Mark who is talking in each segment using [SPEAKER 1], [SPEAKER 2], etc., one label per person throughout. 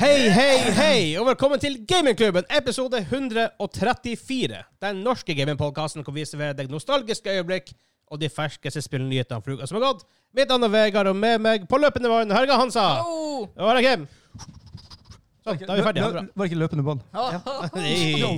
[SPEAKER 1] Hei, hei, hei, og velkommen til Gamingklubben, episode 134. Den norske gamingpodkasten hvor vi serverer deg nostalgiske øyeblikk og de ferskeste spillnyhetene fra uka som har gått. Mitt navn er Vegard, og med meg på løpende vann, Helga Hansa.
[SPEAKER 2] Oh!
[SPEAKER 1] Og her er Kim. Sånn, da er vi ferdige.
[SPEAKER 3] Lø- lø- Var ikke løpende bånd?
[SPEAKER 1] Bra.
[SPEAKER 3] Oi,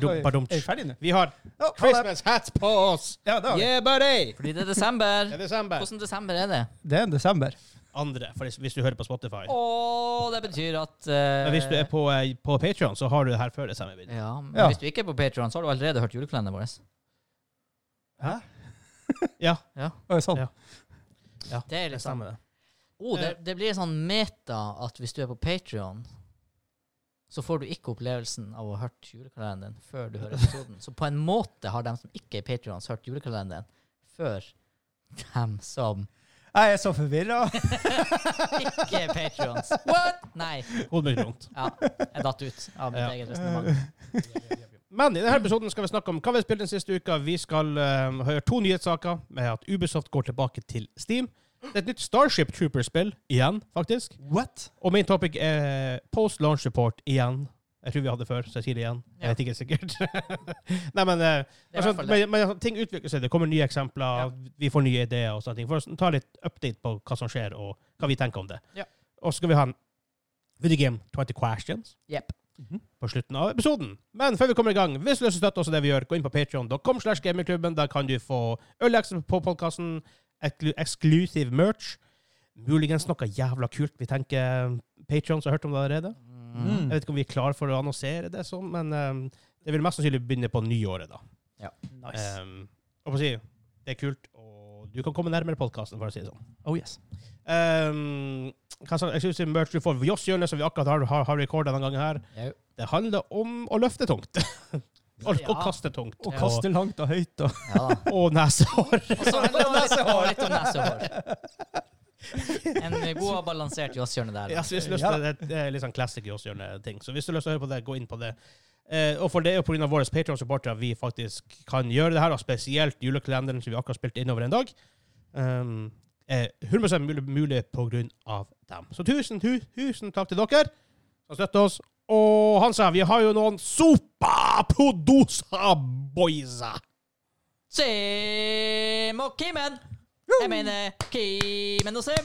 [SPEAKER 1] Dum,
[SPEAKER 3] oi.
[SPEAKER 1] ba, dum,
[SPEAKER 3] Er vi ferdige nå?
[SPEAKER 1] Vi har
[SPEAKER 3] Ja, ha det.
[SPEAKER 1] Christmas hats på oss.
[SPEAKER 3] Ja, det har vi.
[SPEAKER 1] Yeah, buddy.
[SPEAKER 2] Fordi det er desember.
[SPEAKER 1] Det er desember.
[SPEAKER 2] Hvordan desember er det?
[SPEAKER 3] Det er en desember.
[SPEAKER 1] Andre, for hvis- hvis du hører på Spotify.
[SPEAKER 2] Åh, det betyr at eh,
[SPEAKER 1] Men hvis du er på, eh, på Patreon, så har du det her før desember. begynner.
[SPEAKER 2] Ja, men
[SPEAKER 3] Ja.
[SPEAKER 2] hvis du ikke er på Patreon, så har du allerede hørt julekalenderen vår.
[SPEAKER 3] Hæ?
[SPEAKER 1] Ja,
[SPEAKER 2] Ja.
[SPEAKER 3] Oi, sånn.
[SPEAKER 1] Ja.
[SPEAKER 2] Det er
[SPEAKER 1] det
[SPEAKER 2] liksom
[SPEAKER 1] stemmer. det.
[SPEAKER 2] oh, det, det blir en sånn meta at hvis du er på Patreon, så får du ikke opplevelsen av å ha hørt julekalenderen din før du hører episoden. Så på en måte har dem som ikke er Patreons hørt julekalenderen før dem som
[SPEAKER 3] Jeg er så forvirra.
[SPEAKER 2] ikke er Patreons. What?! Nei.
[SPEAKER 1] Hodet mitt er vondt.
[SPEAKER 2] Ja, jeg datt ut av mitt
[SPEAKER 1] Ja.
[SPEAKER 2] eget resonnement.
[SPEAKER 1] Men i denne episoden skal vi snakke om hva vi har spilt den siste uka. Vi skal eh, høre to nyhetssaker med at Ubisoft går tilbake til Steam. Det er et nytt Starship Trooper-spill igjen, faktisk.
[SPEAKER 3] What?
[SPEAKER 1] Og min topic er post launch report igjen. Jeg tror vi hadde det før, så jeg sier det igjen.
[SPEAKER 2] Ja.
[SPEAKER 1] Jeg vet ikke sikkert. Nei, men, eh,
[SPEAKER 2] Det er i
[SPEAKER 1] altså,
[SPEAKER 2] hvert fall det.
[SPEAKER 1] men, men altså, ting utvikler seg. Det kommer nye eksempler.
[SPEAKER 2] Ja.
[SPEAKER 1] Vi får nye ideer og sånne ting. For å ta litt update på hva som skjer, og hva vi tenker om det.
[SPEAKER 2] Ja.
[SPEAKER 1] Og så skal vi ha en Video Game 20 Questions
[SPEAKER 2] Jepp.
[SPEAKER 3] Mhm.
[SPEAKER 1] på slutten av episoden. Men før vi kommer i gang, hvis du vil støtte oss i det vi gjør, gå inn på patreon.com slash gamingklubben. Der kan du få øleksel på podkasten, exclusive merch, muligens noe jævla kult. Vi tenker Patreon, som har hørt om det allerede.
[SPEAKER 3] Mm.
[SPEAKER 2] Mhm.
[SPEAKER 1] Jeg vet ikke om vi er klar for å annonsere det sånn, men eh, det vil mest sannsynlig begynne på nyåret, da.
[SPEAKER 2] Ja.
[SPEAKER 3] Nice.
[SPEAKER 1] Ehm, og for å si, det er kult, og du kan komme nærmere podkasten, for å si det sånn.
[SPEAKER 3] Oh yes.
[SPEAKER 1] Ehm, hva sa jeg synes det er merch du får? Joss-hjørnet, som vi akkurat har, har, har rekordet denne gangen her.
[SPEAKER 2] Jau.
[SPEAKER 1] Det handler om å løfte tungt. og, og kaste tungt.
[SPEAKER 3] Og kaste langt og høyt og
[SPEAKER 2] Ja da.
[SPEAKER 1] og nesehår.
[SPEAKER 2] Og så handler det om litt, og litt om nesehår. En eh, god og balansert jåsshjørne der.
[SPEAKER 1] Ja, så hvis du har lyst til det, det er litt sånn classic Joss-hjørnet-ting. Så hvis du har lyst til å høre på det, gå inn på det. Eh, og for det er jo pga. våre Patreon-supportere vi faktisk kan gjøre det her, og spesielt julekalenderen som vi akkurat spilte innover en dag. Um, er 100 mulig, mulig pga. dem. Så tusen, tu, tusen takk til dere som støtter oss. Og Hansa, vi har jo noen sopa-produsa-boysa.
[SPEAKER 2] Sim og Kimen! Jeg mener Kimen og Sim.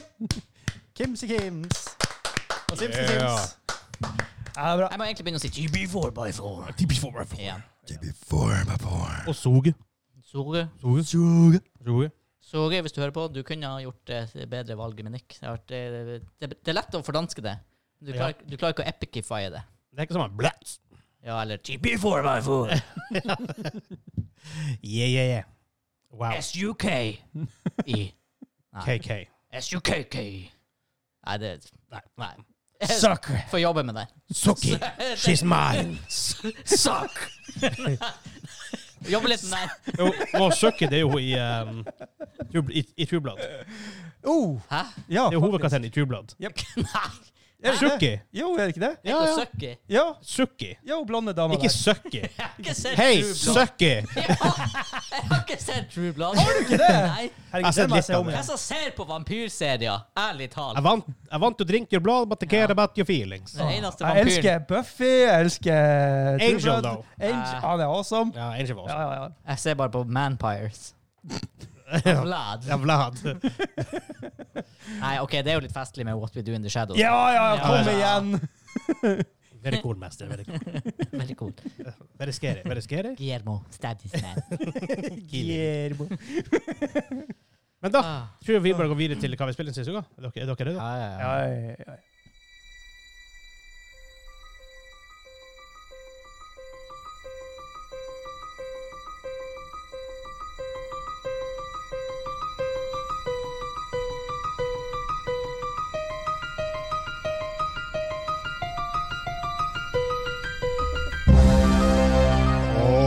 [SPEAKER 3] Kimsy Kims. Og Simsy
[SPEAKER 1] Ja.
[SPEAKER 3] Kims. Ja, det er bra.
[SPEAKER 2] Jeg må egentlig begynne å si TB4 by 4 igjen.
[SPEAKER 1] Og Soge.
[SPEAKER 2] Sorry.
[SPEAKER 3] Suge.
[SPEAKER 1] Soge.
[SPEAKER 2] Sorry hvis du hører på. Du kunne ha gjort eh, et bedre valg med Nick. Det, har vært, eh, det, det er lett å fordanske det. Du klarer, du klarer ikke å epicifye det.
[SPEAKER 1] Det er ikke sånn blæts.
[SPEAKER 2] Ja, eller TB4 by 4
[SPEAKER 1] Yeah, yeah, yeah. Wow.
[SPEAKER 2] SUK i
[SPEAKER 1] KK.
[SPEAKER 2] SUKK. Nei, det
[SPEAKER 1] Nei.
[SPEAKER 2] Nei.
[SPEAKER 3] Sucker.
[SPEAKER 2] Får jobbe med det.
[SPEAKER 1] Suki. She's mine.
[SPEAKER 2] Suck! Jobbe litt med det.
[SPEAKER 1] Jo, nå søkker det er jo i, um, True- i, i True Blood. Det
[SPEAKER 3] Oh,
[SPEAKER 2] Hæ?
[SPEAKER 3] ja,
[SPEAKER 1] er jo
[SPEAKER 3] faktisk.
[SPEAKER 1] hovedkarakteren i True Blood.
[SPEAKER 2] Nei.
[SPEAKER 3] Er det ikke det?
[SPEAKER 1] Suki.
[SPEAKER 3] Jo, er det ikke det?
[SPEAKER 1] Ja, ja.
[SPEAKER 2] Suck i.
[SPEAKER 3] Ja.
[SPEAKER 1] Suki.
[SPEAKER 3] Jo, blonde dama
[SPEAKER 1] Ikke
[SPEAKER 3] der.
[SPEAKER 1] Suki.
[SPEAKER 2] Jeg har ikke sett
[SPEAKER 1] Hei,
[SPEAKER 2] True Blood.
[SPEAKER 1] Suki!
[SPEAKER 2] Jeg har ikke sett True Blood. Har du ikke
[SPEAKER 3] det?
[SPEAKER 2] Nei.
[SPEAKER 3] Herregud,
[SPEAKER 1] Jeg har sett
[SPEAKER 3] det må
[SPEAKER 1] litt
[SPEAKER 3] se
[SPEAKER 1] av
[SPEAKER 3] om
[SPEAKER 1] det.
[SPEAKER 2] Jeg som ser på vampyrserier, ærlig
[SPEAKER 1] I
[SPEAKER 2] talt.
[SPEAKER 1] want, I want to drink your blood, but I care about your feelings.
[SPEAKER 2] Den eneste
[SPEAKER 3] Jeg
[SPEAKER 2] vampyren.
[SPEAKER 3] elsker Buffy, jeg elsker True
[SPEAKER 1] Angel,
[SPEAKER 3] Blood.
[SPEAKER 1] though.
[SPEAKER 3] Angel,
[SPEAKER 2] Ah.
[SPEAKER 3] han er awesome.
[SPEAKER 1] Ja, Angel var
[SPEAKER 3] Ja,
[SPEAKER 1] også.
[SPEAKER 3] ja, ja.
[SPEAKER 2] Jeg ser bare på Manpires. Vlad.
[SPEAKER 1] Ja, Vlad.
[SPEAKER 2] Nei, OK, det er jo litt festlig med What We Do In The Shadows.
[SPEAKER 3] Ja, ja, ja, kom
[SPEAKER 2] Ja.
[SPEAKER 3] igjen!
[SPEAKER 1] Very cool, mester. Very, cool.
[SPEAKER 2] Veldig cool.
[SPEAKER 1] very scary. Very scary.
[SPEAKER 2] Guillermo Staddisman.
[SPEAKER 3] Gierbo.
[SPEAKER 1] Men da
[SPEAKER 2] Ah.
[SPEAKER 1] tror jeg vi bare går videre til hva vi spiller den siste uka. Er dere, er dere røde?
[SPEAKER 2] Ja, ja, ja.
[SPEAKER 3] Ja, ja, ja.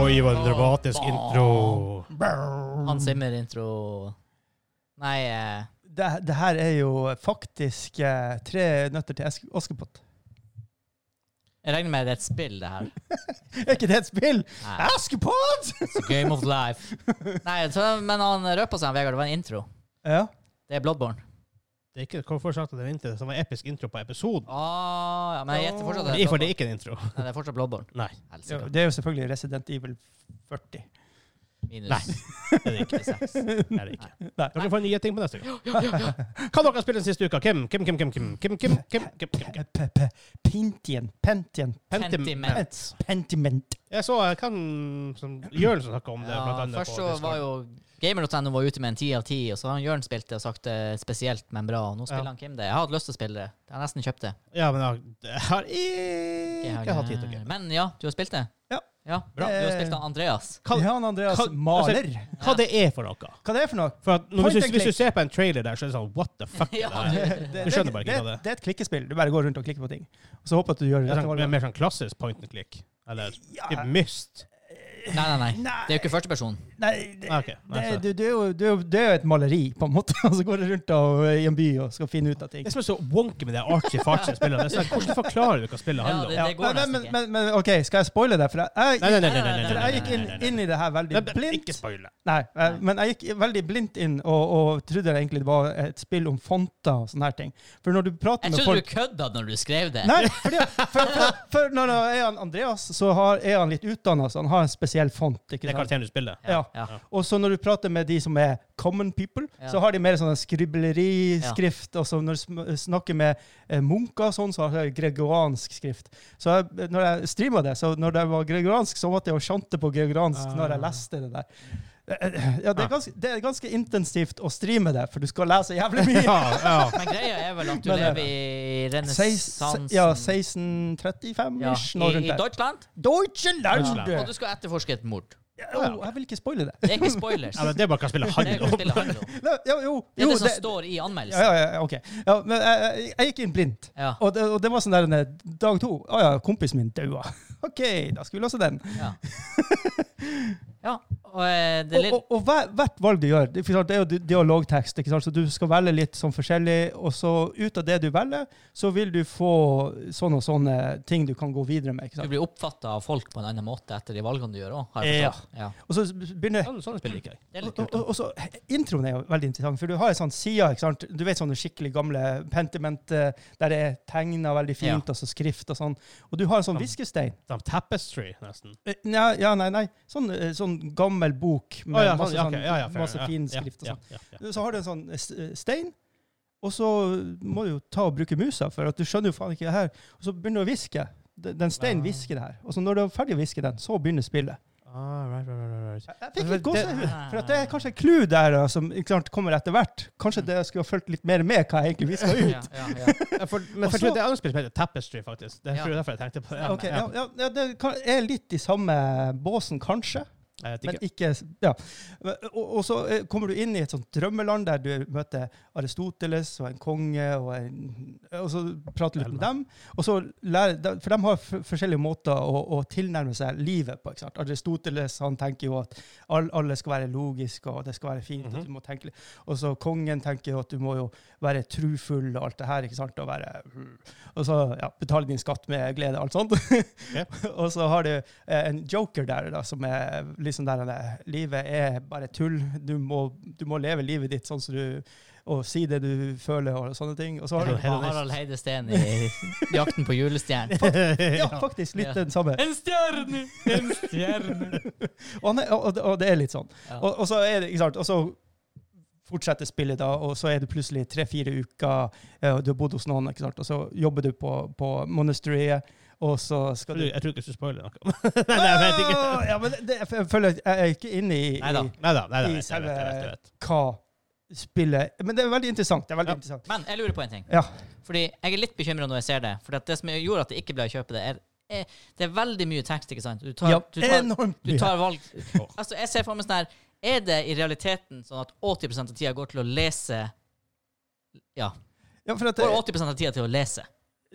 [SPEAKER 1] Oi, hva en dramatisk intro. Mm.
[SPEAKER 2] Han Zimmer-intro Nei, eh,
[SPEAKER 3] Det, det her er jo faktisk eh, tre nøtter til Esk- Askepott.
[SPEAKER 2] jeg regner med det er et spill, det her.
[SPEAKER 3] Er ikke det et spill?
[SPEAKER 2] Nei.
[SPEAKER 3] Askepott!
[SPEAKER 2] It's a game of life. Nei, så, men han røpa seg, han Vegard. Det var en intro.
[SPEAKER 3] Ja.
[SPEAKER 2] Det er Bloodborne.
[SPEAKER 1] Det er ikke hvorfor sagt at det er vinter, det var en episk intro på episoden.
[SPEAKER 2] Ah, ja, men jeg gjetter fortsatt at
[SPEAKER 1] For det er
[SPEAKER 2] det er Bloodborne.
[SPEAKER 1] ikke en intro.
[SPEAKER 2] Nei, det er fortsatt Bloodborne.
[SPEAKER 1] Nei.
[SPEAKER 3] Ja,
[SPEAKER 2] Helsike.
[SPEAKER 3] det er jo selvfølgelig Resident Evil 40.
[SPEAKER 2] Minus
[SPEAKER 1] Nei. Det er det ikke.
[SPEAKER 2] 96.
[SPEAKER 1] Det er det ikke.
[SPEAKER 3] Nei.
[SPEAKER 1] Dere får nye ting på neste gang. Hva dere har spilt den siste uka? Kim, Kim, Kim, Kim, Kim, Kim, Kim, Kim, Kim, Kim, Kim.
[SPEAKER 3] P- p- Pentien, Pentien,
[SPEAKER 1] Pentiment.
[SPEAKER 2] Pentiment.
[SPEAKER 3] Pentiment.
[SPEAKER 1] Jeg så eh, kan, som Jørn som snakket om det. blant
[SPEAKER 2] Ja,
[SPEAKER 1] annet
[SPEAKER 2] først
[SPEAKER 1] på
[SPEAKER 2] så
[SPEAKER 1] Discord.
[SPEAKER 2] var jo Gamer.no var ute med en 10 av 10, og så har han Jørn spilt det og sagt det spesielt, men bra. Og nå spiller
[SPEAKER 1] Ja.
[SPEAKER 2] han Kim det. Jeg har hatt lyst til å spille det. Jeg har nesten kjøpt det.
[SPEAKER 1] Ja, men jeg- jeg har ikke hatt tid til å game.
[SPEAKER 2] Eh, Men ja, du har spilt det?
[SPEAKER 3] Ja.
[SPEAKER 2] Bra. Du har spilt
[SPEAKER 1] Eh.
[SPEAKER 2] av Andreas.
[SPEAKER 1] Hva,
[SPEAKER 3] Jan Andreas
[SPEAKER 1] kan-
[SPEAKER 3] maler.
[SPEAKER 1] hva det er for noe?
[SPEAKER 3] Hva det er for noe?
[SPEAKER 1] For at når,
[SPEAKER 3] Point
[SPEAKER 1] hvis,
[SPEAKER 3] and
[SPEAKER 1] du- hvis du
[SPEAKER 3] click.
[SPEAKER 1] ser på en trailer der, så er det sånn What the fuck?
[SPEAKER 2] Ja,
[SPEAKER 1] er det her? Du skjønner bare ikke
[SPEAKER 3] det,
[SPEAKER 1] hva det er.
[SPEAKER 3] Det er et klikkespill. Du bare går rundt og klikker på ting. Og så håper at du
[SPEAKER 1] Det
[SPEAKER 3] gjør det
[SPEAKER 1] er
[SPEAKER 3] rette
[SPEAKER 1] sånn,
[SPEAKER 3] valget.
[SPEAKER 1] mer sånn klassisk point and click. Eller
[SPEAKER 3] Ja.
[SPEAKER 1] ikke myst.
[SPEAKER 2] Nei, nei, nei. Det er jo ikke førsteperson.
[SPEAKER 3] Nei, det,
[SPEAKER 1] Ah, ok.
[SPEAKER 3] det,
[SPEAKER 1] Nei, så-
[SPEAKER 3] du, du, er jo- du, er jo- du er jo et maleri, på en måte. Og så går du rundt og, eh, i en by og skal finne ut av ting.
[SPEAKER 1] Det som er så wonky med det artsy-fartsy-spillet, det er sånn, hvordan forklarer du hva spillet handler om?
[SPEAKER 2] Ja, det går
[SPEAKER 3] men,
[SPEAKER 2] nesten
[SPEAKER 3] men,
[SPEAKER 2] ikke.
[SPEAKER 3] men, men OK, skal jeg spoile det? For jeg, jeg,
[SPEAKER 1] Nei, nei, nei, nei, nei, nei,
[SPEAKER 3] for
[SPEAKER 1] nei,
[SPEAKER 3] jeg gikk
[SPEAKER 1] nei,
[SPEAKER 3] inn,
[SPEAKER 1] nei, nei.
[SPEAKER 3] inn i det her veldig
[SPEAKER 1] Nei, men
[SPEAKER 3] blindt.
[SPEAKER 1] Ikke spoil det.
[SPEAKER 3] Nei, eh,
[SPEAKER 2] Nei.
[SPEAKER 3] men jeg gikk veldig blindt inn og, og trodde det egentlig var et spill om fonter og sånne her ting. For når du prater
[SPEAKER 2] Jeg
[SPEAKER 3] med
[SPEAKER 2] trodde
[SPEAKER 3] folk
[SPEAKER 2] du kødda når du skrev det.
[SPEAKER 3] Nei, fordi, for, for, for når det er han Andreas, så har, er han litt utdanna, så han har en spesiell font.
[SPEAKER 1] Det
[SPEAKER 3] ikke
[SPEAKER 1] er
[SPEAKER 3] sant?
[SPEAKER 1] karakteren du spiller.
[SPEAKER 3] Ja.
[SPEAKER 2] ja.
[SPEAKER 3] Og så når du prater med de som er common people,
[SPEAKER 2] Ja.
[SPEAKER 3] så har de mer sånn skribleriskrift. Og så når du sm- snakker med eh, munker og sånn, så har de gregoriansk skrift. Så jeg, når jeg streama det, så når det var gregoriansk, så måtte jeg jo sjante på gregoriansk når jeg
[SPEAKER 2] Ah.
[SPEAKER 3] leste det der. Eh, Ja, det er, ganske, det er ganske intensivt å streame det, for du skal lese jævlig mye.
[SPEAKER 1] Ja, ja.
[SPEAKER 2] Men greia er vel at du
[SPEAKER 3] Men, eh,
[SPEAKER 2] lever i
[SPEAKER 3] Seis- se-
[SPEAKER 2] renessansen
[SPEAKER 3] Ja, 1635-ish, nå
[SPEAKER 2] i,
[SPEAKER 3] rundt
[SPEAKER 2] i
[SPEAKER 3] der.
[SPEAKER 2] Deutschland,
[SPEAKER 3] Deutschland!
[SPEAKER 1] Deutschland.
[SPEAKER 2] og du skal etterforske et mord.
[SPEAKER 3] Åh, jeg vil ikke spoile det.
[SPEAKER 2] Det er ikke spoilers.
[SPEAKER 1] Ja, men det er bare hva spillet
[SPEAKER 2] Det er,
[SPEAKER 1] handler
[SPEAKER 2] hva
[SPEAKER 1] om.
[SPEAKER 2] spillet handler om.
[SPEAKER 3] Nei, Jo,
[SPEAKER 2] det, er
[SPEAKER 3] jo,
[SPEAKER 2] sånn
[SPEAKER 3] jo,
[SPEAKER 2] det som
[SPEAKER 3] det-
[SPEAKER 2] står i
[SPEAKER 3] Ja,
[SPEAKER 2] anmeldelsen.
[SPEAKER 3] ja, ja, ok. Ja, men jeg, jeg- jeg gikk inn blindt.
[SPEAKER 2] Ja,
[SPEAKER 3] Og det, og det var sånn der eh, dag to. Å ja, kompisen min daua. OK, da skal vi løse den.
[SPEAKER 2] ja. ja og eh, det
[SPEAKER 3] Og,
[SPEAKER 2] er
[SPEAKER 3] og,
[SPEAKER 2] litt
[SPEAKER 3] og hver, hvert valg du gjør, det, ikke sant, det er jo di- dialogtekst, ikke sant? så du skal velge litt sånn forskjellig, og så ut av det du velger, så vil du få sånne og sånne ting du kan gå videre med.
[SPEAKER 2] Du
[SPEAKER 3] ikke sant?
[SPEAKER 2] blir oppfatta av folk på en annen måte etter de valgene du gjør òg.
[SPEAKER 3] Ja.
[SPEAKER 2] Ja.
[SPEAKER 3] Og så begynner
[SPEAKER 1] Sånn- Sånne spill liker jeg.
[SPEAKER 2] Det er litt
[SPEAKER 3] og,
[SPEAKER 2] kult.
[SPEAKER 3] og, og så, Introen er jo veldig interessant, for du har en sånn side. ikke sant? Du vet sånne skikkelig gamle pentiment eh, der det er tegna veldig fint,
[SPEAKER 2] Ja.
[SPEAKER 3] og så skrift og sånn. Og du har en sånn viskestein.
[SPEAKER 1] Sånn tapestry, nesten.
[SPEAKER 3] Eh, Ja, ja, nei, nei. Sånn, eh, sånn gammel bok
[SPEAKER 1] Å
[SPEAKER 3] med
[SPEAKER 1] ja,
[SPEAKER 3] masse,
[SPEAKER 1] sånn, ja, ok, ja, ja,
[SPEAKER 3] sånn,
[SPEAKER 1] fair,
[SPEAKER 3] masse
[SPEAKER 1] ja,
[SPEAKER 3] fin
[SPEAKER 1] ja,
[SPEAKER 3] skrift. og
[SPEAKER 1] ja,
[SPEAKER 3] sånn.
[SPEAKER 1] ja, ja.
[SPEAKER 3] Så har du en sånn eh, s- eh, stein, og så må du jo ta og bruke musa, for at du skjønner jo faen ikke det her. Og så begynner du å hviske. D- Den steinen
[SPEAKER 1] Ah.
[SPEAKER 3] hvisker det her. Og så når du er ferdig å hviske den, så begynner spillet.
[SPEAKER 1] Ah, right, right, right, right.
[SPEAKER 3] Jeg jeg fikk litt gåsehud.
[SPEAKER 2] Det-
[SPEAKER 3] For at det er kanskje et clou der da, som ikke sant, kommer etter hvert. Kanskje det jeg skulle ha fulgt litt mer med hva jeg egentlig hviska ut.
[SPEAKER 2] Ja, ja, ja.
[SPEAKER 1] Ja, for, men
[SPEAKER 3] Og
[SPEAKER 1] for
[SPEAKER 3] så-
[SPEAKER 1] det er annet spill som heter Tapestry, faktisk. Det er
[SPEAKER 2] Ja.
[SPEAKER 1] derfor jeg tenkte på det. Ja,
[SPEAKER 3] Ok,
[SPEAKER 1] ja.
[SPEAKER 3] ja, ja, ja, det kan- er litt i samme båsen, kanskje.
[SPEAKER 1] Jeg vet
[SPEAKER 3] Men
[SPEAKER 1] ikke.
[SPEAKER 3] ikke Ja. Og, og så eh, kommer du inn i et sånt drømmeland der du møter Aristoteles og en konge, og, en, og så prater du litt med dem. Og så lærer, de- for de har f forskjellige måter å, å tilnærme seg livet på. ikke sant? Aristoteles han tenker jo at all, alle skal være logiske, og det skal være fint.
[SPEAKER 1] Mhm.
[SPEAKER 3] at du må tenke litt. Og så kongen tenker jo at du må jo være trufull og alt det her. ikke sant? Og, være, hmm, og så ja, betale din skatt med glede og alt sånt. og så har du eh, en joker der, da, som er liksom der han er Livet er bare tull. Du må, du må leve livet ditt sånn som du Og si det du føler, og sånne ting. Og så har du
[SPEAKER 1] Hedonist.
[SPEAKER 2] Harald Heide Steen i 'Jakten på julestjernen'.
[SPEAKER 3] ja, faktisk litt
[SPEAKER 2] Ja.
[SPEAKER 3] den samme.
[SPEAKER 2] En stjerne! En stjerne!
[SPEAKER 3] Og, han er, og, og- og det er litt sånn.
[SPEAKER 2] Ja.
[SPEAKER 3] Og, og så er det, ikke sant, og så fortsetter spillet da, og så er det plutselig tre-fire uker, eh, og du har bodd hos noen, ikke sant, og så jobber du på, på monasteriet, og så skal du...
[SPEAKER 1] Jeg tror ikke du skal spoile noe. Nei, nei, jeg vet ikke.
[SPEAKER 3] Åh, Ah, Ja, men det, jeg føler at jeg er ikke inne i,
[SPEAKER 2] Neida.
[SPEAKER 3] i
[SPEAKER 1] Nei da, nei da. Jeg
[SPEAKER 3] I
[SPEAKER 1] vet, jeg vet, jeg vet, jeg vet.
[SPEAKER 3] hva spillet... Men det er veldig interessant, det er veldig
[SPEAKER 1] Ja.
[SPEAKER 3] interessant.
[SPEAKER 2] Men jeg lurer på en ting.
[SPEAKER 3] Ja.
[SPEAKER 2] Fordi jeg er litt bekymra når jeg ser det. For det som gjorde at jeg ikke ble å kjøpe det, er, er det er veldig mye tekst, ikke sant? Du tar,
[SPEAKER 3] Ja,
[SPEAKER 2] du tar,
[SPEAKER 3] enormt
[SPEAKER 2] du
[SPEAKER 3] mye.
[SPEAKER 2] tar valg
[SPEAKER 1] Åh.
[SPEAKER 2] Altså, jeg ser for meg sånn her Er det i realiteten sånn at 80 av tida går til å lese Ja.
[SPEAKER 3] Ja, for at
[SPEAKER 2] Går
[SPEAKER 3] det,
[SPEAKER 2] 80 av tida til å lese.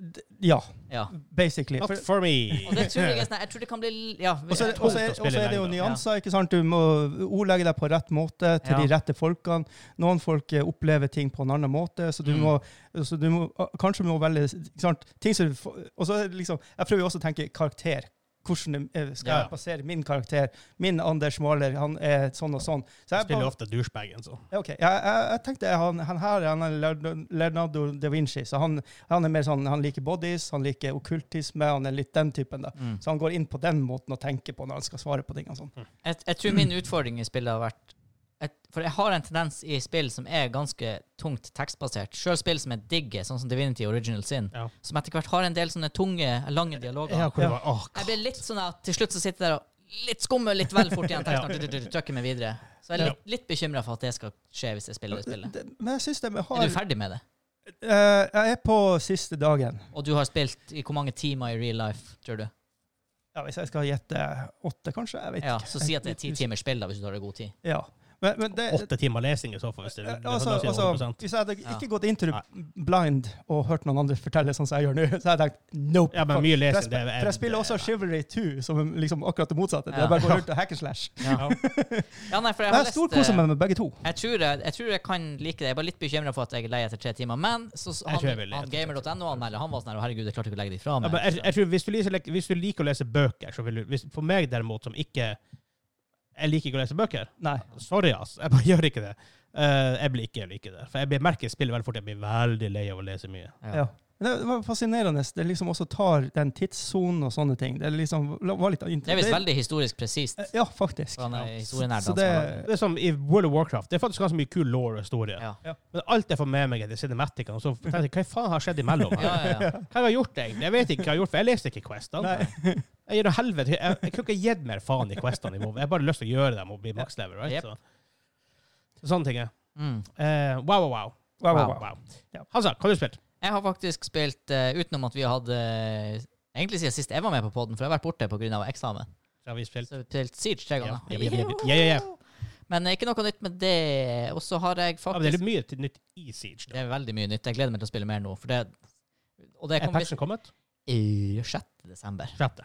[SPEAKER 3] d- ja,
[SPEAKER 2] Ja.
[SPEAKER 3] basically.
[SPEAKER 1] Not
[SPEAKER 3] For,
[SPEAKER 1] for me.
[SPEAKER 2] Og det tror jeg er sånn her- Jeg tror det kan bli Ja.
[SPEAKER 3] og så er,
[SPEAKER 1] tungt
[SPEAKER 3] og så er,
[SPEAKER 1] å spille
[SPEAKER 3] og så er det jo
[SPEAKER 1] lenge, da.
[SPEAKER 3] nyanser, ikke sant? Du må ordlegge deg på rett måte til
[SPEAKER 2] Ja.
[SPEAKER 3] de rette folkene. Noen folk eh, opplever ting på en annen måte, så du
[SPEAKER 2] Mm.
[SPEAKER 3] må, så du må kanskje må velge ikke sant? ting som du får- Og så er det liksom, jeg prøver jo også å tenke karakter. hvordan det eh, skal
[SPEAKER 1] Ja, ja.
[SPEAKER 3] passere min karakter. Min Anders Maaler, han er sånn og sånn. Så jeg,
[SPEAKER 1] Spiller jo
[SPEAKER 3] bare-
[SPEAKER 1] ofte douchebagen, så.
[SPEAKER 3] Ja, ok. jeg, jeg, jeg tenkte han, han her han er Leonardo- Leonardo da Vinci, så han, han er mer sånn, han liker bodies, han liker okkultisme, han er litt den typen. da.
[SPEAKER 2] Mm.
[SPEAKER 3] Så han går inn på den måten å tenke på når han skal svare på ting. og sånn.
[SPEAKER 2] Jeg, jeg tror min utfordring i spillet har vært et, For jeg har en tendens i spill som er ganske tungt tekstbasert, sjøl spill som jeg digger, sånn som Divinity Original Sin,
[SPEAKER 1] Ja.
[SPEAKER 2] som etter hvert har en del sånne tunge, lange dialoger.
[SPEAKER 1] Ja, hvor det
[SPEAKER 3] Ja.
[SPEAKER 1] var, åh,
[SPEAKER 2] Jeg blir litt sånn at til slutt så sitter jeg der og litt skummer litt vel fort igjen teksten, og du- du- du- trykker meg videre. Så jeg er litt, litt bekymra for at det skal skje hvis jeg spiller det spillet.
[SPEAKER 3] Det- Men jeg syns de har
[SPEAKER 2] Er du ferdig med det?
[SPEAKER 3] Eh, Jeg er på siste dagen.
[SPEAKER 2] Og du har spilt i hvor mange timer i real life, tror du?
[SPEAKER 3] Ja, Hvis jeg skal gjette åtte, kanskje? Jeg vet
[SPEAKER 2] Ja,
[SPEAKER 3] ikke.
[SPEAKER 2] Så si at det er ti timers spill, da, hvis du tar det god tid.
[SPEAKER 3] Ja. Men, men det,
[SPEAKER 1] åtte timer lesing i så fall. Hvis det,
[SPEAKER 3] Eh,
[SPEAKER 1] det,
[SPEAKER 3] altså,
[SPEAKER 1] da sier jeg
[SPEAKER 3] altså,
[SPEAKER 1] 100%.
[SPEAKER 3] hvis jeg hadde ikke
[SPEAKER 2] Ja.
[SPEAKER 3] gått inn til det blind og hørt noen andre fortelle sånn som jeg gjør nå, så hadde jeg tenkt nope.
[SPEAKER 1] ja, men mye lesing,
[SPEAKER 3] For
[SPEAKER 1] det
[SPEAKER 3] jeg,
[SPEAKER 1] er
[SPEAKER 3] for jeg spiller også Chivalry 2, som er liksom akkurat det motsatte. Det
[SPEAKER 2] Ja.
[SPEAKER 3] er bare å gå rundt og hack and slash.
[SPEAKER 1] Ja.
[SPEAKER 2] Ja, nei, for jeg
[SPEAKER 3] Jeg
[SPEAKER 2] har
[SPEAKER 3] har
[SPEAKER 2] lest
[SPEAKER 3] storkosa
[SPEAKER 2] eh,
[SPEAKER 3] meg med begge to.
[SPEAKER 2] Jeg tror jeg, jeg tror jeg kan like det. Jeg var litt bekymra for at jeg er lei etter tre timer. Men så, så
[SPEAKER 1] Jeg tror jeg
[SPEAKER 2] han,
[SPEAKER 1] vil le
[SPEAKER 2] han
[SPEAKER 1] etter tre
[SPEAKER 2] gamer.no anmelder, han var sånn her «Å, Herregud, jeg klarte ikke å legge det ifra
[SPEAKER 1] Ja,
[SPEAKER 2] meg.
[SPEAKER 1] men jeg, jeg tror hvis du, liker, hvis du liker å lese bøker, så vil du hvis, For meg derimot, som ikke Jeg liker ikke å lese bøker.
[SPEAKER 3] Nei.
[SPEAKER 1] Sorry, ass. Jeg bare gjør ikke det. Eh, jeg blir ikke like det. For jeg blir- merker spillet veldig fort. Jeg blir veldig lei av å lese mye.
[SPEAKER 3] Ja. Men det var fascinerende. Det liksom også tar den tidssonen og sånne ting. Det liksom var litt
[SPEAKER 2] Det er visst veldig historisk presist.
[SPEAKER 3] Eh, Ja, faktisk.
[SPEAKER 2] For han er
[SPEAKER 1] Eh, Ja.
[SPEAKER 2] historienerd. altså. han
[SPEAKER 3] Så
[SPEAKER 2] som
[SPEAKER 3] det
[SPEAKER 2] har laget
[SPEAKER 1] Det er som i World of Warcraft. Det er faktisk ganske mye kul law og historie.
[SPEAKER 2] det. Eh. Ja.
[SPEAKER 1] Men alt jeg får med meg, er de cinematicene. Så tenker jeg, hva faen har skjedd imellom her?
[SPEAKER 2] Ja, ja, ja.
[SPEAKER 1] Hva har jeg gjort, egentlig? Jeg vet ikke hva jeg har gjort, for jeg leste ikke Questene. Jeg gir noe helvete. Jeg, jeg kunne ikke gitt mer faen i Questene i WoW. Jeg har bare lyst til å gjøre dem og bli max level, right?
[SPEAKER 2] Jep.
[SPEAKER 1] Så. så sånne ting er.
[SPEAKER 2] Mm.
[SPEAKER 1] Eh, wow, wow, wow.
[SPEAKER 3] Wow, wow,
[SPEAKER 2] Wow.
[SPEAKER 3] wow. Ja.
[SPEAKER 1] Hansa, hva har du spilt?
[SPEAKER 2] Jeg har faktisk spilt eh, utenom at vi hadde eh, Egentlig siden sist jeg var med på podden for jeg har vært borte pga. eksamen.
[SPEAKER 1] Så har vi spilt
[SPEAKER 2] Så jeg har spilt Siege tre
[SPEAKER 1] Ja,
[SPEAKER 2] ganger.
[SPEAKER 1] ja, ja, ja, ja, ja.
[SPEAKER 2] Men eh, ikke noe nytt med det. Og så har jeg
[SPEAKER 1] Ja, men det er
[SPEAKER 2] faktisk
[SPEAKER 1] litt mye til nytt i Siege.
[SPEAKER 2] Det
[SPEAKER 1] Da.
[SPEAKER 2] er veldig mye nytt. Jeg gleder meg til å spille mer nå. For det, og det
[SPEAKER 1] Er
[SPEAKER 2] kom
[SPEAKER 1] patchen kommet?
[SPEAKER 2] i 6. desember.
[SPEAKER 1] Sjette.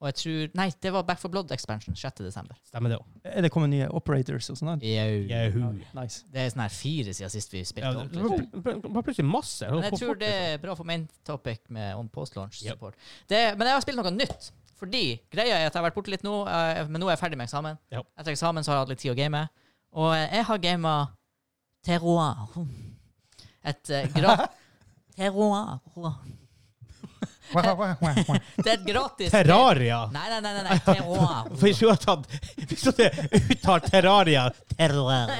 [SPEAKER 2] Og jeg tror Nei, det var Back for Blood-expansion 6.12.
[SPEAKER 1] Stemmer det òg.
[SPEAKER 3] Er det kommet nye operators og sånn? der?
[SPEAKER 2] Det
[SPEAKER 1] Jahu.
[SPEAKER 3] Nice.
[SPEAKER 2] er sånn her fire siden sist vi
[SPEAKER 1] Ja,
[SPEAKER 2] spilte
[SPEAKER 1] det det
[SPEAKER 2] ordentlig.
[SPEAKER 1] var pl- var plutselig masse.
[SPEAKER 2] Men jeg
[SPEAKER 1] Hvor
[SPEAKER 2] tror
[SPEAKER 1] fort,
[SPEAKER 2] det
[SPEAKER 1] liksom.
[SPEAKER 2] er bra for main topic med on post-launch
[SPEAKER 1] Yep.
[SPEAKER 2] support. Det, men jeg har spilt noe nytt. Fordi greia er at jeg har vært borte litt nå, eh, men nå er jeg ferdig med eksamen.
[SPEAKER 1] Ja.
[SPEAKER 2] Etter eksamen så har jeg hatt litt tid å game. Og eh, jeg har gama Terroir. Et eh, gra- Terroir. Det er et gratis
[SPEAKER 1] Terraria!
[SPEAKER 2] Nei, nei, nei. nei, nei. Terroir.
[SPEAKER 1] Hvis du hadde tatt Hvis du hadde uttalt Terraria,
[SPEAKER 2] Ja,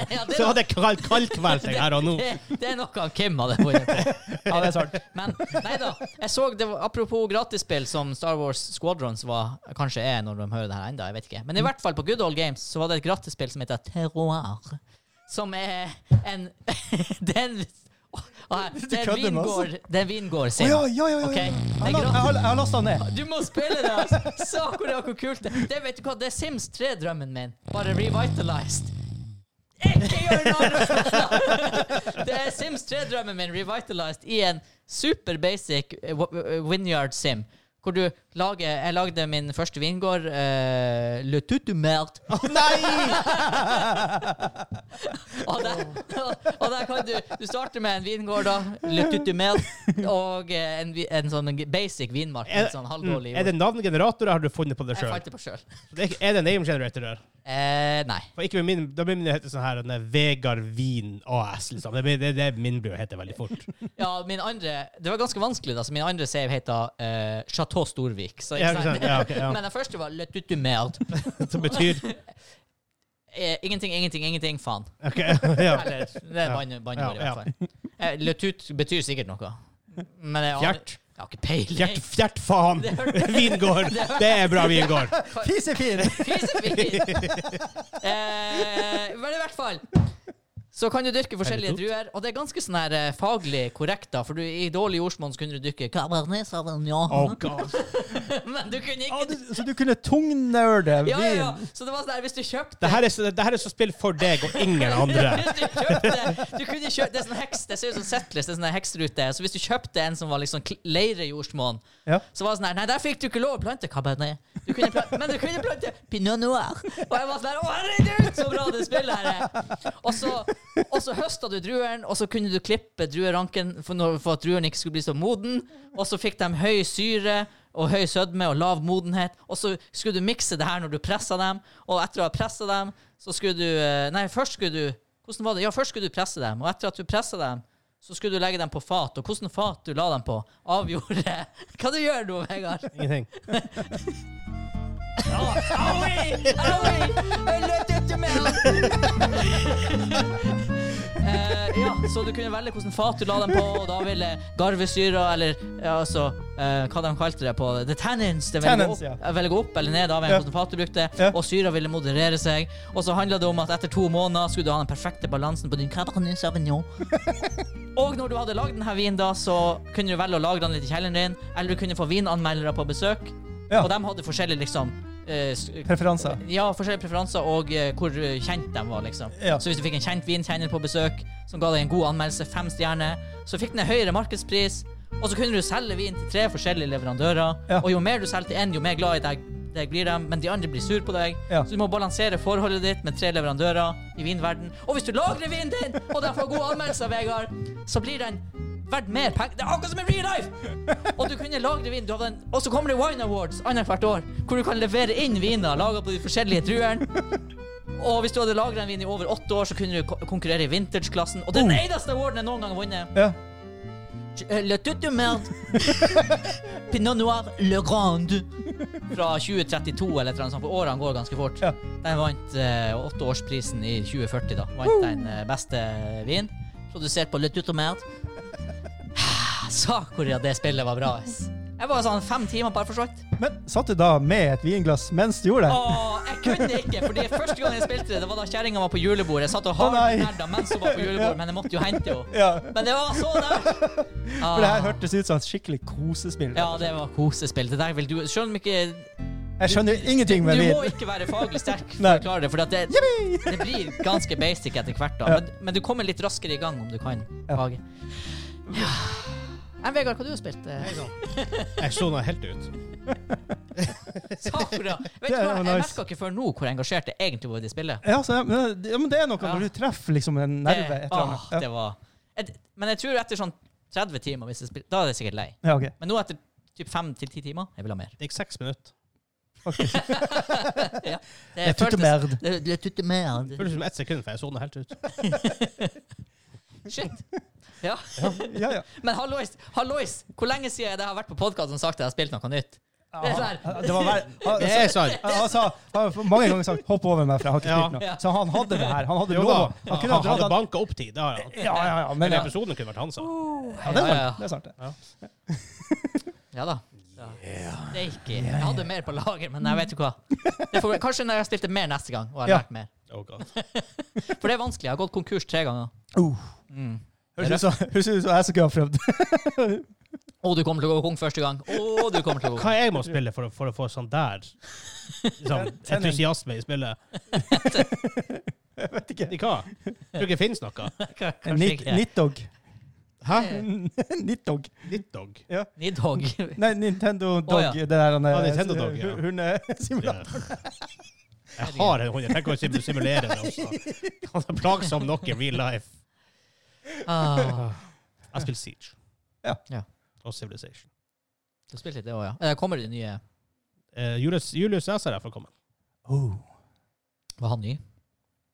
[SPEAKER 2] det er
[SPEAKER 1] så hadde jeg kalt kaldkveldsing her og nå.
[SPEAKER 2] det, det er noe han Kim hadde funnet på.
[SPEAKER 3] Ja, det er sant.
[SPEAKER 2] Men nei da. Jeg så det var, apropos gratisspill som Star Wars Squadrons var, kanskje er når de hører det her enda, jeg vet ikke. Men i hvert fall på Good Old Games så var det et gratisspill som heter Terroir. Som er en Det er en, Åh, her, det er en
[SPEAKER 3] kødder med oss.
[SPEAKER 2] vingård Det er en vingård
[SPEAKER 3] Å
[SPEAKER 2] sin.
[SPEAKER 3] ja, ja, ja, ja.
[SPEAKER 2] Ok,
[SPEAKER 3] ja.
[SPEAKER 2] det er
[SPEAKER 3] Jeg la-
[SPEAKER 2] gratis.
[SPEAKER 3] jeg har- jeg har lasta ned.
[SPEAKER 2] Du må spille det! altså. Sakura, hvor kult det er. Det vet du hva, det er Sims 3-drømmen min, bare revitalized. Ikke gjør narr! Det er Sims 3-drømmen min revitalized i en super basic eh, wa- eh, vineyard sim. Hvor du lager Jeg lagde min første vingård, eh, Le Tutumert.
[SPEAKER 3] Nei!
[SPEAKER 2] Og der, og der kan du Du starter med en vingård, da. Le Tutumert. Og eh, en, vi- en sånn basic
[SPEAKER 1] Er,
[SPEAKER 2] vinmark.
[SPEAKER 1] mm,
[SPEAKER 2] litt sånn halvdårlig.
[SPEAKER 1] er det navngeneratorer har du funnet på det
[SPEAKER 2] Jeg
[SPEAKER 1] sjøl?
[SPEAKER 2] fant det på sjøl.
[SPEAKER 1] Er det name generator der?
[SPEAKER 2] Eh, nei.
[SPEAKER 1] For ikke med min, da blir min hete sånn her den der Vegard Wien AS, liksom. Det, blir- det, det min blir å hete veldig fort.
[SPEAKER 2] Ja, min andre Det var ganske vanskelig, da. Så min andre save heter eh, Chateau Storvik. Så,
[SPEAKER 1] Ja,
[SPEAKER 2] ikke
[SPEAKER 1] ikke
[SPEAKER 2] sant?
[SPEAKER 1] sant? Ja, ok, ja.
[SPEAKER 2] Men den første var Le Tutumerd.
[SPEAKER 1] Som betyr
[SPEAKER 2] Eh, ingenting, ingenting, ingenting, faen.
[SPEAKER 1] OK. Ja.
[SPEAKER 2] Eller det er banne-
[SPEAKER 1] Ja, ja.
[SPEAKER 2] banneord, i hvert fall. Eh, Le Tut betyr sikkert noe. Men jeg, aner-
[SPEAKER 1] Fjert.
[SPEAKER 2] Jeg har ikke peiling.
[SPEAKER 1] Fjert, fjert faen! Vingård! Det er bra vingård.
[SPEAKER 3] Fisefin!
[SPEAKER 2] Fisefin! eh, men i hvert fall så kan du dyrke forskjellige
[SPEAKER 1] Er det
[SPEAKER 2] druer, og det er ganske sånn her eh, faglig korrekt. da, For du, i dårlig jordsmonn så kunne du dyrke Cabernet Sauvignon,
[SPEAKER 1] Oh, God.
[SPEAKER 2] men du kunne
[SPEAKER 3] Ja,
[SPEAKER 2] ikke
[SPEAKER 3] du, så du kunne tungnerde vin?
[SPEAKER 2] Ja, ja, ja. Så det var sånn her, hvis du kjøpte
[SPEAKER 1] Det her er, så- det her er så spill for deg og ingen andre.
[SPEAKER 2] Hvis du kjøpte Du kunne kjøpt Det er sånn heks Det ser ut som settlist Det er sånn her heksrute Så hvis du kjøpte en som var liksom kl- leirejordsmonn
[SPEAKER 3] Ja.
[SPEAKER 2] Så var det sånn her Nei, der fikk du ikke lov å plante cabernet Du kunne plante Men du kunne plante pinot noir Og jeg var sånn her Å herregud Så bra det spillet her er Og så Og så høstet du druen Og så kunne du klippe drueranken For, når, for at druen ikke skulle bli så moden Og så fikk de høy syre og høy sødme og lav modenhet, og så skulle du mikse det her når du pressa dem, og etter å ha pressa dem, så skulle du eh, Nei, først skulle du Hvordan var det? Ja, først skulle du presse dem, og etter at du pressa dem, så skulle du legge dem på fat, og hvordan fat du la dem på, avgjorde Hva du gjør nå, Vegard?
[SPEAKER 1] Ingenting.
[SPEAKER 2] Aui! Aui! Jeg løp ikke med han! Eh, ja, så du kunne velge hvilken fat du la dem på, og da ville garvesyra, eller ja, altså eh, Hva de kalte det på The tannins. Det ville,
[SPEAKER 3] Tannins,
[SPEAKER 2] gå, opp,
[SPEAKER 3] ja.
[SPEAKER 2] eh, ville gå opp eller ned av
[SPEAKER 3] Ja.
[SPEAKER 2] hvilken fat du brukte,
[SPEAKER 3] Ja.
[SPEAKER 2] og syra ville moderere seg. Og så handla det om at etter to måneder skulle du ha den perfekte balansen på din Cabernet Sauvignon. Og når du hadde lagd denne vinen, da, så kunne du velge å lagre den litt i kjelleren din, eller du kunne få vinanmeldere på besøk,
[SPEAKER 3] Ja.
[SPEAKER 2] og de hadde forskjellige liksom eh, s-
[SPEAKER 3] Preferanser.
[SPEAKER 2] ja, forskjellige preferanser og eh, hvor eh, kjent de var, liksom.
[SPEAKER 3] Ja.
[SPEAKER 2] Så hvis du fikk en kjent vinkjenner på besøk, som ga deg en god anmeldelse, fem stjerner, så fikk den en høyere markedspris, og så kunne du selge vin til tre forskjellige leverandører,
[SPEAKER 3] Ja.
[SPEAKER 2] og jo mer du selger til én, jo mer glad i deg, deg blir de, men de andre blir sur på deg.
[SPEAKER 3] Ja.
[SPEAKER 2] Så du må balansere forholdet ditt med tre leverandører i vinverden. Og hvis du lagrer vinen din, og den får gode anmeldelser, Vegard, så blir den verdt mer penger. Det er akkurat som i real life! Og du kunne lagre vin. Du hadde en, og så kommer det Wine Awards annethvert år, hvor du kan levere inn viner laga på de forskjellige druene. Og hvis du hadde lagra en vin i over åtte år, så kunne du ko- konkurrere i vintage-klassen. Og det er den eneste awarden jeg noen gang har vunnet.
[SPEAKER 3] Ja.
[SPEAKER 2] Eh, Le Tout du Merde. Pinot Noir Le Grand. Fra 2032 eller et eller annet sånt, for årene går ganske fort.
[SPEAKER 3] Ja.
[SPEAKER 2] Den vant eh, åtteårsprisen i 2040, da. Vant den eh, beste vin. Produsert på Le Tout du Merde. Ah, Sa hvor det spillet var bra, ass. Jeg var sånn fem timer bare forsvant.
[SPEAKER 3] Men satt du da med et vinglass mens du gjorde det?
[SPEAKER 2] Åh, jeg kunne ikke, fordi første gang jeg spilte det, det var da kjerringa var på julebord. Jeg satt og
[SPEAKER 3] Å, nei.
[SPEAKER 2] hardnerda mens hun var på julebord, men jeg måtte jo hente henne.
[SPEAKER 3] Ja.
[SPEAKER 2] Men det var så nært!
[SPEAKER 3] For det her hørtes ut som et skikkelig kosespill.
[SPEAKER 2] Ja, det var kosespill. Det der vil du Selv om ikke
[SPEAKER 3] Jeg skjønner ingenting
[SPEAKER 2] Du
[SPEAKER 3] med
[SPEAKER 2] må
[SPEAKER 3] vin.
[SPEAKER 2] ikke være faglig sterk for
[SPEAKER 3] Nei.
[SPEAKER 2] å klare det, for at det,
[SPEAKER 3] Yippee!
[SPEAKER 2] det blir ganske basic etter hvert, da.
[SPEAKER 3] Ja.
[SPEAKER 2] Men, men du kommer litt raskere i gang om du kan
[SPEAKER 3] Ja.
[SPEAKER 2] faget. Ja. Nei, Vegard, hva du har spilt? eh?
[SPEAKER 1] Jeg slo noe helt ut.
[SPEAKER 2] Sakura! Vet du hva,
[SPEAKER 3] Det var
[SPEAKER 2] jeg
[SPEAKER 3] nice.
[SPEAKER 2] merka ikke før nå hvor engasjert jeg egentlig var i det spillet.
[SPEAKER 3] Ja, så, men, ja, men det er noe
[SPEAKER 2] Ja.
[SPEAKER 3] når du treffer liksom en nerve. Et eller
[SPEAKER 2] Åh,
[SPEAKER 3] annet.
[SPEAKER 2] det var et, Men jeg tror etter sånn 30 timer hvis jeg spiller, Da er jeg sikkert lei.
[SPEAKER 3] Ja, ja ok.
[SPEAKER 2] Men nå etter typ 5-10 timer Jeg vil ha mer.
[SPEAKER 1] Det gikk seks minutter.
[SPEAKER 2] ja, det
[SPEAKER 3] Jeg tutter
[SPEAKER 2] føltes-
[SPEAKER 3] merd.
[SPEAKER 2] Det, det tutte mer.
[SPEAKER 1] Det føltes som ett sekund, for jeg slo noe helt ut.
[SPEAKER 2] Shit. Ja.
[SPEAKER 3] Ja, ja.
[SPEAKER 2] Men hallois, hallois! Hvor lenge siden er det jeg har vært på podkast og sagt at jeg har spilt noe nytt? Det er sånn her.
[SPEAKER 3] Det var ver- han,
[SPEAKER 1] Det er sant.
[SPEAKER 3] han sa han har mange ganger sagt 'hopp over meg, for jeg har ikke
[SPEAKER 1] Ja.
[SPEAKER 3] spilt noe'.
[SPEAKER 2] Ja.
[SPEAKER 3] Så han hadde det her. Han hadde
[SPEAKER 1] Jo
[SPEAKER 3] lov.
[SPEAKER 1] da.
[SPEAKER 3] Han
[SPEAKER 1] Han
[SPEAKER 3] kunne ha dratt
[SPEAKER 1] hadde
[SPEAKER 3] han.
[SPEAKER 1] banka opp tid. Det har han.
[SPEAKER 3] Ja, ja, ja. Men
[SPEAKER 1] Men
[SPEAKER 3] ja.
[SPEAKER 1] episoden kunne vært hans. da.
[SPEAKER 3] Ja, det er
[SPEAKER 2] ja.
[SPEAKER 3] sant. Det er sant. det.
[SPEAKER 2] Ja da. Det er ikke Jeg hadde mer på lager, men jeg vet jo hva. Det får, kanskje når jeg har spilt det mer neste gang og har
[SPEAKER 3] Ja.
[SPEAKER 2] lært mer.
[SPEAKER 1] Oh god.
[SPEAKER 2] For det er vanskelig. Jeg har gått konkurs tre ganger.
[SPEAKER 3] Uh. Høres ut som høres ut som jeg som kunne ha prøvd.
[SPEAKER 2] Å, du kommer til å gå konk første gang. Å, du kommer til å gå
[SPEAKER 1] Hva jeg må spille for, å- for å få sånn der liksom, entusiasme i spillet?
[SPEAKER 3] Jeg vet ikke.
[SPEAKER 1] Ikke hva? Tror ikke det finnes noe.
[SPEAKER 2] konk.
[SPEAKER 3] Nit- Nitdog.
[SPEAKER 1] Hæ?
[SPEAKER 3] Nitdog.
[SPEAKER 1] Nitdog?
[SPEAKER 2] Nidhogg.
[SPEAKER 3] Nei, Nintendo Dog.
[SPEAKER 2] ja.
[SPEAKER 3] Det der han
[SPEAKER 1] Ja, Nintendo Dog, ja.
[SPEAKER 3] hundesimulator.
[SPEAKER 1] Jeg har en hund. Jeg tenker å sim- simulere det også. Han er plagsom nok i real life.
[SPEAKER 2] Ah,
[SPEAKER 1] Jeg spiller Siege.
[SPEAKER 3] Ja.
[SPEAKER 2] Ja.
[SPEAKER 1] Og Civilization.
[SPEAKER 2] du har spilt litt det òg, ja. Eh, Kommer det nye
[SPEAKER 1] Eh, Julius, Julius Cæsar er forkommen.
[SPEAKER 3] Oh.
[SPEAKER 2] Var han ny?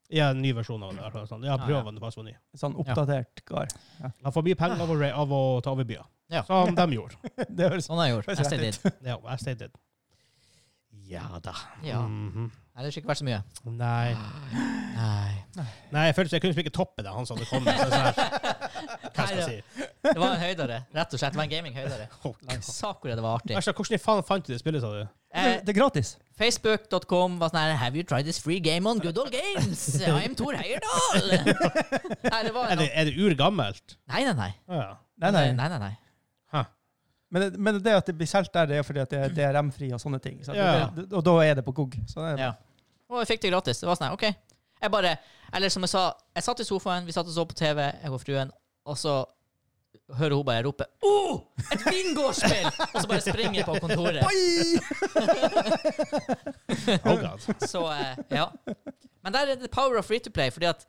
[SPEAKER 1] Ja, en ny versjon av det. i hvert fall, Sånn. Ja,
[SPEAKER 2] Ah, Ja, ja.
[SPEAKER 1] prøven faktisk var ny.
[SPEAKER 3] Sånn oppdatert kar.
[SPEAKER 1] Han får mye penger av å, re- av å ta over byer,
[SPEAKER 2] Ja.
[SPEAKER 1] som de gjorde.
[SPEAKER 3] Det høres
[SPEAKER 2] Sånn har jeg gjort. Jeg stayed in.
[SPEAKER 1] Ja, jeg stayed dead. Ja da.
[SPEAKER 2] Ja.
[SPEAKER 1] Mhm.
[SPEAKER 2] Ellers ikke vært så mye.
[SPEAKER 1] Nei.
[SPEAKER 2] Nei.
[SPEAKER 1] Nei, jeg følte jeg kunne liksom ikke toppe det, han som hadde kommet. Så sånn her, hva skal jeg si?
[SPEAKER 2] Det var en høydere, rett og slett. Det var en gaming-høydere. Sakura, det var artig.
[SPEAKER 1] Asha, hvordan i faen fant du det spillet, sa du?
[SPEAKER 2] Eh,
[SPEAKER 3] Det er gratis.
[SPEAKER 2] Facebook.com var sånn her Have you tried this free game on Good Old Games? I am Tor Heyerdahl! Nei, det var
[SPEAKER 1] Er
[SPEAKER 2] en
[SPEAKER 1] det, er det urgammelt?
[SPEAKER 2] Nei, nei, nei.
[SPEAKER 1] Å ja.
[SPEAKER 3] Nei, nei.
[SPEAKER 2] nei, nei, nei.
[SPEAKER 1] Hæ.
[SPEAKER 3] Men, det- men det at det blir solgt der, det er fordi at det er DRM-fri og sånne ting. Så
[SPEAKER 1] Ja.
[SPEAKER 3] det, og da er det på GOG. Så det er,
[SPEAKER 2] Ja. Og jeg fikk det gratis. Det var sånn her, OK. Jeg bare Eller som jeg sa, jeg satt i sofaen, vi satt og så på TV, jeg og fruen, og så hører hun bare rope oh, Et vingårdsspill! og så bare springer jeg på kontoret.
[SPEAKER 3] Oi!
[SPEAKER 1] Oh god.
[SPEAKER 2] Så eh, ja. Men der er det power of free to play, fordi at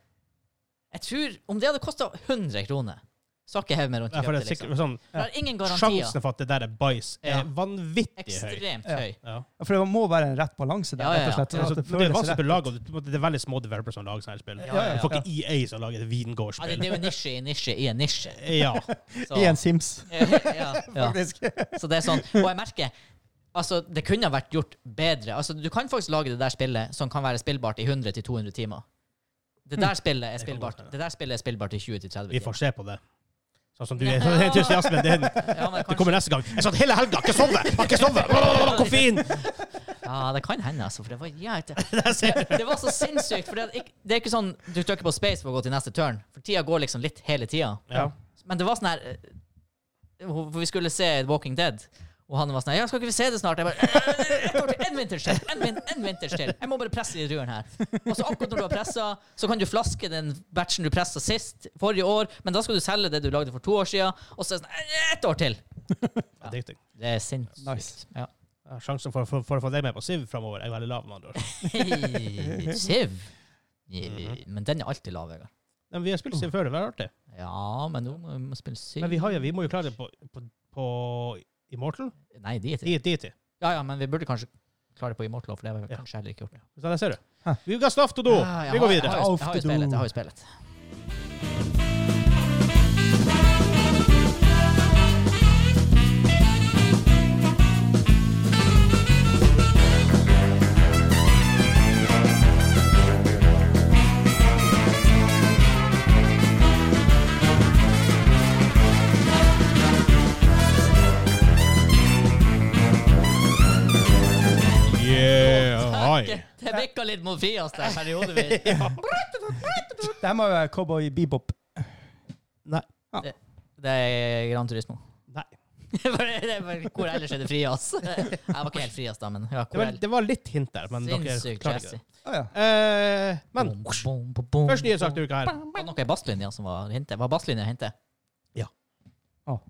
[SPEAKER 2] jeg tror Om det hadde kosta 100 kroner, Stakk jeg hodet med rundt
[SPEAKER 1] Ja, for det er
[SPEAKER 2] grøfta,
[SPEAKER 1] sikkert,
[SPEAKER 2] liksom.
[SPEAKER 1] sånn,
[SPEAKER 2] Det er ingen garantier.
[SPEAKER 1] sjansen for at det der er bæsj, er
[SPEAKER 2] Ja.
[SPEAKER 1] vanvittig høy.
[SPEAKER 2] Ekstremt
[SPEAKER 3] Ja.
[SPEAKER 2] høy.
[SPEAKER 1] Ja.
[SPEAKER 3] For det må være en rett balanse der,
[SPEAKER 2] Ja, ja,
[SPEAKER 3] rett og
[SPEAKER 2] ja.
[SPEAKER 3] slett. sånn
[SPEAKER 1] Altså,
[SPEAKER 3] at
[SPEAKER 1] det, er
[SPEAKER 3] føles
[SPEAKER 1] vanskelig å
[SPEAKER 3] rett.
[SPEAKER 1] lage, og det, det er veldig små developers som lager sånne her spill.
[SPEAKER 2] Ja,
[SPEAKER 3] ja,
[SPEAKER 1] Du får
[SPEAKER 3] ja.
[SPEAKER 1] ikke EA som lager et
[SPEAKER 2] Ja, det,
[SPEAKER 1] vingårdsspill.
[SPEAKER 2] det er jo nisje i nisje i en nisje.
[SPEAKER 1] Ja.
[SPEAKER 2] Så,
[SPEAKER 3] I en Sims,
[SPEAKER 2] ja, ja.
[SPEAKER 3] faktisk.
[SPEAKER 2] så det er sånn. Og jeg merker Altså, det kunne ha vært gjort bedre. Altså, du kan faktisk lage det der spillet som kan være spillbart i 100-200 timer. Det der spillet er
[SPEAKER 1] Mm. Det kan
[SPEAKER 2] spillbart
[SPEAKER 1] godt være.
[SPEAKER 2] Det der spillet er spillbart i 20-30
[SPEAKER 1] Vi
[SPEAKER 2] timer.
[SPEAKER 1] får se på det. Sånn som du er sånn entusiasmen din.
[SPEAKER 2] Ja, men
[SPEAKER 1] Det
[SPEAKER 2] kanskje,
[SPEAKER 1] kommer neste gang. Jeg satt hele helga, ikke sovet! Har ikke sovet! Åh, Koffein!
[SPEAKER 2] ja, det kan hende, altså. For det var jævlig
[SPEAKER 1] Der ser du.
[SPEAKER 2] Det var så sinnssykt. For det, er ikke- det er ikke sånn du trykker på space for å gå til neste turn. For tida går liksom litt hele tida.
[SPEAKER 1] Ja.
[SPEAKER 2] Men det var sånn her eh, hun- For vi skulle se Walking Dead. Og han var sånn her, ja, skal ikke vi se det snart? Jeg bare, «Eh, et år til, en vinters til, en, vin, en vinters til. Jeg må bare presse i druene her. Og så akkurat når du har pressa, så kan du flaske den batchen du pressa sist, forrige år, men da skal du selge det du lagde for to år siden, og så er det sånn, «Eh, et år til.
[SPEAKER 1] Addicting.
[SPEAKER 2] Det er sinnssykt.
[SPEAKER 3] Nice.
[SPEAKER 2] Ja.
[SPEAKER 1] Ja, Sjansen for, for, for å få deg med på Siv framover er veldig lav. med andre ord.
[SPEAKER 2] Hei, Siv. Men den er alltid lav, Vegard.
[SPEAKER 1] Men vi har spilt Siv før, det var artig.
[SPEAKER 2] Ja, men nå må vi må spille Siv.
[SPEAKER 1] Men vi, har, jo- vi må jo klare det på, på, på Immortal.
[SPEAKER 2] Nei, de er til.
[SPEAKER 1] Dit, dit, dit.
[SPEAKER 2] Ja, ja, men vi burde kanskje klare det på Immortal, for det har vi
[SPEAKER 1] Ja.
[SPEAKER 2] kanskje heller ikke gjort.
[SPEAKER 1] Så Sånn, der ser du.
[SPEAKER 3] Hæ.
[SPEAKER 1] We got stuff to do.
[SPEAKER 2] Ah, Ja, jeg
[SPEAKER 1] Vi går
[SPEAKER 2] har- Jeg
[SPEAKER 1] videre.
[SPEAKER 2] har, jo- jeg har jo
[SPEAKER 3] Off to
[SPEAKER 2] spillet. Jeg
[SPEAKER 3] do.
[SPEAKER 2] har jo spillet.
[SPEAKER 1] Yeah,
[SPEAKER 2] Takke.
[SPEAKER 1] oi.
[SPEAKER 2] Det bikka litt mot Fias der periodevis.
[SPEAKER 3] Det her må være Cowboy Bebop.
[SPEAKER 1] Nei.
[SPEAKER 2] Det er Gran Turismo.
[SPEAKER 1] Nei.
[SPEAKER 2] Det er bare- det er bare- hvor ellers er det Frias? Jeg var ikke helt Frias da, men
[SPEAKER 1] Det
[SPEAKER 2] ja, hvor
[SPEAKER 1] var,
[SPEAKER 2] ellers?
[SPEAKER 1] det var litt hint der, men dere
[SPEAKER 2] Sinnssykt
[SPEAKER 1] klarte ikke
[SPEAKER 2] classy.
[SPEAKER 1] det.
[SPEAKER 3] Å ja.
[SPEAKER 1] Eh, men
[SPEAKER 2] Bom, bom, bom, bom.
[SPEAKER 1] første nye sak til uka her.
[SPEAKER 2] Var det noe i basslinja som var hintet? Var basslinja hintet?
[SPEAKER 1] Ja.
[SPEAKER 3] Å.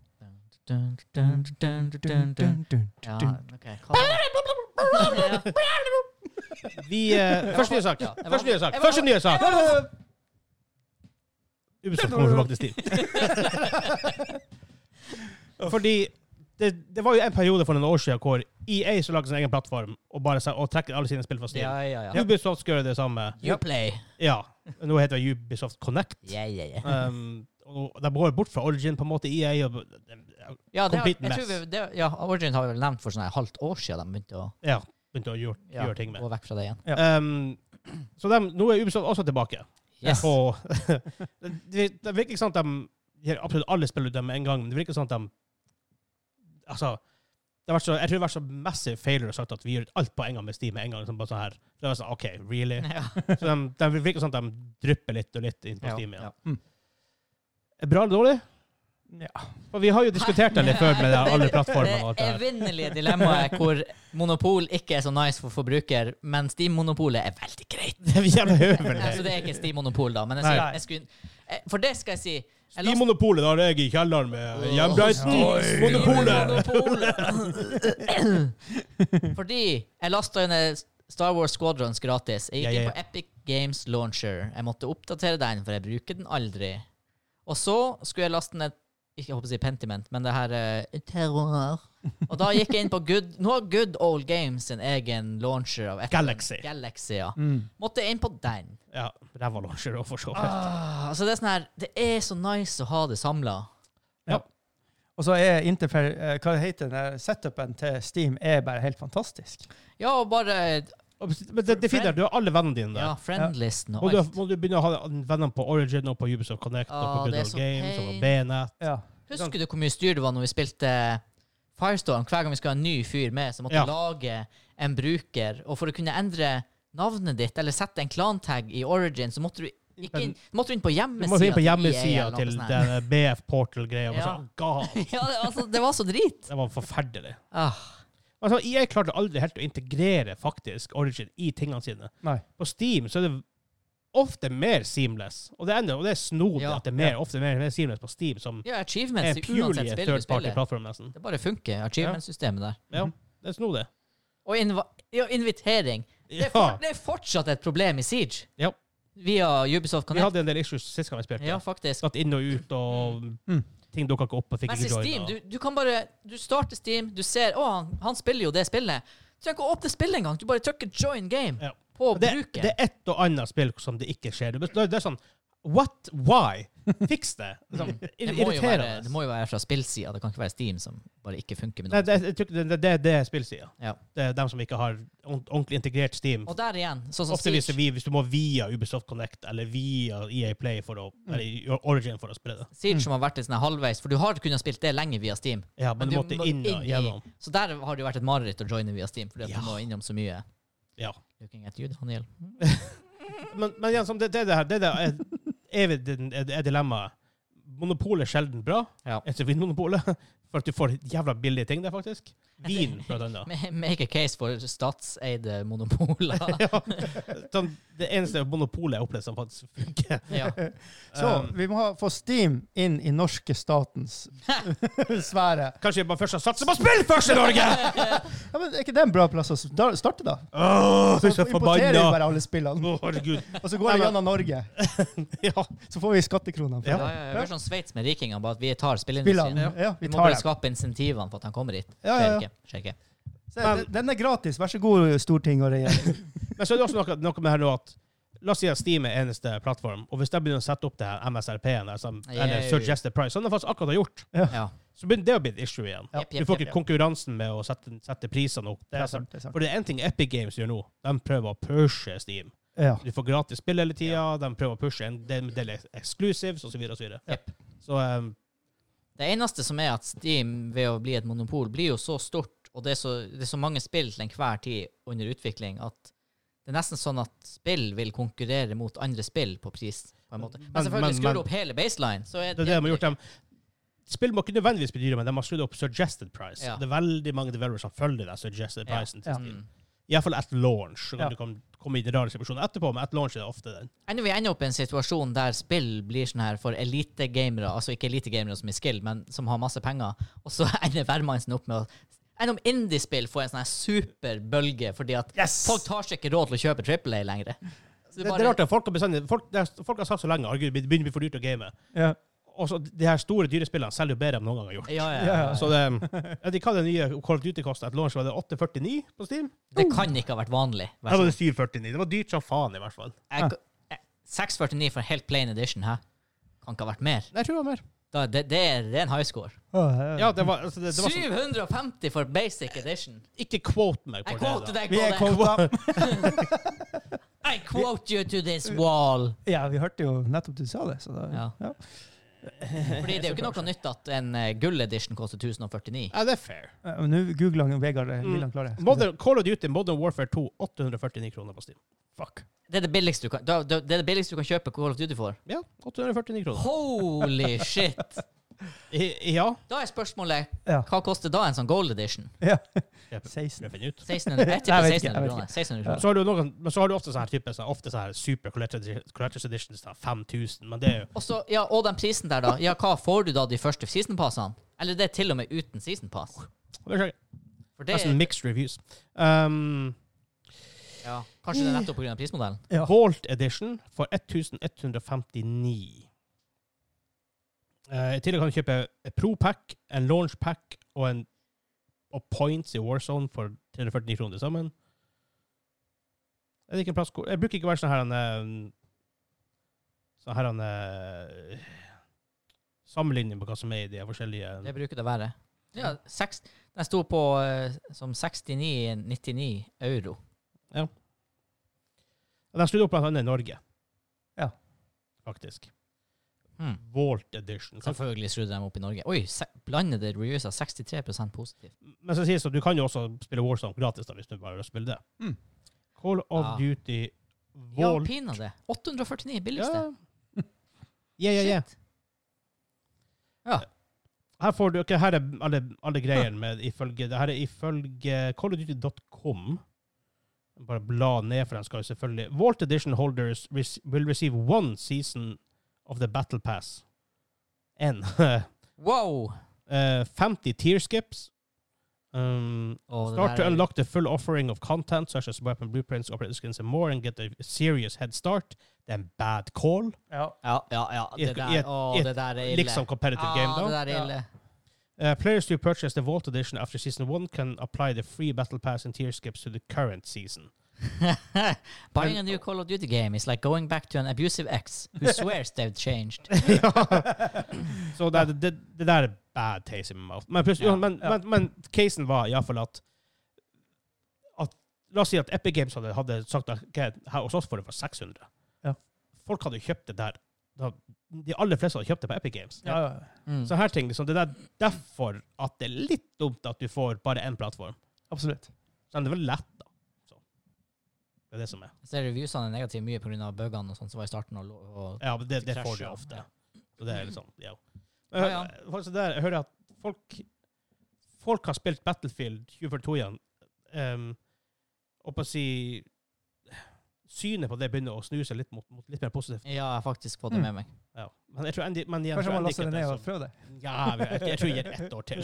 [SPEAKER 2] Dun, dun, dun, dun, dun, dun. Ja,
[SPEAKER 1] Ah.
[SPEAKER 2] ok. Hva- Ja.
[SPEAKER 1] Vi, eh, første nye sak.
[SPEAKER 2] Ja, jeg var-
[SPEAKER 1] Første nye sak.
[SPEAKER 2] jeg var-
[SPEAKER 1] Første nye sak. Ubisoft kommer tilbake til Steam. Fordi det, det var jo en periode for noen år siden hvor E EA som lagde sin egen plattform og, bare, sa- og trekker alle sine spill fra Steam.
[SPEAKER 2] Ja, ja, ja.
[SPEAKER 1] Ubisoft skal gjøre det samme.
[SPEAKER 2] You play.
[SPEAKER 1] Ja. Nå heter det Ubisoft Connect.
[SPEAKER 2] Ja, ja, ja.
[SPEAKER 1] Um, og de går bort fra Origin, på en måte, EA. Og,
[SPEAKER 2] Ja, det har, jeg
[SPEAKER 1] Complete mess.
[SPEAKER 2] tror vi, det, ja, Origin har vi vel nevnt for sånn et halvt år siden de begynte å
[SPEAKER 1] ja, begynte å gjøre,
[SPEAKER 2] ja,
[SPEAKER 1] gjøre ting med.
[SPEAKER 2] gå vekk fra det igjen.
[SPEAKER 1] Um, så dem- nå er Ubisoft også tilbake.
[SPEAKER 2] Yes.
[SPEAKER 1] Og, det, det virker ikke sånn at de gir absolutt alle spill ut dem med en gang, men det virker sånn at de Altså, det har vært så, jeg tror det har vært så massive failure sagt at vi gjør alt på en gang med Steam med en gang. Sånn, bare sånn her. Så det var sånn, OK, really?
[SPEAKER 2] Ja.
[SPEAKER 1] Så de, de virker sånn at de drypper litt og litt inn på Steam igjen.
[SPEAKER 2] Ja.
[SPEAKER 1] Er Bra eller dårlig?
[SPEAKER 3] Ja.
[SPEAKER 1] For vi har jo diskutert det litt før med det- alle plattformene og alt
[SPEAKER 2] Det
[SPEAKER 1] det her.
[SPEAKER 2] evinnelige dilemmaet hvor monopol ikke er så nice for forbruker, men Steam-monopolet er veldig greit.
[SPEAKER 1] Det er jævla høvel,
[SPEAKER 2] Altså,
[SPEAKER 1] det.
[SPEAKER 2] det er ikke Steam-monopol, da, men jeg,
[SPEAKER 1] Nei.
[SPEAKER 2] sier- jeg skulle, eh, For det skal jeg si. Jeg leste-
[SPEAKER 1] Steam-monopolet, da er jeg i kjelleren med hjembreiten. Eh, Monopolet!
[SPEAKER 2] Monopolet. Fordi jeg lasta inn Star Wars Squadrons gratis. Jeg
[SPEAKER 1] Ja,
[SPEAKER 2] gikk
[SPEAKER 1] ja, ja.
[SPEAKER 2] inn på Epic Games Launcher. Jeg måtte oppdatere den, for jeg bruker den aldri. Og så skulle jeg laste ned Ikke jeg håper å si Pentiment, men det her eh, Terror. Og da gikk jeg inn på Good Nå har Good Old Games sin egen launcher av et-
[SPEAKER 1] Galaxy.
[SPEAKER 2] Galaxy ja.
[SPEAKER 3] Mm.
[SPEAKER 2] Måtte jeg inn på den.
[SPEAKER 1] Ja, ræva launcher òg, for så vidt.
[SPEAKER 2] Ah, så det er sånn her Det er så nice å ha det samla.
[SPEAKER 3] Og så er interfer... eh, Hva heter den der setupen til Steam er bare helt fantastisk.
[SPEAKER 2] Ja, og bare
[SPEAKER 1] Men det, det er fint der, du har alle vennene dine der.
[SPEAKER 2] Ja, friendlisten og
[SPEAKER 1] Må du,
[SPEAKER 2] alt.
[SPEAKER 1] må du begynne å ha venner på Origin og på Ubisoft Connect og
[SPEAKER 2] Ah,
[SPEAKER 1] på Good
[SPEAKER 2] det er
[SPEAKER 1] Old
[SPEAKER 2] så
[SPEAKER 1] Games og på
[SPEAKER 2] pain.
[SPEAKER 1] BNet?
[SPEAKER 3] Ja.
[SPEAKER 2] Husker du hvor mye styr det var når vi spilte Firestorm? Hver gang vi skulle ha en ny fyr med, så måtte
[SPEAKER 1] Ja.
[SPEAKER 2] vi lage en bruker. Og for å kunne endre navnet ditt eller sette en klantag i Origin, så måtte du ikke inn, måtte du inn på E
[SPEAKER 1] Du må inn
[SPEAKER 2] hjemmesida
[SPEAKER 1] på hjemmesida til
[SPEAKER 2] det.
[SPEAKER 1] den BF Portal-greia. og
[SPEAKER 2] Ja.
[SPEAKER 1] sånn, God,
[SPEAKER 2] Ja, det, altså, det var så drit.
[SPEAKER 1] Det var forferdelig.
[SPEAKER 2] Ah,
[SPEAKER 1] Altså, jeg klarte aldri helt å integrere faktisk Origin i tingene sine.
[SPEAKER 3] Nei.
[SPEAKER 1] På Steam så er det ofte mer seamless, og det, ender, og det er snodig
[SPEAKER 2] Ja.
[SPEAKER 1] at det er mer, ofte mer, mer seamless på Steam, som
[SPEAKER 2] ja,
[SPEAKER 1] er
[SPEAKER 2] achievements
[SPEAKER 1] en
[SPEAKER 2] i uansett
[SPEAKER 1] purely
[SPEAKER 2] spill du
[SPEAKER 1] third
[SPEAKER 2] spiller. Mhm.
[SPEAKER 1] party-plattform, nesten.
[SPEAKER 2] Det bare funker, achievements-systemet der.
[SPEAKER 1] Ja, det er snodig.
[SPEAKER 2] Og inva ja, invitering. Det er,
[SPEAKER 1] Ja.
[SPEAKER 2] for, det er fortsatt et problem i Siege.
[SPEAKER 1] Ja.
[SPEAKER 2] Via Ubisoft
[SPEAKER 1] Vi
[SPEAKER 2] Connect.
[SPEAKER 1] hadde en del issues sist gang vi spilte.
[SPEAKER 2] Ja, faktisk.
[SPEAKER 1] Satt inn og ut, og
[SPEAKER 3] Mm.
[SPEAKER 1] ting dukka ikke opp. og fikk
[SPEAKER 2] Mens i
[SPEAKER 1] ikke
[SPEAKER 2] Steam,
[SPEAKER 1] joina.
[SPEAKER 2] du, du kan bare Du starter Steam, du ser Å, han, han spiller jo det spillet. Du trenger ikke å åpne spillet engang. Du bare trykker 'join game'
[SPEAKER 1] Ja.
[SPEAKER 2] på
[SPEAKER 1] Det,
[SPEAKER 2] bruker.
[SPEAKER 1] det er ett og annet spill som det ikke skjer. Det det er sånn What? Why? Fiks det! Det er Sånn,
[SPEAKER 2] Mm. Det må, jo være, det må jo være fra spillsida. Det kan ikke være Steam som bare ikke funker med
[SPEAKER 1] Nei,
[SPEAKER 2] noe.
[SPEAKER 1] det, jeg tror ikke det, det, det, det er spillsida.
[SPEAKER 2] Ja.
[SPEAKER 1] Det er dem som ikke har ord- ordentlig integrert Steam.
[SPEAKER 2] Og der igjen, sånn som
[SPEAKER 1] Ofte hvis,
[SPEAKER 2] Siege,
[SPEAKER 1] vi, hvis du må via Ubisoft Connect eller via EA Play for å, eller Origin for å spille det.
[SPEAKER 2] Siege som har vært litt sånn her halvveis, for du har kunnet spilt det lenge via Steam.
[SPEAKER 1] Ja, men, du måtte inn og
[SPEAKER 2] i-
[SPEAKER 1] gjennom.
[SPEAKER 2] Så der har det jo vært et mareritt å joine via Steam, fordi at
[SPEAKER 1] Ja.
[SPEAKER 2] du må innom så mye.
[SPEAKER 1] Ja.
[SPEAKER 2] Looking at you, Daniel.
[SPEAKER 1] Men, men igjen, som det, det, er det her det, er det er evig din- er- er dilemmaet. Monopol er sjelden bra.
[SPEAKER 2] Ja.
[SPEAKER 1] Etter Vinmonopolet. For at du får jævla billige ting der, faktisk. Vin, blant annet.
[SPEAKER 2] Ma- Make a case for statseide monopoler.
[SPEAKER 1] Ja. Sånn, det eneste monopolet jeg opplevde som faktisk funker.
[SPEAKER 2] ja.
[SPEAKER 3] Så
[SPEAKER 1] Um,
[SPEAKER 3] vi må ha, få Steam inn i norske statens sfære.
[SPEAKER 1] Kanskje jeg bare først har satset på spill først i Norge!
[SPEAKER 3] Ja, men Er ikke det en bra plass å s- da- starte, da?
[SPEAKER 1] Åh,
[SPEAKER 3] Så
[SPEAKER 1] så
[SPEAKER 3] importerer vi
[SPEAKER 1] forbanna!
[SPEAKER 3] bare alle spillene,
[SPEAKER 1] Å, herregud.
[SPEAKER 3] og så går det gjennom Norge.
[SPEAKER 1] Ja.
[SPEAKER 3] Så får vi skattekronene.
[SPEAKER 2] Ja,
[SPEAKER 3] for
[SPEAKER 2] ja,
[SPEAKER 3] det.
[SPEAKER 2] ja. Det er sånn Sveits med rikingene, bare at vi tar spillindustrien.
[SPEAKER 3] Spillene. Ja,
[SPEAKER 2] Vi
[SPEAKER 3] vi
[SPEAKER 2] må
[SPEAKER 3] tar
[SPEAKER 2] bare
[SPEAKER 3] dem.
[SPEAKER 2] skape insentivene for at han kommer hit.
[SPEAKER 3] Ja,
[SPEAKER 2] Skjer
[SPEAKER 3] ja, ja.
[SPEAKER 2] ikke. Skjer ikke.
[SPEAKER 3] Se, den- Den er gratis. Vær så god, storting og regjering.
[SPEAKER 1] Men så er det også noe, noe med her nå at La oss si at Steam er eneste plattform, og hvis de begynner å sette opp det her MSRP-en, altså, eller
[SPEAKER 2] Yay.
[SPEAKER 1] Suggested Price, som de faktisk akkurat har gjort,
[SPEAKER 2] Ja.
[SPEAKER 1] så begynner det å bli et issue igjen.
[SPEAKER 3] Ja.
[SPEAKER 2] Jepp,
[SPEAKER 1] Du
[SPEAKER 2] jepp,
[SPEAKER 1] får
[SPEAKER 2] jepp,
[SPEAKER 1] ikke konkurransen med å sette, sette prisene opp. Det
[SPEAKER 3] Det er
[SPEAKER 1] er sant.
[SPEAKER 3] sant, det er sant.
[SPEAKER 1] For det er en ting Epic Games gjør nå. De prøver å pushe Steam.
[SPEAKER 3] Ja.
[SPEAKER 1] Du får gratis spill hele tida, de prøver å pushe en del, del exclusives osv. osv.
[SPEAKER 2] Jepp.
[SPEAKER 1] Så um,
[SPEAKER 2] Det eneste som er at Steam, ved å bli et monopol, blir jo så stort, og det er så, det er så mange spill til enhver tid under utvikling, at det er nesten sånn at spill vil konkurrere mot andre spill på pris, på en måte. Men,
[SPEAKER 1] Men- men-
[SPEAKER 2] selvfølgelig, skrur
[SPEAKER 1] men-
[SPEAKER 2] du opp hele baseline, så er
[SPEAKER 1] det er det de har gjort. De, spill må ikke nødvendigvis bety det, men de har skrudd opp suggested price.
[SPEAKER 2] Ja.
[SPEAKER 1] Det er veldig mange developers som følger den suggested
[SPEAKER 2] Ja.
[SPEAKER 1] pricen.
[SPEAKER 3] Ja.
[SPEAKER 1] til Steam. Iallfall at launch. Så kan
[SPEAKER 3] Ja.
[SPEAKER 1] Du kan komme i de rare situasjonene etterpå, men at launch er det ofte den.
[SPEAKER 2] Ender vi ender opp i en situasjon der spill blir sånn her for elitegamere, altså ikke elitegamere som er skill, men som har masse penger, og så ender hvermannsen opp med å Enn om indiespill får en sånn her superbølge fordi at
[SPEAKER 3] Yes!
[SPEAKER 2] folk tar seg ikke råd til å kjøpe Triple A lenger. Så
[SPEAKER 1] Det,
[SPEAKER 2] bare-
[SPEAKER 1] det er rart at folk har, bestandig- folk, det er, folk har sagt så lenge at det begynner å bli for dyrt å game.
[SPEAKER 3] Ja.
[SPEAKER 1] Og så de her store dyrespillene selger jo bedre enn noen gang har gjort.
[SPEAKER 2] Ja, ja,
[SPEAKER 3] Ja,
[SPEAKER 2] ja.
[SPEAKER 3] ja.
[SPEAKER 1] Så det, jeg vet ikke hva det nye Call of Duty kosta. Et launch var det 849 på Steam.
[SPEAKER 2] Det kan ikke ha vært vanlig. Vær
[SPEAKER 1] Her var
[SPEAKER 2] så god.
[SPEAKER 1] det 749. Det var dyrt som faen, i hvert fall.
[SPEAKER 2] Jeg- jeg- 649 for helt plain edition, hæ? Kan ikke ha vært mer.
[SPEAKER 1] Nei, jeg tror det var mer.
[SPEAKER 2] Da, det, det er ren high score.
[SPEAKER 3] Åh,
[SPEAKER 1] Ja, det var, altså, det, det var sånn,
[SPEAKER 2] 750 for basic edition.
[SPEAKER 1] Ikke quote meg på
[SPEAKER 2] Jeg
[SPEAKER 1] det.
[SPEAKER 2] quoter
[SPEAKER 1] da.
[SPEAKER 2] deg
[SPEAKER 3] Vi er
[SPEAKER 2] på det.
[SPEAKER 3] kvota.
[SPEAKER 2] I quote you to this wall.
[SPEAKER 3] Ja, vi hørte jo nettopp du sa det. Så da,
[SPEAKER 2] Ja.
[SPEAKER 3] ja.
[SPEAKER 2] Fordi det er jo ikke noe nytt at en eh, gull edition koster 1049.
[SPEAKER 1] Ja, det er fair.
[SPEAKER 3] Ja, men Nå googler han Vegard eh, Liland Klare. Skal vi se.
[SPEAKER 1] Modern, Call of Duty Modern Warfare 2, 849 kroner på Steam.
[SPEAKER 3] Fuck.
[SPEAKER 2] Det er det billigste du kan, da, da, det er det billigste du kan kjøpe Call of Duty for.
[SPEAKER 1] Ja, 849 kroner.
[SPEAKER 2] Holy shit!
[SPEAKER 1] I, ja.
[SPEAKER 2] Da er spørsmålet
[SPEAKER 3] Ja.
[SPEAKER 2] hva koster da en sånn gold edition?
[SPEAKER 3] ja.
[SPEAKER 1] Skal
[SPEAKER 3] 16.
[SPEAKER 1] jeg finne ut.
[SPEAKER 2] 1600, jeg
[SPEAKER 3] Nei,
[SPEAKER 2] tipper
[SPEAKER 3] jeg vet ikke, jeg
[SPEAKER 2] 1600
[SPEAKER 3] vet
[SPEAKER 2] kroner. 1600
[SPEAKER 1] Så
[SPEAKER 2] kroner.
[SPEAKER 1] har du noen, men så har du ofte sånne her type, sånn- ofte sånne her super collector's collector's editions til 5000, men det er jo
[SPEAKER 2] Og så, ja, og den prisen der, da. Ja, hva får du da de første season passene? Eller det er til og med uten season pass.
[SPEAKER 1] det er
[SPEAKER 2] For
[SPEAKER 3] Altså,
[SPEAKER 2] det,
[SPEAKER 1] Nesten mixed reviews. Um,
[SPEAKER 2] ja, kanskje det er nettopp pga. prismodellen.
[SPEAKER 3] Ja.
[SPEAKER 1] Vault Edition for 1159. Eh, I tillegg kan du kjøpe et Pro Pack, en Launch Pack og, en, og Points i Warzone for 349 kroner til sammen. Jeg, vet ikke en plass, hvor- jeg bruker ikke å være sånn her en, eh, Sånn her en eh, Sammenligning på hva som er i de forskjellige
[SPEAKER 2] Det bruker det å være. Ja, seks, den sto på eh, som 69,99 euro.
[SPEAKER 1] De snudde opp blant annet i Norge.
[SPEAKER 3] Ja.
[SPEAKER 1] Faktisk. Mm.
[SPEAKER 2] Hmm.
[SPEAKER 1] Vault Edition. Kan-
[SPEAKER 2] Selvfølgelig skrudde de opp i Norge. Oi, se, blandede reviews av 63 positivt.
[SPEAKER 1] Men så sies det at du kan jo også spille Warzone gratis da, hvis du bare vil spille det.
[SPEAKER 3] Mm.
[SPEAKER 1] Call of
[SPEAKER 2] Ja.
[SPEAKER 1] Duty
[SPEAKER 2] Ja,
[SPEAKER 1] Vault
[SPEAKER 2] pinadø. 849 billigste.
[SPEAKER 1] Ja. Ja, ja, ja.
[SPEAKER 2] Shit. Ja.
[SPEAKER 1] Her får du, ok, her er alle, alle greiene med ifølge, det her er ifølge callofduty.com. Bare bla ned, for den skal jo selvfølgelig. Vault Edition holders res- will receive one season of the Battle Pass. En.
[SPEAKER 2] Wow!
[SPEAKER 1] Eh, 50 tear skips, eh, Um,
[SPEAKER 2] Og det
[SPEAKER 1] Start
[SPEAKER 2] der
[SPEAKER 1] to
[SPEAKER 2] er-
[SPEAKER 1] unlock the full offering of content, such as weapon blueprints, operating skins, and more, and get a serious head start. Det er en bad call.
[SPEAKER 3] Ja.
[SPEAKER 2] Ja, ja, ja. Det
[SPEAKER 1] I- i
[SPEAKER 2] der,
[SPEAKER 1] et-
[SPEAKER 2] å,
[SPEAKER 1] i et
[SPEAKER 2] det der er ille.
[SPEAKER 1] Liksom competitive game,
[SPEAKER 2] ah,
[SPEAKER 1] da.
[SPEAKER 2] det der er ille.
[SPEAKER 1] Uh, players who purchase the Vault Edition after Season 1 can apply the free Battle Pass and tier skips to the current season.
[SPEAKER 2] Buying a new Call of Duty game is like going back to an abusive ex who swears they've changed.
[SPEAKER 1] Så det, er- det, det der er bad taste in my mouth. Men, plutselig-
[SPEAKER 2] Ja,
[SPEAKER 1] men,
[SPEAKER 3] ja.
[SPEAKER 1] men, men casen var iallfall at, at La oss si at Epic Games hadde, hadde sagt at ok, her hos oss får du for 600.
[SPEAKER 3] Ja.
[SPEAKER 1] Folk hadde kjøpt det der. Da- De aller fleste hadde kjøpt det på Epic Games.
[SPEAKER 3] Ja, ja.
[SPEAKER 2] Mm.
[SPEAKER 1] Så her ting, liksom, Det er derfor at det er litt dumt at du får bare én plattform.
[SPEAKER 3] Absolutt.
[SPEAKER 1] Så det er vel lett, da. Så. Det er det som er.
[SPEAKER 2] Så reviewsene er negative mye pga. bugene og sånt som var i starten. Og, lo- og
[SPEAKER 1] Ja, men det, det får
[SPEAKER 2] krasjer,
[SPEAKER 1] du
[SPEAKER 2] ja.
[SPEAKER 1] ofte.
[SPEAKER 2] Ja.
[SPEAKER 1] Så det er liksom, ja.
[SPEAKER 2] Mm. Ja, ja.
[SPEAKER 1] Eh, faktisk Der, jeg hører at folk, folk har spilt Battlefield 2042 igjen, um, og på å si Synet på det begynner å snu seg litt mot, mot litt mer positivt.
[SPEAKER 2] ja, jeg har faktisk fått det med
[SPEAKER 3] Mm.
[SPEAKER 2] meg.
[SPEAKER 1] Ja. Men jeg tror Andy, men igjen,
[SPEAKER 3] Kanskje
[SPEAKER 1] tror
[SPEAKER 3] man
[SPEAKER 1] Andy
[SPEAKER 3] laster
[SPEAKER 1] Kippen
[SPEAKER 3] det ned
[SPEAKER 1] som-
[SPEAKER 3] og prøver det.
[SPEAKER 1] Ja, jeg, jeg, jeg tror jeg gir det ett år til.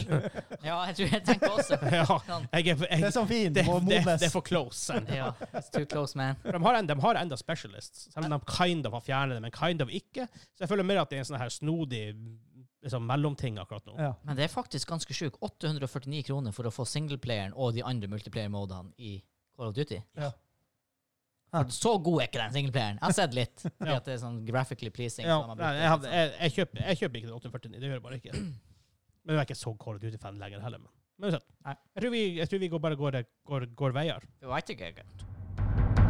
[SPEAKER 2] Ja, jeg tror jeg tenker også
[SPEAKER 1] Ja,
[SPEAKER 2] Sånn.
[SPEAKER 1] jeg, er- jeg,
[SPEAKER 3] Det er sånn fin,
[SPEAKER 1] det,
[SPEAKER 3] må
[SPEAKER 1] det, det
[SPEAKER 3] modnes.
[SPEAKER 1] er for close. Andy.
[SPEAKER 2] Ja, it's too close, man.
[SPEAKER 1] For de har, en, de har enda specialists, selv om de kind of har fjernet det, men kind of ikke. Så jeg føler mer at det er en sånn her snodig liksom, mellomting akkurat nå.
[SPEAKER 3] Ja.
[SPEAKER 2] Men det er faktisk ganske sjukt. 849 kroner for å få singleplayeren og de andre multiplayer-modene i Call of Duty.
[SPEAKER 3] Ja.
[SPEAKER 2] For Så god er ikke den singleplayeren. Jeg har sett litt. Fordi at det er sånn graphically pleasing.
[SPEAKER 1] Ja,
[SPEAKER 2] så de
[SPEAKER 1] nei,
[SPEAKER 2] har brukt
[SPEAKER 1] jeg,
[SPEAKER 2] det,
[SPEAKER 1] hadde,
[SPEAKER 2] sånn.
[SPEAKER 1] jeg, jeg, kjøper, jeg kjøper ikke den 849, det gjør jeg bare ikke. Men jeg er ikke så Call of Duty-fan lenger heller. Men, men uansett.
[SPEAKER 2] Nei.
[SPEAKER 1] Jeg tror vi, jeg tror vi går, bare går, går, går veier.
[SPEAKER 2] Det var sånn. ikke gøy.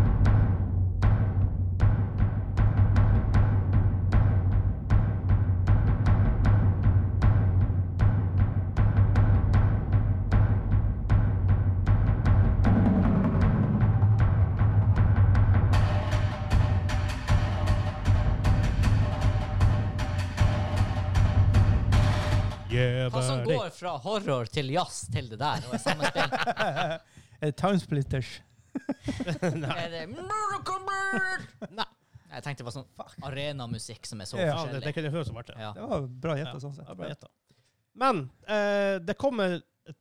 [SPEAKER 1] Yeah,
[SPEAKER 2] Hva som
[SPEAKER 1] buddy.
[SPEAKER 2] går fra horror til jazz til det der, og er samme spill,
[SPEAKER 3] Er det Eh, Townsplitters?
[SPEAKER 2] er det Miracle Bird!
[SPEAKER 1] Nei.
[SPEAKER 2] Jeg tenkte det var sånn arenamusikk som er så
[SPEAKER 3] Ja,
[SPEAKER 1] Ja, det, det
[SPEAKER 2] forskjellig.
[SPEAKER 1] kunne jeg høre som ble det.
[SPEAKER 2] Ja.
[SPEAKER 3] Det var bra
[SPEAKER 1] Ja,
[SPEAKER 3] gjetta, sånn sett.
[SPEAKER 1] det er bare gjett da. Men eh, det kommer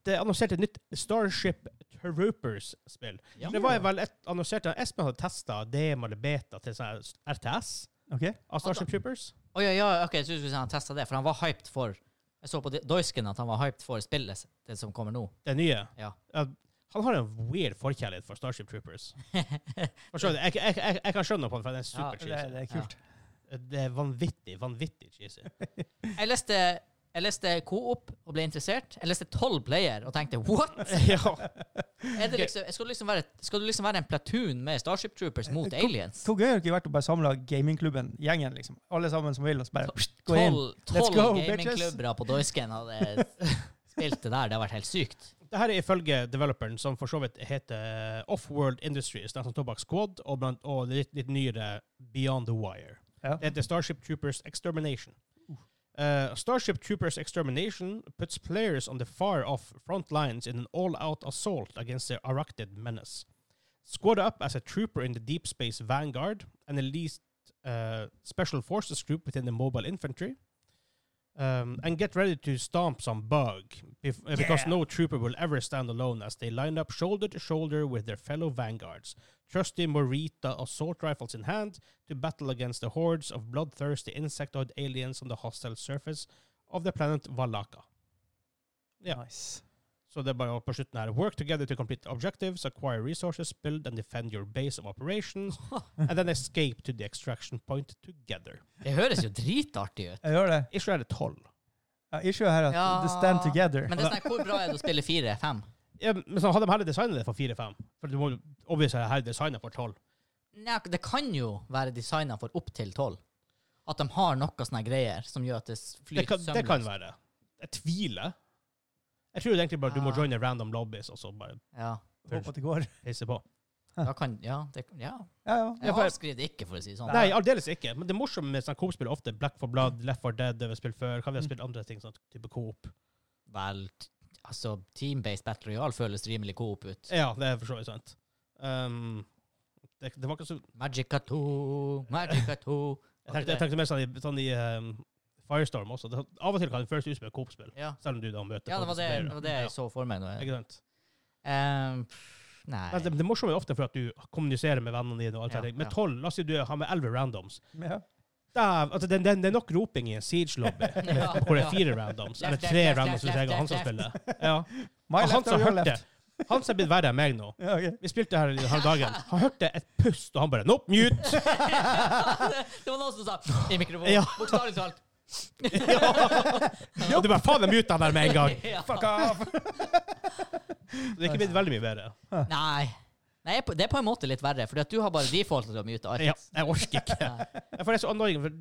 [SPEAKER 1] Det er annonsert et nytt Starship Troopers-spill.
[SPEAKER 2] Ja.
[SPEAKER 1] Det var vel et annonsert Espen hadde testa DM eller beta til sånn her RTS
[SPEAKER 3] Ok.
[SPEAKER 1] av Starship Troopers.
[SPEAKER 2] Å ja, ja, ok, jeg trodde du skulle si han testet det, for han var hyped for Jeg så på de- Doisken at han var hyped for spillet, det som kommer nå.
[SPEAKER 1] Det nye.
[SPEAKER 2] Ja.
[SPEAKER 1] Ja, han har en weird forkjærlighet for Starship Troopers. Forstår du? Jeg, jeg, jeg, jeg kan skjønne på det, for den er
[SPEAKER 2] Ja,
[SPEAKER 1] super
[SPEAKER 3] Det,
[SPEAKER 1] cheesy.
[SPEAKER 3] det er kult.
[SPEAKER 1] Det er vanvittig, vanvittig cheesy.
[SPEAKER 2] Jeg leste, jeg leste Coop og ble interessert. Jeg leste tolv player og tenkte what?!
[SPEAKER 1] ja.
[SPEAKER 2] Er det liksom, skal, du liksom være, skal du liksom være en platoon med Starship Troopers mot aliens?
[SPEAKER 3] Hvor gøy har det ikke vært å bare samle gamingklubben, gjengen, liksom? Alle sammen som vil, og så bare pst, gå inn.
[SPEAKER 2] Tolv
[SPEAKER 3] Let's
[SPEAKER 2] tolv
[SPEAKER 3] go,
[SPEAKER 2] gamingklubber på Doisken hadde spilt det der. Det har vært helt sykt.
[SPEAKER 1] Det her er ifølge developeren, som for så vidt heter eh, Offworld Industries, den som står bak sånn Squad, og, blant, og det litt, litt nyere Beyond the Wire.
[SPEAKER 3] Ja.
[SPEAKER 1] Det heter Starship Troopers Extermination. Uh, Starship Troopers Extermination puts players on the far off front lines in an all out assault against the Arachnid menace. Squad up as a trooper in the Deep Space Vanguard, an elite uh, special forces group within the mobile infantry. Um, and get ready to stomp some bug, bef- uh, because
[SPEAKER 3] Yeah.
[SPEAKER 1] no trooper will ever stand alone as they line up shoulder to shoulder with their fellow vanguards, trusty Morita assault rifles in hand, to battle against the hordes of bloodthirsty insectoid aliens on the hostile surface of the planet Valaka. Ja.
[SPEAKER 3] Nice.
[SPEAKER 1] Så det er bare på slutten her. Work together to complete objectives, acquire resources, build and defend your base of operations, and then escape to the extraction point together.
[SPEAKER 2] Det høres jo dritartig ut.
[SPEAKER 3] Jeg gjør det.
[SPEAKER 1] Ikke er det tolv.
[SPEAKER 3] Ja, issue her er at
[SPEAKER 2] Ja.
[SPEAKER 3] the stand together.
[SPEAKER 2] Men det er sånn, hvor bra er det å spille fire? Fem?
[SPEAKER 1] Ja, men så hadde de heller designet det for fire-fem. For du må jo obviously ha designet for tolv.
[SPEAKER 2] Nei, det kan jo være designa for opptil tolv. At de har noe sånne greier som gjør at det s-
[SPEAKER 1] Det,
[SPEAKER 2] flyter
[SPEAKER 1] kan- det kan
[SPEAKER 2] sømløst.
[SPEAKER 1] være. Jeg tviler. Jeg tror egentlig bare du må
[SPEAKER 2] Ah.
[SPEAKER 1] joine random lobbies og så bare
[SPEAKER 2] Ja,
[SPEAKER 3] Håper at det går.
[SPEAKER 1] heise på.
[SPEAKER 2] da kan, ja, det, ja.
[SPEAKER 3] Ja, ja.
[SPEAKER 2] Jeg
[SPEAKER 1] Ja, for-
[SPEAKER 2] avskriver det ikke, for å si det sånn.
[SPEAKER 1] Nei, aldeles ikke. Men det morsomme med sånn Coop-spill er ofte Black for Blood, Left for Dead, det vi har spilt før. Kan vi ha
[SPEAKER 3] Mm.
[SPEAKER 1] spilt andre ting, sånn type Coop?
[SPEAKER 2] Vel, t- altså, team-based battle royale føles rimelig coop ut.
[SPEAKER 1] Ja, det er for så vidt sant. Um, det, det var ikke så
[SPEAKER 2] Magica 2, Magica 2.
[SPEAKER 1] Jeg tenkte, jeg tenkte mer sånn i, sånn i um, Firestorm også. Det, av og til kan det føles ut som et Coop-spill,
[SPEAKER 2] Ja,
[SPEAKER 1] selv om du da møter
[SPEAKER 2] ja det,
[SPEAKER 1] folk
[SPEAKER 2] var
[SPEAKER 1] som
[SPEAKER 2] det,
[SPEAKER 1] spiller.
[SPEAKER 2] det var det
[SPEAKER 1] Ja,
[SPEAKER 2] jeg så for meg nå.
[SPEAKER 1] Ikke sant?
[SPEAKER 2] Ehm, pff, nei.
[SPEAKER 1] Men det, det morsomme er ofte for at du kommuniserer med vennene dine. og alt
[SPEAKER 2] Ja,
[SPEAKER 1] det der. Med
[SPEAKER 2] ja.
[SPEAKER 1] tolv, la oss si du har med elleve randoms.
[SPEAKER 3] Ja.
[SPEAKER 1] Dæv, altså, det, det, det er nok roping i en Siege-lobby
[SPEAKER 2] Ja,
[SPEAKER 1] hvor det
[SPEAKER 2] ja.
[SPEAKER 1] er fire randoms, eller
[SPEAKER 2] Left,
[SPEAKER 1] tre
[SPEAKER 2] left,
[SPEAKER 1] randoms hvis
[SPEAKER 2] left,
[SPEAKER 1] jeg og han som
[SPEAKER 2] left,
[SPEAKER 1] spiller. Ja.
[SPEAKER 3] My
[SPEAKER 1] Og han
[SPEAKER 3] left
[SPEAKER 1] som
[SPEAKER 3] or your
[SPEAKER 1] hørte
[SPEAKER 3] left?
[SPEAKER 1] Han som er blitt verre enn meg nå.
[SPEAKER 3] Ja, ok.
[SPEAKER 1] Vi spilte her her dagen. Han hørte et pust, og han bare Nope, mute!
[SPEAKER 2] det var noen som sa i mikrofonen.
[SPEAKER 1] Ja.
[SPEAKER 2] Bokstavelig talt.
[SPEAKER 1] Og du bare Faen, jeg muta han der med en gang!
[SPEAKER 2] Ja.
[SPEAKER 3] Fuck off!
[SPEAKER 1] Så Det er ikke blitt veldig mye bedre.
[SPEAKER 2] Nei. Nei, på- det er på en måte litt verre, for du har bare default at du har mye ut av
[SPEAKER 1] Ja,
[SPEAKER 2] arket.
[SPEAKER 1] jeg orker ikke. For det er så annoying, for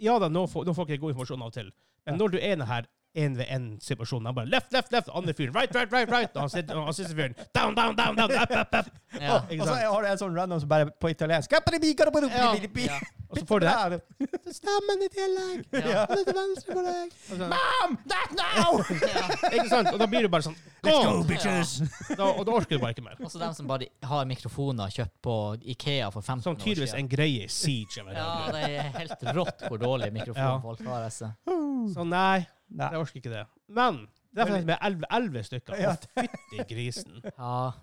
[SPEAKER 1] Ja da, nå får, nå får ikke jeg god informasjon av og til. Men når du er i denne her én-ved-én-situasjonen Han bare left, left, left, andre fyren right, right, right, right, og han sitter- og han siste fyren down, down, down, down, up, up, up.
[SPEAKER 2] Ja.
[SPEAKER 1] Ikke
[SPEAKER 3] Og så
[SPEAKER 1] sant?
[SPEAKER 3] har du en sånn random som bare på italiensk
[SPEAKER 2] Ja.
[SPEAKER 1] Og så får du det her. Stemmen i tillegg!
[SPEAKER 2] Ja.
[SPEAKER 1] Og det er til venstre for deg. Og så-
[SPEAKER 3] Mom! That now!
[SPEAKER 1] Ikke sant? Og da blir du bare sånn
[SPEAKER 3] Let's go,
[SPEAKER 1] «Åh!»
[SPEAKER 3] bitches!
[SPEAKER 1] Da, og da orker du bare ikke mer.
[SPEAKER 2] Også dem som bare har mikrofoner kjøpt på Ikea for 15
[SPEAKER 1] Som
[SPEAKER 2] år
[SPEAKER 1] Sånn tydeligvis er
[SPEAKER 2] siden.
[SPEAKER 1] en greie i Siege. Jeg
[SPEAKER 2] Ja,
[SPEAKER 1] ja.
[SPEAKER 2] det er helt rått hvor dårlig mikrofon
[SPEAKER 1] Ja.
[SPEAKER 2] folk har. Altså.
[SPEAKER 1] Så nei,
[SPEAKER 3] Nei.
[SPEAKER 1] jeg orker ikke det. Men derfor er det med elleve stykker.
[SPEAKER 3] Ja.
[SPEAKER 1] Å, fytti grisen.
[SPEAKER 2] Ja.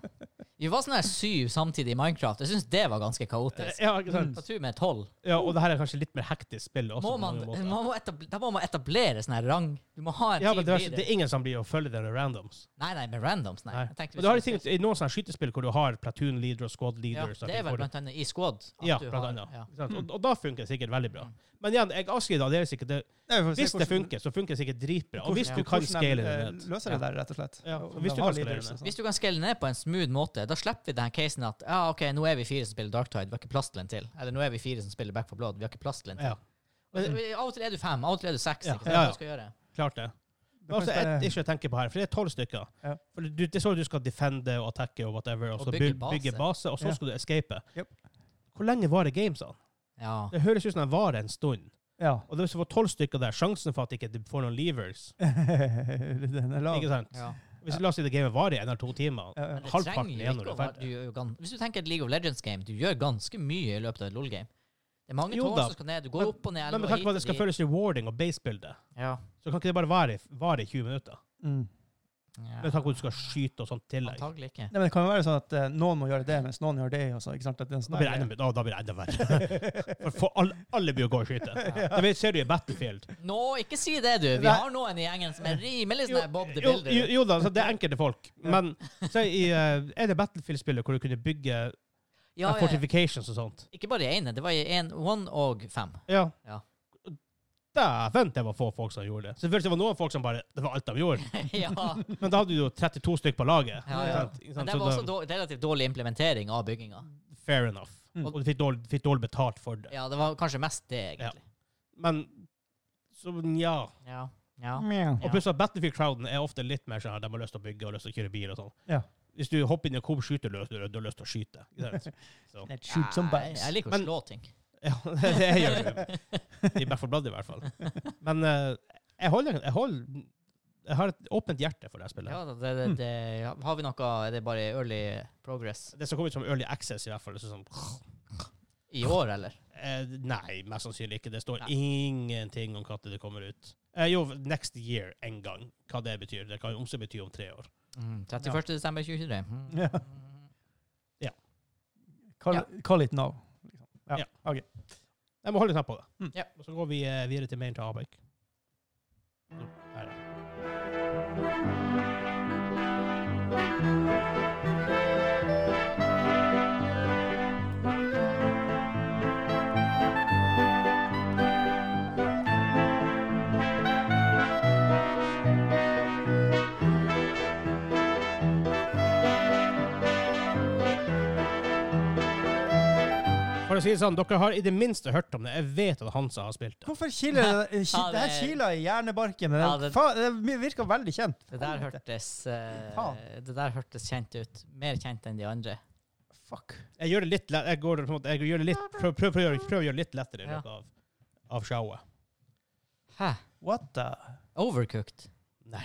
[SPEAKER 2] Vi var sånn her syv samtidig i Minecraft. Jeg syns det var ganske kaotisk.
[SPEAKER 1] Ja, ikke sant?
[SPEAKER 2] På tur med tolv.
[SPEAKER 1] Ja, og det her er kanskje litt mer hektisk spill også.
[SPEAKER 2] Må
[SPEAKER 1] på
[SPEAKER 2] man,
[SPEAKER 1] mange måter.
[SPEAKER 2] man må etablere, da må man etablere sånn her rang. Du må ha en
[SPEAKER 1] Ja,
[SPEAKER 2] team
[SPEAKER 1] men det er,
[SPEAKER 2] leader.
[SPEAKER 1] det er ingen som blir å følge denne randoms.
[SPEAKER 2] Nei, nei, med randoms, nei.
[SPEAKER 1] Nei.
[SPEAKER 2] Jeg tenkte
[SPEAKER 1] Og du har
[SPEAKER 2] vi
[SPEAKER 1] de ting,
[SPEAKER 2] skulle-
[SPEAKER 1] I noen sånne skytespill hvor du har platoon leader og squad
[SPEAKER 2] ja,
[SPEAKER 1] leader.
[SPEAKER 2] Det er vel blant annet i squad. at
[SPEAKER 1] ja,
[SPEAKER 2] du
[SPEAKER 1] blant
[SPEAKER 2] har-
[SPEAKER 1] annet.
[SPEAKER 2] ja. Mm.
[SPEAKER 1] Ikke sant? Og, og da funker det sikkert veldig bra. Men igjen, jeg avskriver da, det er sikkert det,
[SPEAKER 3] Nei, vi får se
[SPEAKER 1] Hvis det
[SPEAKER 3] hvordan-
[SPEAKER 1] funker, så funker det sikkert dritbra. Og hvis
[SPEAKER 2] hvordan-
[SPEAKER 1] du kan
[SPEAKER 3] hvordan de,
[SPEAKER 1] scale det
[SPEAKER 3] eh,
[SPEAKER 1] ned.
[SPEAKER 3] Løser det der, rett og slett.
[SPEAKER 1] Ja,
[SPEAKER 3] Og
[SPEAKER 1] og hvis
[SPEAKER 3] de
[SPEAKER 1] du
[SPEAKER 3] har
[SPEAKER 1] kan
[SPEAKER 3] leaders
[SPEAKER 1] scale
[SPEAKER 3] og sånn.
[SPEAKER 2] Hvis du kan skelle ned på en smooth måte, da slipper vi denne casen at ja, ok, nå er vi fire som spiller Dark Tide, vi har ikke plass til en til. Eller nå er vi fire som spiller Back for Blood, vi har ikke plass til en til.
[SPEAKER 1] Ja,
[SPEAKER 2] Og det- Av og til er du fem, av og til er du seks.
[SPEAKER 1] Ja,
[SPEAKER 2] ikke sant?
[SPEAKER 1] ja,
[SPEAKER 2] Hva
[SPEAKER 1] ja.
[SPEAKER 2] du skal gjøre?
[SPEAKER 1] klart det.
[SPEAKER 3] Det
[SPEAKER 1] Men altså,
[SPEAKER 3] kan
[SPEAKER 1] et
[SPEAKER 3] være-
[SPEAKER 1] issue jeg tenker på her, for det er tolv stykker.
[SPEAKER 3] Ja.
[SPEAKER 1] For du, det er sånn at du skal defende og attacke og whatever, og,
[SPEAKER 2] Og
[SPEAKER 1] så
[SPEAKER 2] bygge
[SPEAKER 1] bygge,
[SPEAKER 2] base.
[SPEAKER 1] bygge base, og så
[SPEAKER 3] Ja.
[SPEAKER 1] skal du escape.
[SPEAKER 3] Jep.
[SPEAKER 1] Hvor lenge varer gamesene?
[SPEAKER 2] Ja.
[SPEAKER 1] Det høres ut som de varer en stund.
[SPEAKER 3] Ja.
[SPEAKER 1] Og det er så for tolv stykker der, sjansen for at ikke du får noen levers,
[SPEAKER 3] Den er lav.
[SPEAKER 1] ikke sant?
[SPEAKER 2] ja.
[SPEAKER 1] Hvis la oss si det gamet varer i en eller to timer,
[SPEAKER 3] Ja, ja.
[SPEAKER 2] Men det
[SPEAKER 1] Halvparten
[SPEAKER 2] trenger jo
[SPEAKER 1] igjen
[SPEAKER 2] ikke
[SPEAKER 1] når du er
[SPEAKER 2] å være-
[SPEAKER 1] ferdig.
[SPEAKER 2] du gjør jo gan- Hvis du tenker et League of Legends-game, du gjør ganske mye i løpet av et LOL-game. Det er mange
[SPEAKER 1] Jo
[SPEAKER 2] tårn
[SPEAKER 1] da.
[SPEAKER 2] som skal ned, du går
[SPEAKER 1] Men-
[SPEAKER 2] opp og ned.
[SPEAKER 1] Men med
[SPEAKER 2] og
[SPEAKER 1] tanke på at det
[SPEAKER 2] hit og
[SPEAKER 1] skal
[SPEAKER 2] dit.
[SPEAKER 1] føles rewarding og basebildet,
[SPEAKER 2] ja.
[SPEAKER 1] så kan ikke det bare vare, vare i 20 minutter.
[SPEAKER 3] Mm.
[SPEAKER 1] Med tanke på at du skal skyte og sånt i tillegg.
[SPEAKER 2] Antagelig ikke.
[SPEAKER 3] Nei, men det kan jo være sånn at eh, noen må gjøre det, mens noen gjør det. Og så, ikke sant? At det er en sånn
[SPEAKER 1] Da blir det
[SPEAKER 3] der-
[SPEAKER 1] enda, da, da blir det enda verre. For, for alle, alle blir å gå og skyte. Da vet- ser du i Battlefield.
[SPEAKER 2] Nå, ikke si det, du! Vi
[SPEAKER 1] Nei.
[SPEAKER 2] har noen i gjengen som er rimelig sånn
[SPEAKER 1] Jo,
[SPEAKER 2] her Bob the
[SPEAKER 1] jo,
[SPEAKER 2] Builder.
[SPEAKER 1] jo, jo da, så det er enkelte folk. Men så i, eh, er det Battlefield-spillet hvor du kunne bygge eh,
[SPEAKER 2] Ja, ja, ja.
[SPEAKER 1] fortifications og sånt?
[SPEAKER 2] Ikke bare i ene, det var i en, one og fem.
[SPEAKER 1] Ja.
[SPEAKER 2] Ja.
[SPEAKER 1] Dæven, det var få folk som gjorde det. Selvfølgelig det var noen folk som bare Det var alt de gjorde.
[SPEAKER 2] ja.
[SPEAKER 1] Men da hadde du jo 32 stykker på laget.
[SPEAKER 2] Ja, ja.
[SPEAKER 1] Sant? Ikke
[SPEAKER 2] Men
[SPEAKER 1] sant?
[SPEAKER 2] det
[SPEAKER 1] Så
[SPEAKER 2] var også
[SPEAKER 1] da-
[SPEAKER 2] dår- relativt dårlig implementering av bygginga.
[SPEAKER 1] Fair enough.
[SPEAKER 3] Mm.
[SPEAKER 1] Og du fikk dårlig, fikk dårlig betalt for det.
[SPEAKER 2] Ja, det var kanskje mest det, egentlig.
[SPEAKER 1] Men så nja.
[SPEAKER 2] Ja. ja.
[SPEAKER 3] Mjau.
[SPEAKER 1] Og pluss at Battlefield-crowden er ofte litt mer sånn her, de har lyst til å bygge og lyst til å kjøre bil og sånn.
[SPEAKER 3] Ja.
[SPEAKER 1] Hvis du hopper inn i en Coop skyter, du, du har lyst til å skyte. Ikke sant? Så.
[SPEAKER 3] Let's Shoot some
[SPEAKER 2] Nei,
[SPEAKER 3] bugs.
[SPEAKER 2] Jeg liker å
[SPEAKER 1] Men-
[SPEAKER 2] slå ting.
[SPEAKER 1] Ja, det, det gjør du. I hvert fall bladet, i hvert fall. Men eh, jeg holder jeg, holder, jeg har et åpent hjerte for det spillet.
[SPEAKER 2] Ja, da, det, det, det, ja, har vi noe Er det bare early progress
[SPEAKER 1] Det som kommer ut som Early Access, i hvert fall. så Sånn,
[SPEAKER 2] i år, eller?
[SPEAKER 1] eh, nei, mest sannsynlig ikke. Det står
[SPEAKER 2] Nei.
[SPEAKER 1] ingenting om når det kommer ut. Eh, jo, next year en gang. Hva det betyr. Det kan jo også bety om tre år.
[SPEAKER 2] Mm, 31. desember 2023. Mm.
[SPEAKER 3] Ja. Call, call it now. liksom.
[SPEAKER 1] Ja.
[SPEAKER 3] Ja. ok.
[SPEAKER 1] Jeg må holde knapp på det.
[SPEAKER 3] Mm.
[SPEAKER 2] Ja.
[SPEAKER 1] Og så går vi eh, videre til main til Abek. Jo, her er det. For å si det sånn, dere har i det minste hørt om det. Jeg vet at Hansa har spilt det.
[SPEAKER 3] Hvorfor kiler det det-
[SPEAKER 2] Ja,
[SPEAKER 3] Det her
[SPEAKER 2] det-
[SPEAKER 3] kiler i hjernebarken. Men
[SPEAKER 2] Ja,
[SPEAKER 3] det,
[SPEAKER 2] det-
[SPEAKER 3] faen, det virker veldig kjent.
[SPEAKER 2] Det der hørtes eh,
[SPEAKER 3] Faen.
[SPEAKER 2] Det der hørtes kjent ut. Mer kjent enn de andre.
[SPEAKER 3] Fuck.
[SPEAKER 1] Jeg gjør det litt lett, jeg går, på en måte, jeg gjør det litt, prøv, prøv, prøv, å gjøre- prøv å gjøre det litt lettere i
[SPEAKER 2] Ja.
[SPEAKER 1] løpet av, av showet.
[SPEAKER 2] Hæ?
[SPEAKER 3] What the
[SPEAKER 2] Overcooked?
[SPEAKER 1] Nei.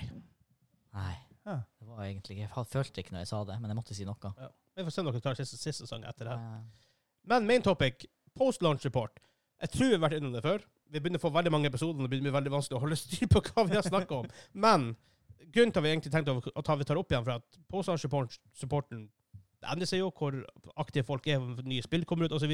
[SPEAKER 2] Nei.
[SPEAKER 3] Ja.
[SPEAKER 2] Det var egentlig Jeg fa- følte ikke når jeg sa det, men jeg måtte si noe.
[SPEAKER 1] Vi får se om dere tar siste, siste sang etter det her.
[SPEAKER 2] Eh,
[SPEAKER 1] Men main topic, post-launch report. Jeg tror vi har vært innom det før. Vi begynner å få veldig mange episoder, og det blir veldig vanskelig å holde styr på hva vi har snakka om. Men grunnen til at vi egentlig tenkte å ta, vi tar opp igjen, for at Posan-supporten Det endrer seg jo hvor aktive folk er, om nye spill kommer ut, osv.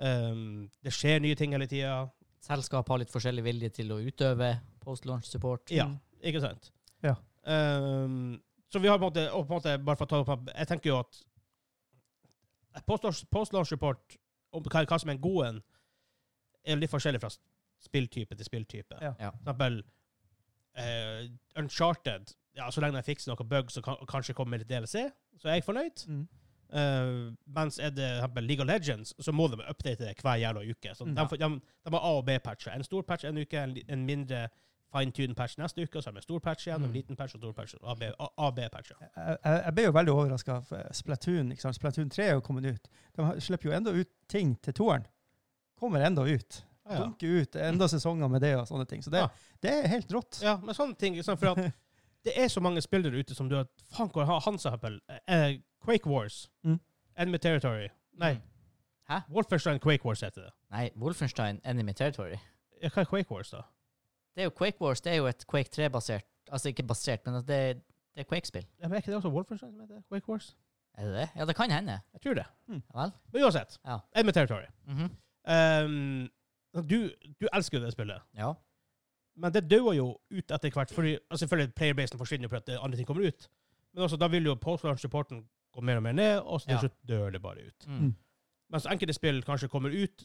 [SPEAKER 1] Um, det skjer nye ting hele tida.
[SPEAKER 2] Selskap har litt forskjellig vilje til å utøve post-launch support.
[SPEAKER 1] Ja, ikke sant?
[SPEAKER 3] Ja.
[SPEAKER 1] Ehm, så vi har på en måte, og på en måte bare for å ta opp, Jeg tenker jo at post-launch-support, om hva, hva som er en god en, er litt forskjellig fra spilltype til spilltype.
[SPEAKER 3] Ja.
[SPEAKER 2] Ja.
[SPEAKER 1] For eksempel eh, Uncharted. Ja, så lenge jeg fikser noen bugs og kan, og kanskje kommer med litt DLC, så er jeg fornøyd.
[SPEAKER 3] Mm.
[SPEAKER 1] Eh, mens er det for eksempel League of Legends, så må de update det hver jævla uke. Så
[SPEAKER 3] Mm.
[SPEAKER 1] de, får- de, de har A- og B-patcher. En stor patch en uke, en, li- en mindre fine-tuned patch neste uke, og så har de en stor patch igjen,
[SPEAKER 3] Mm.
[SPEAKER 1] en liten patch og stor patch. og A- B- A- A- B-patcher.
[SPEAKER 3] Jeg, jeg jeg ble jo veldig overraska. Splatoon ikke sant? Splatoon 3 er jo kommet ut. De har- slipper jo enda ut ting til toeren. Kommer enda ut.
[SPEAKER 1] Ja, ja.
[SPEAKER 3] Dunker ut enda sesonger med det og sånne ting. Så det,
[SPEAKER 1] Ja.
[SPEAKER 3] det er helt rått.
[SPEAKER 1] ja, men sånne ting. Sånn, for at det er så mange spill der ute som du har Faen, hvor har Hansa Happel? Eh, Quake Wars.
[SPEAKER 3] Mm.
[SPEAKER 1] Enemy Territory. Nei, Wolfenstein Quake Wars heter det.
[SPEAKER 2] Mm. Nei, Wolfenstein Enemy Territory.
[SPEAKER 1] Ja, hva er Quake Wars, da?
[SPEAKER 2] Det er jo Quake Wars, det er jo et Quake 3-basert Altså ikke basert, men at det, det er Quake-spill.
[SPEAKER 1] Ja, men Er ikke det også Wolfenstein som heter det? Quake Wars?
[SPEAKER 2] Er det det? Ja, det kan hende.
[SPEAKER 1] Jeg tror det.
[SPEAKER 2] Ja vel?
[SPEAKER 1] Men uansett.
[SPEAKER 2] Ja.
[SPEAKER 1] Enemy Territory.
[SPEAKER 2] Mhm.
[SPEAKER 1] Ehm, du, du elsker jo det spillet,
[SPEAKER 2] Ja.
[SPEAKER 1] men det dør jo ut etter hvert. Fordi, altså selvfølgelig Playerbasen forsvinner jo fordi at andre ting kommer ut, men også da vil jo postlaunch-supporten gå mer og mer ned, og så til
[SPEAKER 2] Ja.
[SPEAKER 1] slutt dør det bare ut.
[SPEAKER 2] Mm.
[SPEAKER 1] Mens enkelte spill kanskje kommer ut,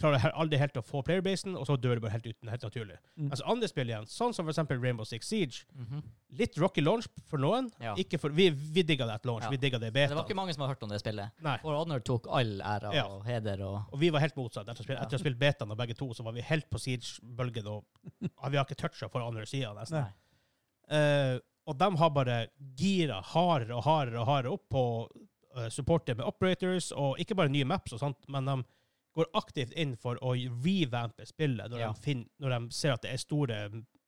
[SPEAKER 1] klarer he- aldri helt å få playerbasen, og så dør det bare helt uten, helt naturlig.
[SPEAKER 3] Mm.
[SPEAKER 1] Mens andre spill igjen, sånn som for eksempel Rainbow Six Siege,
[SPEAKER 2] Mhm.
[SPEAKER 1] litt rocky launch for noen.
[SPEAKER 2] Ja.
[SPEAKER 1] Ikke for, vi vi digga det at launch,
[SPEAKER 2] Ja.
[SPEAKER 1] vi digga det i
[SPEAKER 2] Men Det var
[SPEAKER 1] beta.
[SPEAKER 2] ikke mange som har hørt om det spillet.
[SPEAKER 1] Nei.
[SPEAKER 2] For Honor tok all æra
[SPEAKER 1] Ja.
[SPEAKER 2] og heder og
[SPEAKER 1] Og vi var helt motsatt. Etter å spille-
[SPEAKER 2] Ja.
[SPEAKER 1] etter å ha spilt betaen av begge to, så var vi helt på Siege-bølgen, og vi har ikke toucha for andre sida, nesten.
[SPEAKER 3] Nei.
[SPEAKER 1] Eh, og de har bare gira hardere og hardere og hardere opp på uh, supportet med operators, og ikke bare nye maps og sånt, men de går aktivt inn for å revampe spillet når,
[SPEAKER 2] Ja.
[SPEAKER 1] de, finner, når de ser at det er store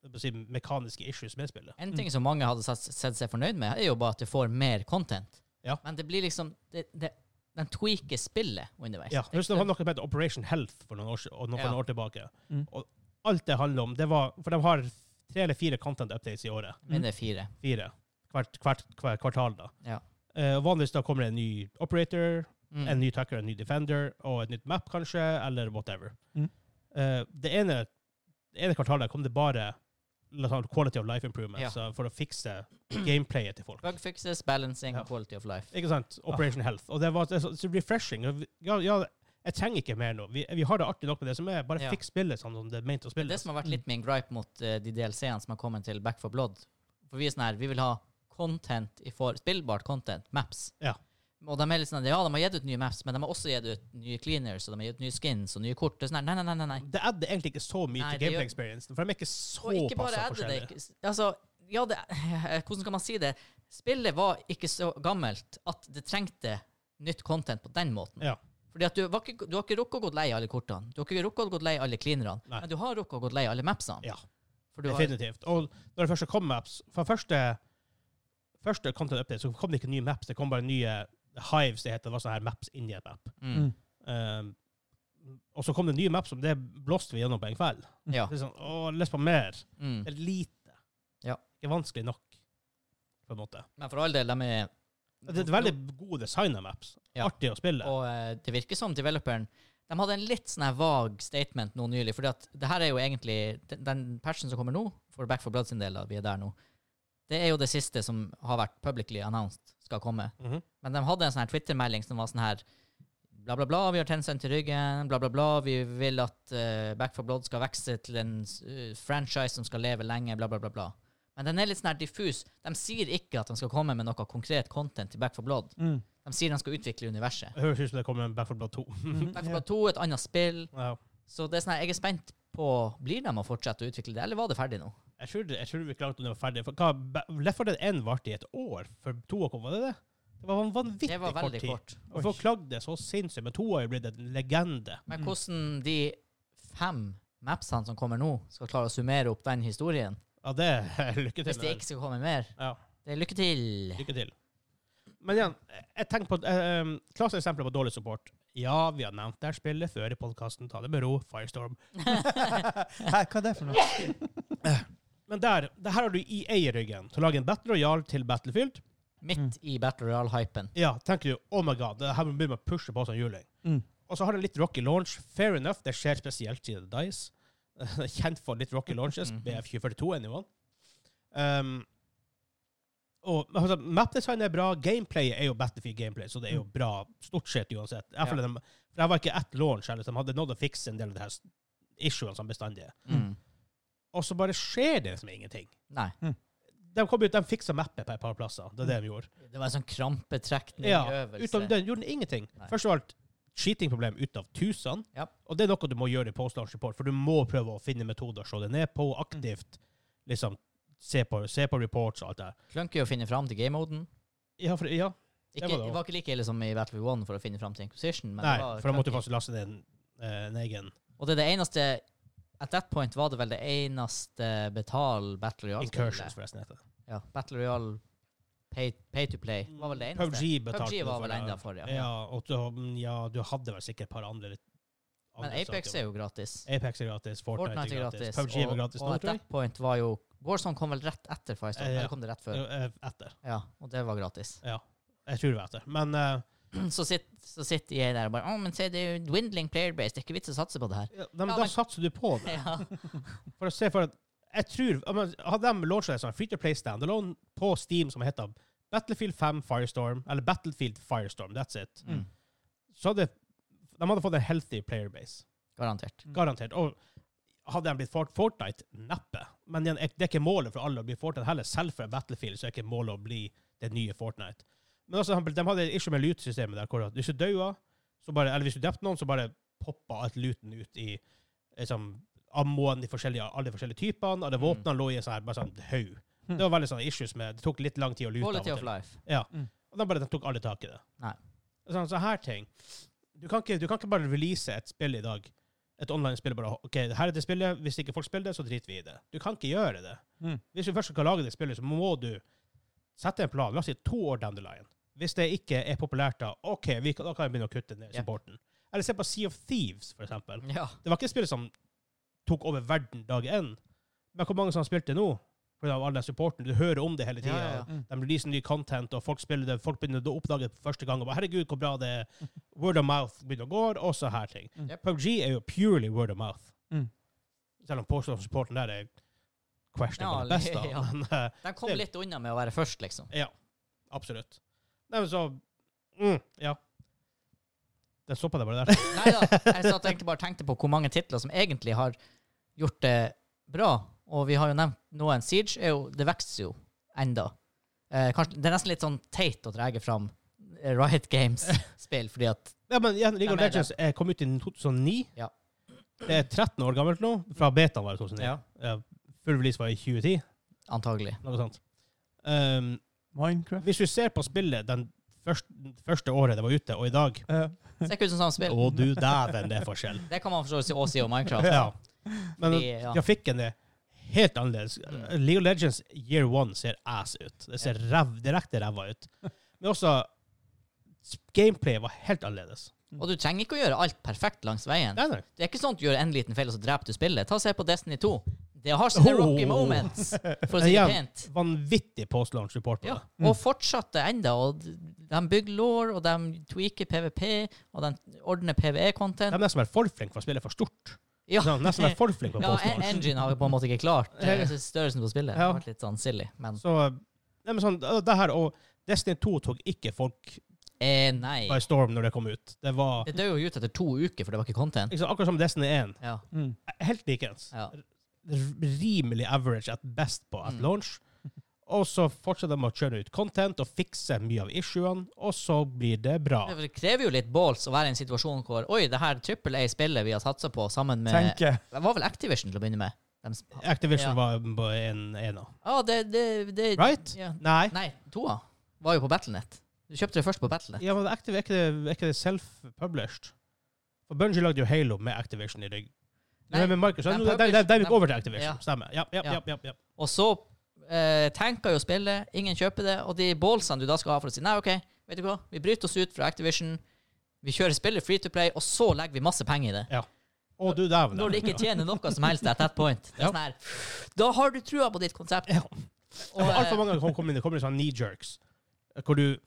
[SPEAKER 1] jeg må si, mekaniske issues med spillet.
[SPEAKER 2] En ting som mange hadde sett, sett seg fornøyd med, er jo bare at du får mer content.
[SPEAKER 1] Ja.
[SPEAKER 2] Men det blir liksom det, det, Den tweaker spillet underveis.
[SPEAKER 1] Ja, Husk det var noe som het Operation Health for noen år, si- og noen, for
[SPEAKER 2] Ja.
[SPEAKER 1] noen år tilbake.
[SPEAKER 3] Mm.
[SPEAKER 1] Og alt det handler om, det var For de har tre eller fire content updates i året.
[SPEAKER 2] Men det er fire.
[SPEAKER 1] Fire. Hvert, hvert, hvert kvartal, da.
[SPEAKER 2] Ja.
[SPEAKER 1] Eh, og vanligvis da kommer det en ny operator,
[SPEAKER 2] Mm.
[SPEAKER 1] En ny tacker, en ny defender og et nytt map, kanskje, eller whatever.
[SPEAKER 3] Mm.
[SPEAKER 1] Eh, det, ene, det ene kvartalet kom det bare la oss si, quality of life improvements
[SPEAKER 2] Ja.
[SPEAKER 1] altså for å fikse gameplayet til folk.
[SPEAKER 2] Bug fixes, balancing,
[SPEAKER 1] Ja.
[SPEAKER 2] quality of life.
[SPEAKER 1] Ikke sant?
[SPEAKER 2] Ah.
[SPEAKER 1] Operation Health. Og det var det er så, så refreshing. Og vi- Ja, ja, jeg trenger ikke mer nå. Vi, vi har det artig nok med det som er. Bare
[SPEAKER 2] Ja.
[SPEAKER 1] fiks spillet sånn som det er ment å
[SPEAKER 2] Det
[SPEAKER 1] spille.
[SPEAKER 2] som har vært litt min gripe mot eh, de DLC-ene som har kommet til Back for Blood For vi er sånn her, vi vil ha content i for, spillbart content, maps.
[SPEAKER 1] Ja.
[SPEAKER 2] Og de er litt sånn, ja, de har gitt ut nye maps, men de har også gitt ut nye cleaners, og de har gitt ut nye skins og nye kort. Det er sånn her, nei, nei, nei, nei, nei.
[SPEAKER 1] Det adder egentlig ikke så mye
[SPEAKER 2] Nei,
[SPEAKER 1] til
[SPEAKER 2] det gjør-
[SPEAKER 1] gameplay experience, for de er ikke så
[SPEAKER 2] Og ikke bare
[SPEAKER 1] passa
[SPEAKER 2] er det det
[SPEAKER 1] forskjellige.
[SPEAKER 2] ikke Altså, ja, det Hvordan kan man si det? Spillet var ikke så gammelt at det trengte nytt content på den måten.
[SPEAKER 1] Ja.
[SPEAKER 2] Fordi at du, var ikke, du har ikke rukket å gått lei alle kortene. Du har ikke rukket å gått lei alle cleanerne.
[SPEAKER 1] Nei.
[SPEAKER 2] Men du har rukket å gått lei alle mapsene.
[SPEAKER 1] Ja.
[SPEAKER 2] For du har,
[SPEAKER 1] Definitivt. Og når det først kom maps For første, første content update så kom det ikke nye maps, det kom bare nye hives, det heter. Det var sånne her maps inni et map.
[SPEAKER 2] mm,
[SPEAKER 1] Um, og så kom det nye maps, og det blåste vi gjennom på en kveld.
[SPEAKER 2] ja.
[SPEAKER 1] Det er sånn, å, lyst på mer.
[SPEAKER 2] Mm.
[SPEAKER 1] Det er lite.
[SPEAKER 2] Ja.
[SPEAKER 1] Ikke vanskelig nok, på en måte.
[SPEAKER 2] Men for all del, de er
[SPEAKER 1] Det er et veldig gode design av maps.
[SPEAKER 2] Ja.
[SPEAKER 1] Artig å spille.
[SPEAKER 2] Og eh, det virker som developeren De hadde en litt sånn her vag statement nå nylig. Fordi at det her er jo egentlig Den, den patchen som kommer nå, for Back for Blood sin del, da, vi er der nå, det er jo det siste som har vært publicly announced skal komme.
[SPEAKER 1] Mhm.
[SPEAKER 2] Men de hadde en sånn her Twitter-melding som var sånn her Bla, bla, bla, vi har Tencent til ryggen, bla, bla, bla. Vi vil at eh, Back for Blood skal vokse til en eh, franchise som skal leve lenge, bla, bla, bla, bla. Men den er litt sånn her diffus. De sier ikke at de skal komme med noe konkret content til Back for Blood.
[SPEAKER 3] Mm.
[SPEAKER 2] De sier de skal utvikle universet.
[SPEAKER 1] Det høres ut som det kommer en Back 4 Blood 2.
[SPEAKER 3] Mm.
[SPEAKER 2] Back 4 Blood 2, et annet spill.
[SPEAKER 1] ja.
[SPEAKER 2] Så det er sånn her, jeg er spent på Blir de å fortsette å utvikle det, eller var det ferdig nå?
[SPEAKER 1] Jeg tror, det- jeg tror vi klarte å nå ferdig. For hva, Ba- Left 4 Dead 1 varte i et år, for to år kom, var det det? Det var en vanvittig
[SPEAKER 2] Det var
[SPEAKER 1] kort
[SPEAKER 2] veldig
[SPEAKER 1] tid.
[SPEAKER 2] kort.
[SPEAKER 1] Og folk klagde så sinnssykt, men to har jo blitt en legende.
[SPEAKER 2] Men hvordan de fem mapsene som kommer nå, skal klare å summere opp den historien
[SPEAKER 1] Ja, det er lykke til
[SPEAKER 2] Hvis
[SPEAKER 1] med
[SPEAKER 2] det
[SPEAKER 1] den.
[SPEAKER 2] ikke skal komme mer.
[SPEAKER 1] Ja,
[SPEAKER 2] Det er lykke til.
[SPEAKER 1] lykke til. Men igjen, jeg tenker på eh, eh, Klart eksempler på dårlig support Ja, vi har nevnt det her spillet før i podkasten. Ta det med ro, Firestorm.
[SPEAKER 3] Hæ, hva er det for noe?
[SPEAKER 1] Men der, det her har du EA i ryggen. Til å lage en Battle Royale til Battlefield. Mm.
[SPEAKER 2] Midt i Battle Royale-hypen.
[SPEAKER 1] Ja, tenker du oh my god, det her må vi begynne med å pushe på sånn som juling.
[SPEAKER 3] Mm.
[SPEAKER 1] Og så har den litt rocky launch. Fair enough, det skjer spesielt siden Dice. Kjent for litt rocky launches.
[SPEAKER 2] Mhm.
[SPEAKER 1] BF2042, anyone. Um, og altså, Mapdesign er bra. Gameplayet er jo Battlefield gameplay, så det er jo bra stort sett uansett. Jeg føler dem- for jeg var ikke ett launch her, liksom. Hadde nådd å fikse en del av de her s- issuene som bestandig er.
[SPEAKER 2] Mm.
[SPEAKER 1] Og så bare skjer det liksom ingenting.
[SPEAKER 2] Nei.
[SPEAKER 1] De kom ut, de fiksa mappet på et par plasser. Det er det de gjorde.
[SPEAKER 2] Det var en sånn krampetrekning
[SPEAKER 1] Ja,
[SPEAKER 2] øvelse.
[SPEAKER 1] utenom den gjorde den ingenting.
[SPEAKER 2] Nei.
[SPEAKER 1] Først av alt cheatingproblem ut av tusen.
[SPEAKER 2] Ja.
[SPEAKER 1] Og det er noe du må gjøre i post-launch report, for du må prøve å finne metoder å slå det ned på aktivt. Liksom se på, se på reports og alt det der.
[SPEAKER 2] Klunky å finne fram til game-moden.
[SPEAKER 1] Ja, for, ja.
[SPEAKER 2] Ikke,
[SPEAKER 1] var det
[SPEAKER 2] det
[SPEAKER 1] også.
[SPEAKER 2] var ikke like ille som i Battlefield 1 for å finne fram til Inquisition. Men
[SPEAKER 1] Nei,
[SPEAKER 2] det var
[SPEAKER 1] for da måtte du
[SPEAKER 2] clunky.
[SPEAKER 1] faktisk laste ned en, eh, en egen
[SPEAKER 2] Og det er det eneste At that point var det vel det eneste betal Battle
[SPEAKER 1] incursions,
[SPEAKER 2] Royale-spillet.
[SPEAKER 1] forresten. heter det.
[SPEAKER 2] Ja, Battle Royale pay, pay to play
[SPEAKER 1] Mm.
[SPEAKER 2] var vel det eneste.
[SPEAKER 1] PUBG betalte
[SPEAKER 2] PUBG
[SPEAKER 1] du
[SPEAKER 2] var
[SPEAKER 1] for
[SPEAKER 2] vel
[SPEAKER 1] det.
[SPEAKER 2] enda for, ja.
[SPEAKER 1] Ja, og du, ja, du hadde vel sikkert et par andre,
[SPEAKER 2] Men Apex er jo gratis.
[SPEAKER 1] Apex er gratis, Fortnite,
[SPEAKER 2] Fortnite er gratis.
[SPEAKER 1] PUBG var
[SPEAKER 2] og-
[SPEAKER 1] gratis
[SPEAKER 2] og
[SPEAKER 1] nå,
[SPEAKER 2] at
[SPEAKER 1] tror jeg.
[SPEAKER 2] that point var jo Warzone kom vel rett etter Firestorm.
[SPEAKER 1] Eh, ja.
[SPEAKER 2] Eller kom det rett før?
[SPEAKER 1] Eh, Etter.
[SPEAKER 2] Ja, og det var gratis.
[SPEAKER 1] Ja. Jeg tror det var etter. Men eh,
[SPEAKER 2] Så sitter så sitter jeg der og bare Å, men se, det er jo dwindling player base. Det er ikke vits å satse på det her.
[SPEAKER 1] ja, men
[SPEAKER 2] Ja,
[SPEAKER 1] da
[SPEAKER 2] men-
[SPEAKER 1] satser du på det.
[SPEAKER 2] Ja.
[SPEAKER 1] For å se for at jeg tror, ja, men Hadde de launchet en sånn Free to Play Standalone på Steam som heter Battlefield 5 Firestorm, eller Battlefield Firestorm, that's it,
[SPEAKER 2] Mm.
[SPEAKER 1] så hadde de hadde fått en healthy player base.
[SPEAKER 2] Garantert.
[SPEAKER 1] Garantert. Og hadde de blitt Fort- Fortnite? Neppe. Men igjen, det er ikke målet for alle å bli Fortnite heller. Selv for Battlefield så er ikke målet å bli det nye Fortnite. Men altså, de hadde et issue med loot-systemet der. Hvor at hvis du daua, så bare, eller hvis du drepte noen, så bare poppa alt looten ut i liksom, ammoen, de forskjellige, alle de forskjellige typene, alle våpnene lå i en sånn her, bare sånn haug. Det var veldig sånne issues med Det tok litt lang tid å lute.
[SPEAKER 2] Quality
[SPEAKER 1] av og
[SPEAKER 2] of
[SPEAKER 1] til.
[SPEAKER 2] life.
[SPEAKER 1] Ja.
[SPEAKER 3] Mm.
[SPEAKER 1] Og de bare de tok alle tak i det.
[SPEAKER 2] Nei.
[SPEAKER 1] Sånn, så her ting. Du kan, ikke, du kan ikke bare release et spill i dag, et online-spill, bare OK, her er det spillet. Hvis ikke folk spiller det, så driter vi i det. Du kan ikke gjøre det.
[SPEAKER 3] Mm.
[SPEAKER 1] Hvis du først skal lage det spillet, så må du sette en plan. La oss si to år down the line. Hvis det ikke er populært, da OK, vi kan, da kan vi begynne å kutte ned
[SPEAKER 2] Ja.
[SPEAKER 1] supporten. Eller se på Sea of Thieves, for eksempel.
[SPEAKER 2] Ja.
[SPEAKER 1] Det var ikke et spill som tok over verden dag én. Men hvor mange som har spilt det nå? På grunn av all den supporten. Du hører om det hele tida.
[SPEAKER 2] Ja, ja, ja.
[SPEAKER 3] Mm.
[SPEAKER 1] De releaser ny content, og folk spiller det. Folk begynner å oppdage det for første gang. og bare, herregud, hvor bra det er. Word of mouth begynner å gå, og så her ting.
[SPEAKER 3] Mm.
[SPEAKER 2] Yep.
[SPEAKER 1] PUBG er jo purely word of mouth.
[SPEAKER 3] Mm.
[SPEAKER 1] Selv om påstått supporten der er questionable
[SPEAKER 2] Ja,
[SPEAKER 1] best, da.
[SPEAKER 2] ja.
[SPEAKER 1] Men eh,
[SPEAKER 2] De kom litt unna med å være først, liksom.
[SPEAKER 1] ja, absolutt. Nei, men så mm, Ja. Den stoppa deg bare der.
[SPEAKER 2] Nei da. Jeg satt egentlig bare og tenkte på hvor mange titler som egentlig har gjort det bra. Og vi har jo nevnt noen. Siege er jo Det vokser jo enda. Eh, kanskje, det er nesten litt sånn teit å dra fram eh, Riot Games-spill, fordi at
[SPEAKER 1] Ja, men igjen, League of
[SPEAKER 2] Hvem er det?
[SPEAKER 1] Legends eh, kom ut i 2009.
[SPEAKER 2] Ja.
[SPEAKER 1] Det er 13 år gammelt nå. Fra betaen var det 2009.
[SPEAKER 2] Ja.
[SPEAKER 1] Eh, Full release var i 2010,
[SPEAKER 2] Antagelig.
[SPEAKER 1] noe sånt. Um,
[SPEAKER 3] Minecraft?
[SPEAKER 1] hvis du ser på spillet den første, første året det var ute, og i dag
[SPEAKER 3] Eh,
[SPEAKER 2] Ser ikke ut som samme spill.
[SPEAKER 1] Å, du dæven, det er forskjell.
[SPEAKER 2] Det kan man forstå også si om Minecraft.
[SPEAKER 1] Ja. Men
[SPEAKER 2] Fordi, ja.
[SPEAKER 1] grafikken er helt annerledes.
[SPEAKER 2] Mm.
[SPEAKER 1] League of Legends year one ser ass ut. Det ser rev, direkte ræva ut. Men også s- Gameplayet var helt annerledes.
[SPEAKER 2] Og du trenger ikke å gjøre alt perfekt langs veien.
[SPEAKER 1] Nei, nei.
[SPEAKER 2] Det er ikke sånn at du gjør en liten feil, og så dreper du spillet. Ta og Se på Destiny 2. Det har sine
[SPEAKER 1] Oh.
[SPEAKER 2] rocky moments, for å si det
[SPEAKER 1] Ja.
[SPEAKER 2] pent.
[SPEAKER 1] Vanvittig post-launch report på
[SPEAKER 2] Ja,
[SPEAKER 1] det. Mm.
[SPEAKER 2] og fortsatte enda. Og d- de bygger law, og de tweaker PVP, og de ordner
[SPEAKER 1] De
[SPEAKER 2] PVE-content.
[SPEAKER 1] er nesten vært for flinke for å spille for stort.
[SPEAKER 2] Ja,
[SPEAKER 1] Så de har nesten vært for flinke på
[SPEAKER 2] ja en-
[SPEAKER 1] post-launch.
[SPEAKER 2] Engine har på en måte ikke klart eh, størrelsen på spillet. Det
[SPEAKER 1] Ja.
[SPEAKER 2] har vært litt sånn silly, men
[SPEAKER 1] Så nei, men sånn, det her og Destiny 2 tok ikke folk
[SPEAKER 2] eh, nei.
[SPEAKER 1] by storm når det kom ut. Det var
[SPEAKER 2] Det dør jo ut etter to uker, for det var ikke content.
[SPEAKER 1] ikke sant, akkurat som Destiny 1.
[SPEAKER 2] Ja,
[SPEAKER 3] mm.
[SPEAKER 1] Helt likens.
[SPEAKER 2] ja.
[SPEAKER 1] R- Rimelig average at best på at
[SPEAKER 2] Mm.
[SPEAKER 1] launch. Og så fortsetter de å kjøre ut content og fikse mye av issuene, og så blir det bra.
[SPEAKER 2] Det krever jo litt balls å være i en situasjon hvor Oi, det her trippel A-spillet vi har satsa på sammen med
[SPEAKER 3] Tenke.
[SPEAKER 2] Det var vel Activision til å begynne med? De sp-
[SPEAKER 1] Activision
[SPEAKER 2] Ja.
[SPEAKER 1] var på en ena.
[SPEAKER 2] Ja, det, det, det
[SPEAKER 1] Right?
[SPEAKER 2] Ja.
[SPEAKER 1] Nei.
[SPEAKER 2] Nei, toa var jo på Battlenet. Du kjøpte det først på Battlenet.
[SPEAKER 1] Ja, men Activ er ikke det, er ikke det self-published? For Bungie lagde jo Halo med Activision i rygg. Nei,
[SPEAKER 2] Nei,
[SPEAKER 1] med Microsoft.
[SPEAKER 2] de
[SPEAKER 1] De, de, de, de
[SPEAKER 2] published-
[SPEAKER 1] gikk
[SPEAKER 2] de-
[SPEAKER 1] over til Activision,
[SPEAKER 2] Ja.
[SPEAKER 1] stemmer. Ja, ja,
[SPEAKER 2] Ja.
[SPEAKER 1] ja, ja, ja.
[SPEAKER 2] Og så eh, tanker jo spillet, ingen kjøper det, og de ballsene du da skal ha for å si nei, OK, vet du hva, vi bryter oss ut fra Activision, Vi kjører spillet free to play, og så legger vi masse penger i det.
[SPEAKER 1] Å, du dæven.
[SPEAKER 2] Når det ikke tjener noe som helst at that point. Det er
[SPEAKER 1] Ja.
[SPEAKER 2] sånn her, da har du trua på ditt konsept.
[SPEAKER 1] Ja.
[SPEAKER 2] Og,
[SPEAKER 1] For Altfor
[SPEAKER 2] eh,
[SPEAKER 1] mange ganger kommer det kommer det sånne knee jerks, eh, hvor du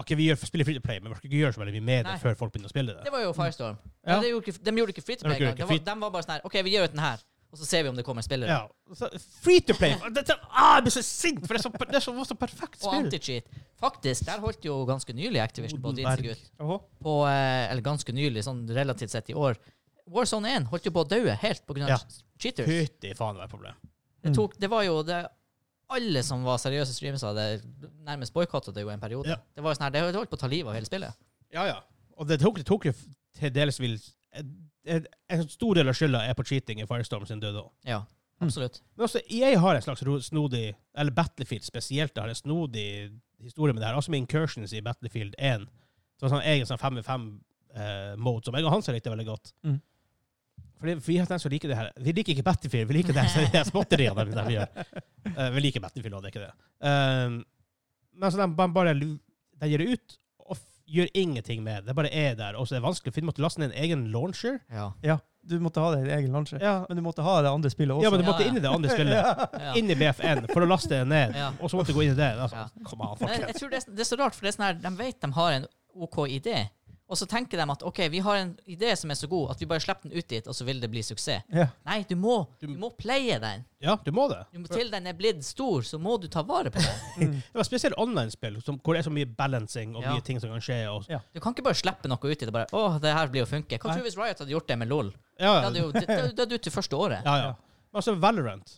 [SPEAKER 1] Ok, vi gjør, spiller free to play, men vi skal ikke gjøre så veldig mye med det
[SPEAKER 2] Nei.
[SPEAKER 1] før folk begynner å spille det.
[SPEAKER 2] det var jo Firestorm.
[SPEAKER 1] Ja.
[SPEAKER 2] Men det gjorde ikke, de gjorde ikke free to
[SPEAKER 1] De
[SPEAKER 2] play
[SPEAKER 1] gjorde ikke
[SPEAKER 2] engang. De, var-
[SPEAKER 1] free-
[SPEAKER 2] de var bare sånn her OK, vi gjør ut den her, og så ser vi om det kommer spillere.
[SPEAKER 1] Ja. Så, free to play! Dette, ah, jeg blir så sint, for det er så, det er så, var så perfekt
[SPEAKER 2] Og
[SPEAKER 1] spill.
[SPEAKER 2] anti-cheat. Faktisk, der holdt jo ganske nylig Activision på å drite seg
[SPEAKER 1] Odenberg.
[SPEAKER 2] ut.
[SPEAKER 3] Jaha.
[SPEAKER 2] På, eh, eller ganske nylig, sånn relativt sett i år. Warzone 1 holdt jo på å daue helt på grunn av
[SPEAKER 1] Ja. mm.
[SPEAKER 2] cheaters.
[SPEAKER 1] Fytti faen, det var et problem.
[SPEAKER 2] Det, tok, det var jo det Alle som var seriøse streamere, hadde nærmest boikotta det jo en periode.
[SPEAKER 1] Ja.
[SPEAKER 2] Det var jo sånn her, det holdt på å ta livet av hele spillet.
[SPEAKER 1] Ja, ja. Og det tok, det tok jo til dels vil en- En en stor del av skylda er på cheating i Firestorm sin død òg.
[SPEAKER 2] Ja,
[SPEAKER 3] Mm.
[SPEAKER 2] absolutt.
[SPEAKER 1] Men også EA har en slags ro- snodig Eller Battlefield spesielt har en snodig historie med det her. Også med Incursions i Battlefield 1. Så en sånn egen sånn 5v5-mode som eh, jeg og Hans likte veldig godt.
[SPEAKER 3] Mm.
[SPEAKER 1] Fordi Vi har den som liker det her. Vi liker ikke Battlefield, vi liker det her- det her småtteriet de, de gjør. Eh, vi liker Battlefield, og det er ikke det. Eh, men så de, ba- bare lu- de gir det ut, og f gjør ingenting med det. Det bare er der. Og så er det vanskelig, for de måtte laste ned en egen launcher.
[SPEAKER 2] Ja.
[SPEAKER 3] Ja, du måtte ha det i din egen lunsj.
[SPEAKER 1] Ja,
[SPEAKER 3] Men du måtte ha det andre spillet også.
[SPEAKER 1] ja men du
[SPEAKER 2] Ja,
[SPEAKER 1] måtte
[SPEAKER 2] ja.
[SPEAKER 1] inn i det andre spillet
[SPEAKER 2] ja.
[SPEAKER 1] inn i BFN for å laste det ned,
[SPEAKER 2] Ja.
[SPEAKER 1] og så måtte jeg gå inn i det. Altså,
[SPEAKER 2] Ja.
[SPEAKER 1] Come on,
[SPEAKER 2] Men jeg,
[SPEAKER 1] fuck
[SPEAKER 2] jeg tror det, er så- det er så rart, for det er sånn her, de vet de har en OK idé, og så tenker de at OK, vi har en idé som er så god at vi bare slipper den ut dit, og så vil det bli suksess.
[SPEAKER 3] Ja.
[SPEAKER 2] Nei, du må,
[SPEAKER 1] Du-
[SPEAKER 2] du, må playe den.
[SPEAKER 1] Ja, du må det.
[SPEAKER 2] Du må, til den er blitt stor, så må du ta vare på den.
[SPEAKER 1] Det var spesielt online-spill, som- hvor det er så mye balancing og
[SPEAKER 2] Ja.
[SPEAKER 1] mye ting som kan skje. Og,
[SPEAKER 3] Ja.
[SPEAKER 2] Du kan ikke bare slippe noe ut i det. bare, å, det her blir å funke. Hva tror du hvis Riot hadde gjort det med LOL? Det
[SPEAKER 1] ja,
[SPEAKER 2] hadde
[SPEAKER 1] ja,
[SPEAKER 2] jo det- det- det hadde ut det første året.
[SPEAKER 1] ja, ja. Men altså, Valorant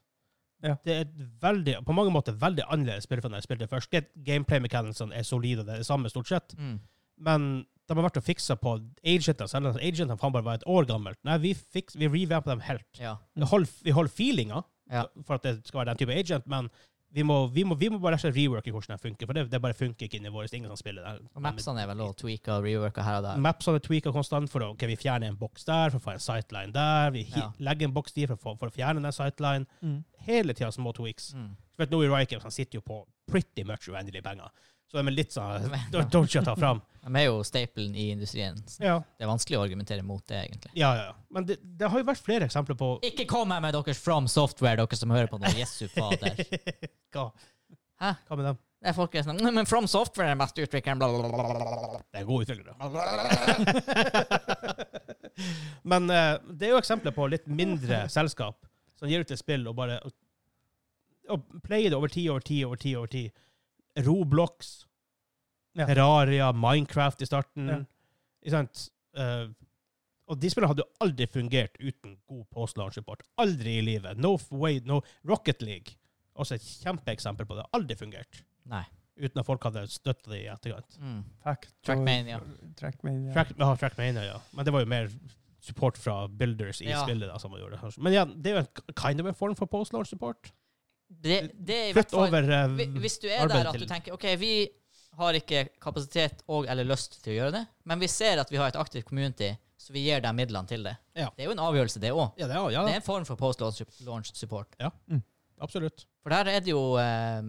[SPEAKER 3] Ja.
[SPEAKER 1] Det er et veldig, på mange måter veldig annerledes spill fra da jeg spilte først. Get- Gameplay mechanicsen er solid, og det er det samme stort sett.
[SPEAKER 2] Mm.
[SPEAKER 1] Men de har vært og fiksa på agentene, selv om agentene faen bare var et år gammelt. Nei, vi, fiks- vi revampa dem helt.
[SPEAKER 2] Ja.
[SPEAKER 1] Vi holder, vi holder feelinga
[SPEAKER 2] Ja.
[SPEAKER 1] for at det skal være den type agent, men vi må, vi må, vi må bare rett og slett reworke hvordan den funker, for det, det bare funker ikke inni vår. det er Ingen som spiller den.
[SPEAKER 2] Og Mapsene er vel også tweaka og reworka her og der.
[SPEAKER 1] Mapsene er tweaka konstant for å ok, vi fjerner en boks der for å få en sightline der. Vi hi-
[SPEAKER 2] Ja.
[SPEAKER 1] legger en boks dit for, å få- for å fjerne den sightline.
[SPEAKER 3] Mm.
[SPEAKER 1] Hele tida små tweaks.
[SPEAKER 2] Mm.
[SPEAKER 1] For at nå i Riot Games han sitter jo på pretty much uendelige penger, så de er litt sånn
[SPEAKER 2] Ja.
[SPEAKER 1] don't- Don't shut her fram.
[SPEAKER 2] De er jo stapelen i industrien.
[SPEAKER 1] Ja,
[SPEAKER 2] Det er vanskelig å argumentere mot det, egentlig.
[SPEAKER 1] ja, ja. Men det, det har jo vært flere eksempler på
[SPEAKER 2] Ikke kom her med deres From Software, dere som hører på nå. Jesu fader.
[SPEAKER 1] Hva?
[SPEAKER 2] Hæ?
[SPEAKER 1] Hva med dem?
[SPEAKER 2] Det er folk er sånn «Nei, Men From Software er den beste utvikleren, bla, bla, bla, bla, bla, bla.
[SPEAKER 1] Det er gode utviklere.
[SPEAKER 2] bla.
[SPEAKER 1] Men eh, det er jo eksempler på litt mindre selskap som gir ut et spill og bare og, og player det over tid, over tid, over tid. over tid. Roblox,
[SPEAKER 3] Ja.
[SPEAKER 1] Terraria, Minecraft i starten.
[SPEAKER 3] Ja.
[SPEAKER 1] Ikke sant? Eh, og de spillene hadde jo aldri fungert uten god post-launch-support. Aldri i livet. No f- way, no Rocket League. Også et kjempeeksempel på det. Aldri fungert.
[SPEAKER 2] Nei.
[SPEAKER 1] Uten at folk hadde støtta det i etterkant.
[SPEAKER 2] Mm.
[SPEAKER 3] Fuck.
[SPEAKER 2] Trackmania.
[SPEAKER 3] Trackmania.
[SPEAKER 1] Track, ja, Trackmania, ah, ja. Men det var jo mer support fra builders i
[SPEAKER 2] Ja.
[SPEAKER 1] spillet. da, som man gjorde. Men ja, det er jo en kind of en form for post-launch support.
[SPEAKER 2] Det, det er i hvert
[SPEAKER 1] Flytt
[SPEAKER 2] fall
[SPEAKER 1] over eh,
[SPEAKER 2] Hvi- Hvis du er
[SPEAKER 1] arbeidet
[SPEAKER 2] der at du
[SPEAKER 1] til-
[SPEAKER 2] tenker OK, vi har ikke kapasitet og eller lyst til å gjøre det, men vi ser at vi har et aktivt community, så vi gir dem midlene til det.
[SPEAKER 1] Ja.
[SPEAKER 2] Det er jo en avgjørelse, det òg.
[SPEAKER 1] Ja, det er, ja da.
[SPEAKER 2] Det er en form for post-launch support.
[SPEAKER 1] absolutt.
[SPEAKER 2] For der er det jo eh,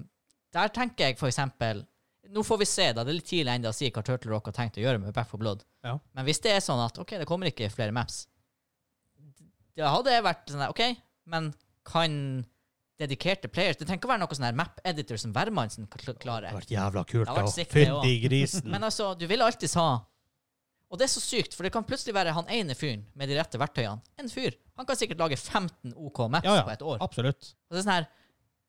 [SPEAKER 2] Der tenker jeg for eksempel Nå får vi se, da. Det er litt tidlig ennå å si hva Turtle Rock har tenkt å gjøre med Back for Blood.
[SPEAKER 1] Ja.
[SPEAKER 2] Men hvis det er sånn at OK, det kommer ikke flere maps Da hadde jeg vært sånn der, OK, men kan dedikerte players Det trenger ikke å være noe sånn her map editor som Værmannsen kl-
[SPEAKER 1] Det
[SPEAKER 2] klarer.
[SPEAKER 1] har vært jævla kult.
[SPEAKER 2] Det har vært
[SPEAKER 1] da.
[SPEAKER 2] sick, det
[SPEAKER 1] Fytti grisen.
[SPEAKER 2] Men altså, du vil alltids ha Og det er så sykt, for det kan plutselig være han ene fyren med de rette verktøyene. En fyr. Han kan sikkert lage 15 OK maps
[SPEAKER 1] Ja, ja.
[SPEAKER 2] på et år.
[SPEAKER 1] Absolutt.
[SPEAKER 2] Og det er sånn her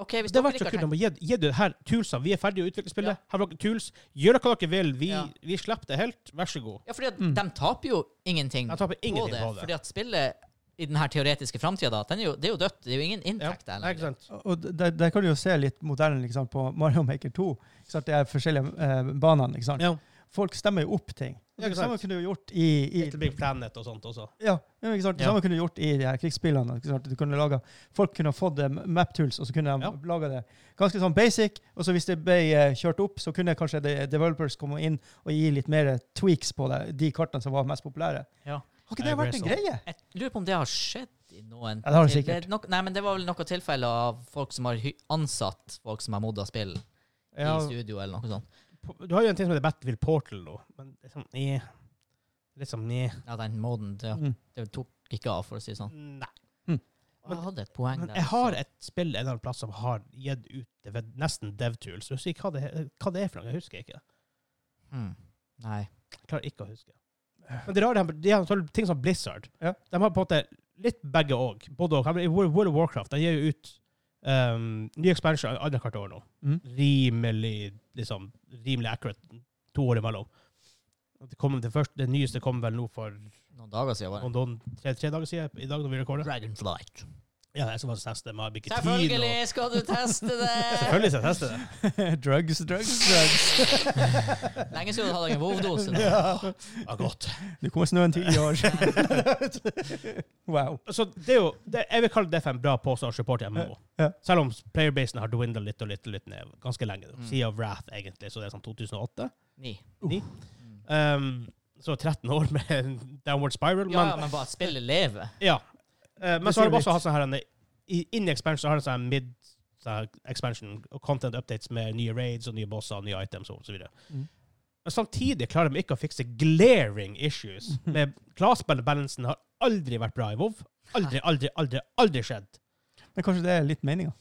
[SPEAKER 2] OK, hvis
[SPEAKER 1] Det har
[SPEAKER 2] dere
[SPEAKER 1] vært
[SPEAKER 2] ikke
[SPEAKER 1] så
[SPEAKER 2] har
[SPEAKER 1] kult.
[SPEAKER 2] tenkt
[SPEAKER 1] De har gitt- gitt ut her toolsa. Vi er ferdige å utvikle
[SPEAKER 2] Ja.
[SPEAKER 1] spillet. Her har dere tools. Gjør hva dere vil. Vi,
[SPEAKER 2] Ja.
[SPEAKER 1] vi slipper det helt. Vær så god.
[SPEAKER 2] Ja, fordi at de taper jo ingenting,
[SPEAKER 1] Jeg Mm. taper
[SPEAKER 2] på
[SPEAKER 1] ingenting
[SPEAKER 2] Mm. det,
[SPEAKER 1] på det.
[SPEAKER 2] Fordi at spillet i den her teoretiske framtida, da, den er jo, det er jo dødt. Det er jo ingen
[SPEAKER 1] Ja.
[SPEAKER 2] inntekt der
[SPEAKER 1] Nei, ikke
[SPEAKER 2] lenger.
[SPEAKER 1] sant?
[SPEAKER 3] Og der, der kan du jo se litt modellen ikke sant, på Mario Maker 2. Ikke sant? Det er forskjellige eh, banene. Ikke sant?
[SPEAKER 1] Ja.
[SPEAKER 3] Folk stemmer jo opp ting.
[SPEAKER 1] Ja, ikke
[SPEAKER 3] Det
[SPEAKER 1] sant.
[SPEAKER 3] samme kunne du gjort i, i
[SPEAKER 1] Little Big Planet og sånt også.
[SPEAKER 3] ja, ja, ikke sant? Det
[SPEAKER 1] Ja.
[SPEAKER 3] samme kunne du gjort i de her krigsspillene. Ikke sant? Du kunne laga, folk kunne ha fått eh, map tools, og så kunne de
[SPEAKER 1] Ja.
[SPEAKER 3] laga det ganske sånn basic. Og så hvis det ble eh, kjørt opp, så kunne kanskje de developers komme inn og gi litt mer eh, tweaks på det, de kartene som var mest populære.
[SPEAKER 2] Ja.
[SPEAKER 3] Har ikke det vært en
[SPEAKER 1] Jeg
[SPEAKER 3] greie?
[SPEAKER 2] Jeg lurer på om det har skjedd i noen
[SPEAKER 3] Ja, det har det
[SPEAKER 2] til-
[SPEAKER 3] sikkert.
[SPEAKER 2] er nok, Nei, men det var vel noen tilfeller av folk som har hy- ansatt folk som har modda spill
[SPEAKER 1] Ja,
[SPEAKER 2] i studio, eller noe sånt.
[SPEAKER 1] du har jo en ting som heter Battlefield Portal nå. Men det er sånn, eh. Litt som nye.
[SPEAKER 2] Ja, den moden, det,
[SPEAKER 3] Mm.
[SPEAKER 2] det tok ikke av, for å si det sånn.
[SPEAKER 1] Nei. Men-
[SPEAKER 2] Jeg hadde et poeng
[SPEAKER 1] Men
[SPEAKER 2] der.
[SPEAKER 1] jeg har
[SPEAKER 2] så-
[SPEAKER 1] et spill en eller annen plass som har gitt ut det ved- nesten DevTools. Jeg husker ikke hva det, hva det er for noe. Jeg husker ikke.
[SPEAKER 2] Hmm. Nei.
[SPEAKER 1] Jeg klarer ikke å huske. Men det rare er at de har sånne ting som Blizzard.
[SPEAKER 3] Ja.
[SPEAKER 1] De har på en måte litt begge òg. Både og. I World World of Warcraft de gir jo ut um, nye expansion annethvert år nå.
[SPEAKER 3] Mm.
[SPEAKER 1] Rimelig liksom, rimelig accurate to år imellom. Og Det, kom, det, første, det nyeste kom vel nå for
[SPEAKER 2] Noen dager siden var
[SPEAKER 1] noen, noen, tre, tre dager siden. I dag når vi rekorder.
[SPEAKER 2] Dragonflight.
[SPEAKER 1] Ja, jeg skal faktisk teste det. men jeg har ikke tid nå.
[SPEAKER 2] Selvfølgelig skal du teste det!
[SPEAKER 1] Selvfølgelig skal jeg teste det.
[SPEAKER 3] drugs, drugs, drugs.
[SPEAKER 2] Lenge siden du hadde en WoW-dose. nå.
[SPEAKER 1] Ja, godt.
[SPEAKER 3] Det kommer snø en ti år. wow.
[SPEAKER 1] Så det er jo, det, jeg vil kalle det for en bra pose av support i MMO.
[SPEAKER 3] Ja.
[SPEAKER 1] Selv om playerbasen har dwindlet litt og litt og litt ned ganske lenge. da.
[SPEAKER 2] Mm.
[SPEAKER 1] Sea of Wrath, egentlig, så det er sånn 2008.
[SPEAKER 2] Ni.
[SPEAKER 1] Ni.
[SPEAKER 2] Mm.
[SPEAKER 1] Um, så 13 år med en downward spiral.
[SPEAKER 2] Ja, ja,
[SPEAKER 1] men,
[SPEAKER 2] men bare at spillet lever.
[SPEAKER 1] ja. Eh, men
[SPEAKER 3] Det
[SPEAKER 1] så har
[SPEAKER 3] sier
[SPEAKER 1] de også
[SPEAKER 3] litt.
[SPEAKER 1] hatt sånn her en, i- Inni expansion så har de sånn mid sånn her expansion og content updates med nye raids og nye bosser og nye items og så videre.
[SPEAKER 3] Mm.
[SPEAKER 1] Men samtidig klarer de ikke å fikse glaring issues. Med Classbalansen har aldri vært bra i WoW. Aldri, aldri, aldri, aldri skjedd.
[SPEAKER 3] Men kanskje det er litt meninga.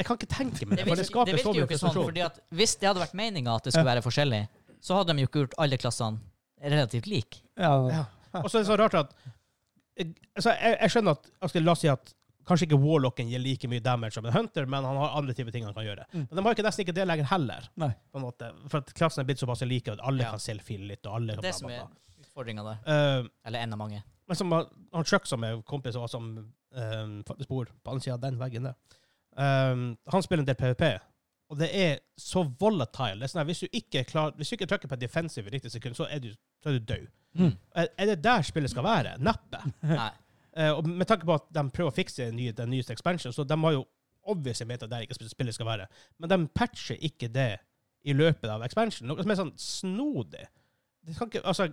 [SPEAKER 1] Jeg kan ikke tenke meg
[SPEAKER 2] Det
[SPEAKER 1] det, for det
[SPEAKER 2] virker, det
[SPEAKER 1] skaper så
[SPEAKER 2] virker jo
[SPEAKER 1] mye
[SPEAKER 2] ikke sånn,
[SPEAKER 1] frustrasjon.
[SPEAKER 2] fordi at hvis det hadde vært meninga at det skulle være forskjellig, så hadde de jo ikke gjort alle klassene relativt like.
[SPEAKER 3] Ja.
[SPEAKER 1] Ja. Og så er det så rart at eh, altså, jeg, jeg skjønner at altså, La oss si at kanskje ikke Warlocken gir like mye damage som en Hunter, men han har andre typer ting han kan gjøre.
[SPEAKER 3] Mm.
[SPEAKER 1] Men de har ikke, nesten ikke det lenger heller.
[SPEAKER 3] Nei.
[SPEAKER 1] På en måte, for at klassen er blitt såpass like, og alle
[SPEAKER 2] Ja.
[SPEAKER 1] kan selfie litt, og alle
[SPEAKER 2] Det er
[SPEAKER 1] kan
[SPEAKER 2] det
[SPEAKER 1] bla,
[SPEAKER 2] som
[SPEAKER 1] bla,
[SPEAKER 2] er
[SPEAKER 1] bla.
[SPEAKER 2] utfordringa der.
[SPEAKER 1] Eh,
[SPEAKER 2] Eller en av mange.
[SPEAKER 1] men som han han Chuck, som er kompis av oss som eh, faktisk bor på andre sida av den veggen der, eh, han spiller en del PVP. Og det er så volatile. Det er sånn her, hvis du ikke, er klar, hvis du ikke trykker på defensive i riktig sekund, så er du, så er du død.
[SPEAKER 3] Mm.
[SPEAKER 1] Er er det der spillet skal være? Neppe.
[SPEAKER 2] Nei.
[SPEAKER 1] Eh, og med tanke på at de prøver å fikse den, nye, den nyeste expansion, så de har jo obviously ment at der ikke sp- spillet skal være. Men de patcher ikke det i løpet av expansion, noe som er sånn snodig. Det kan ikke, altså,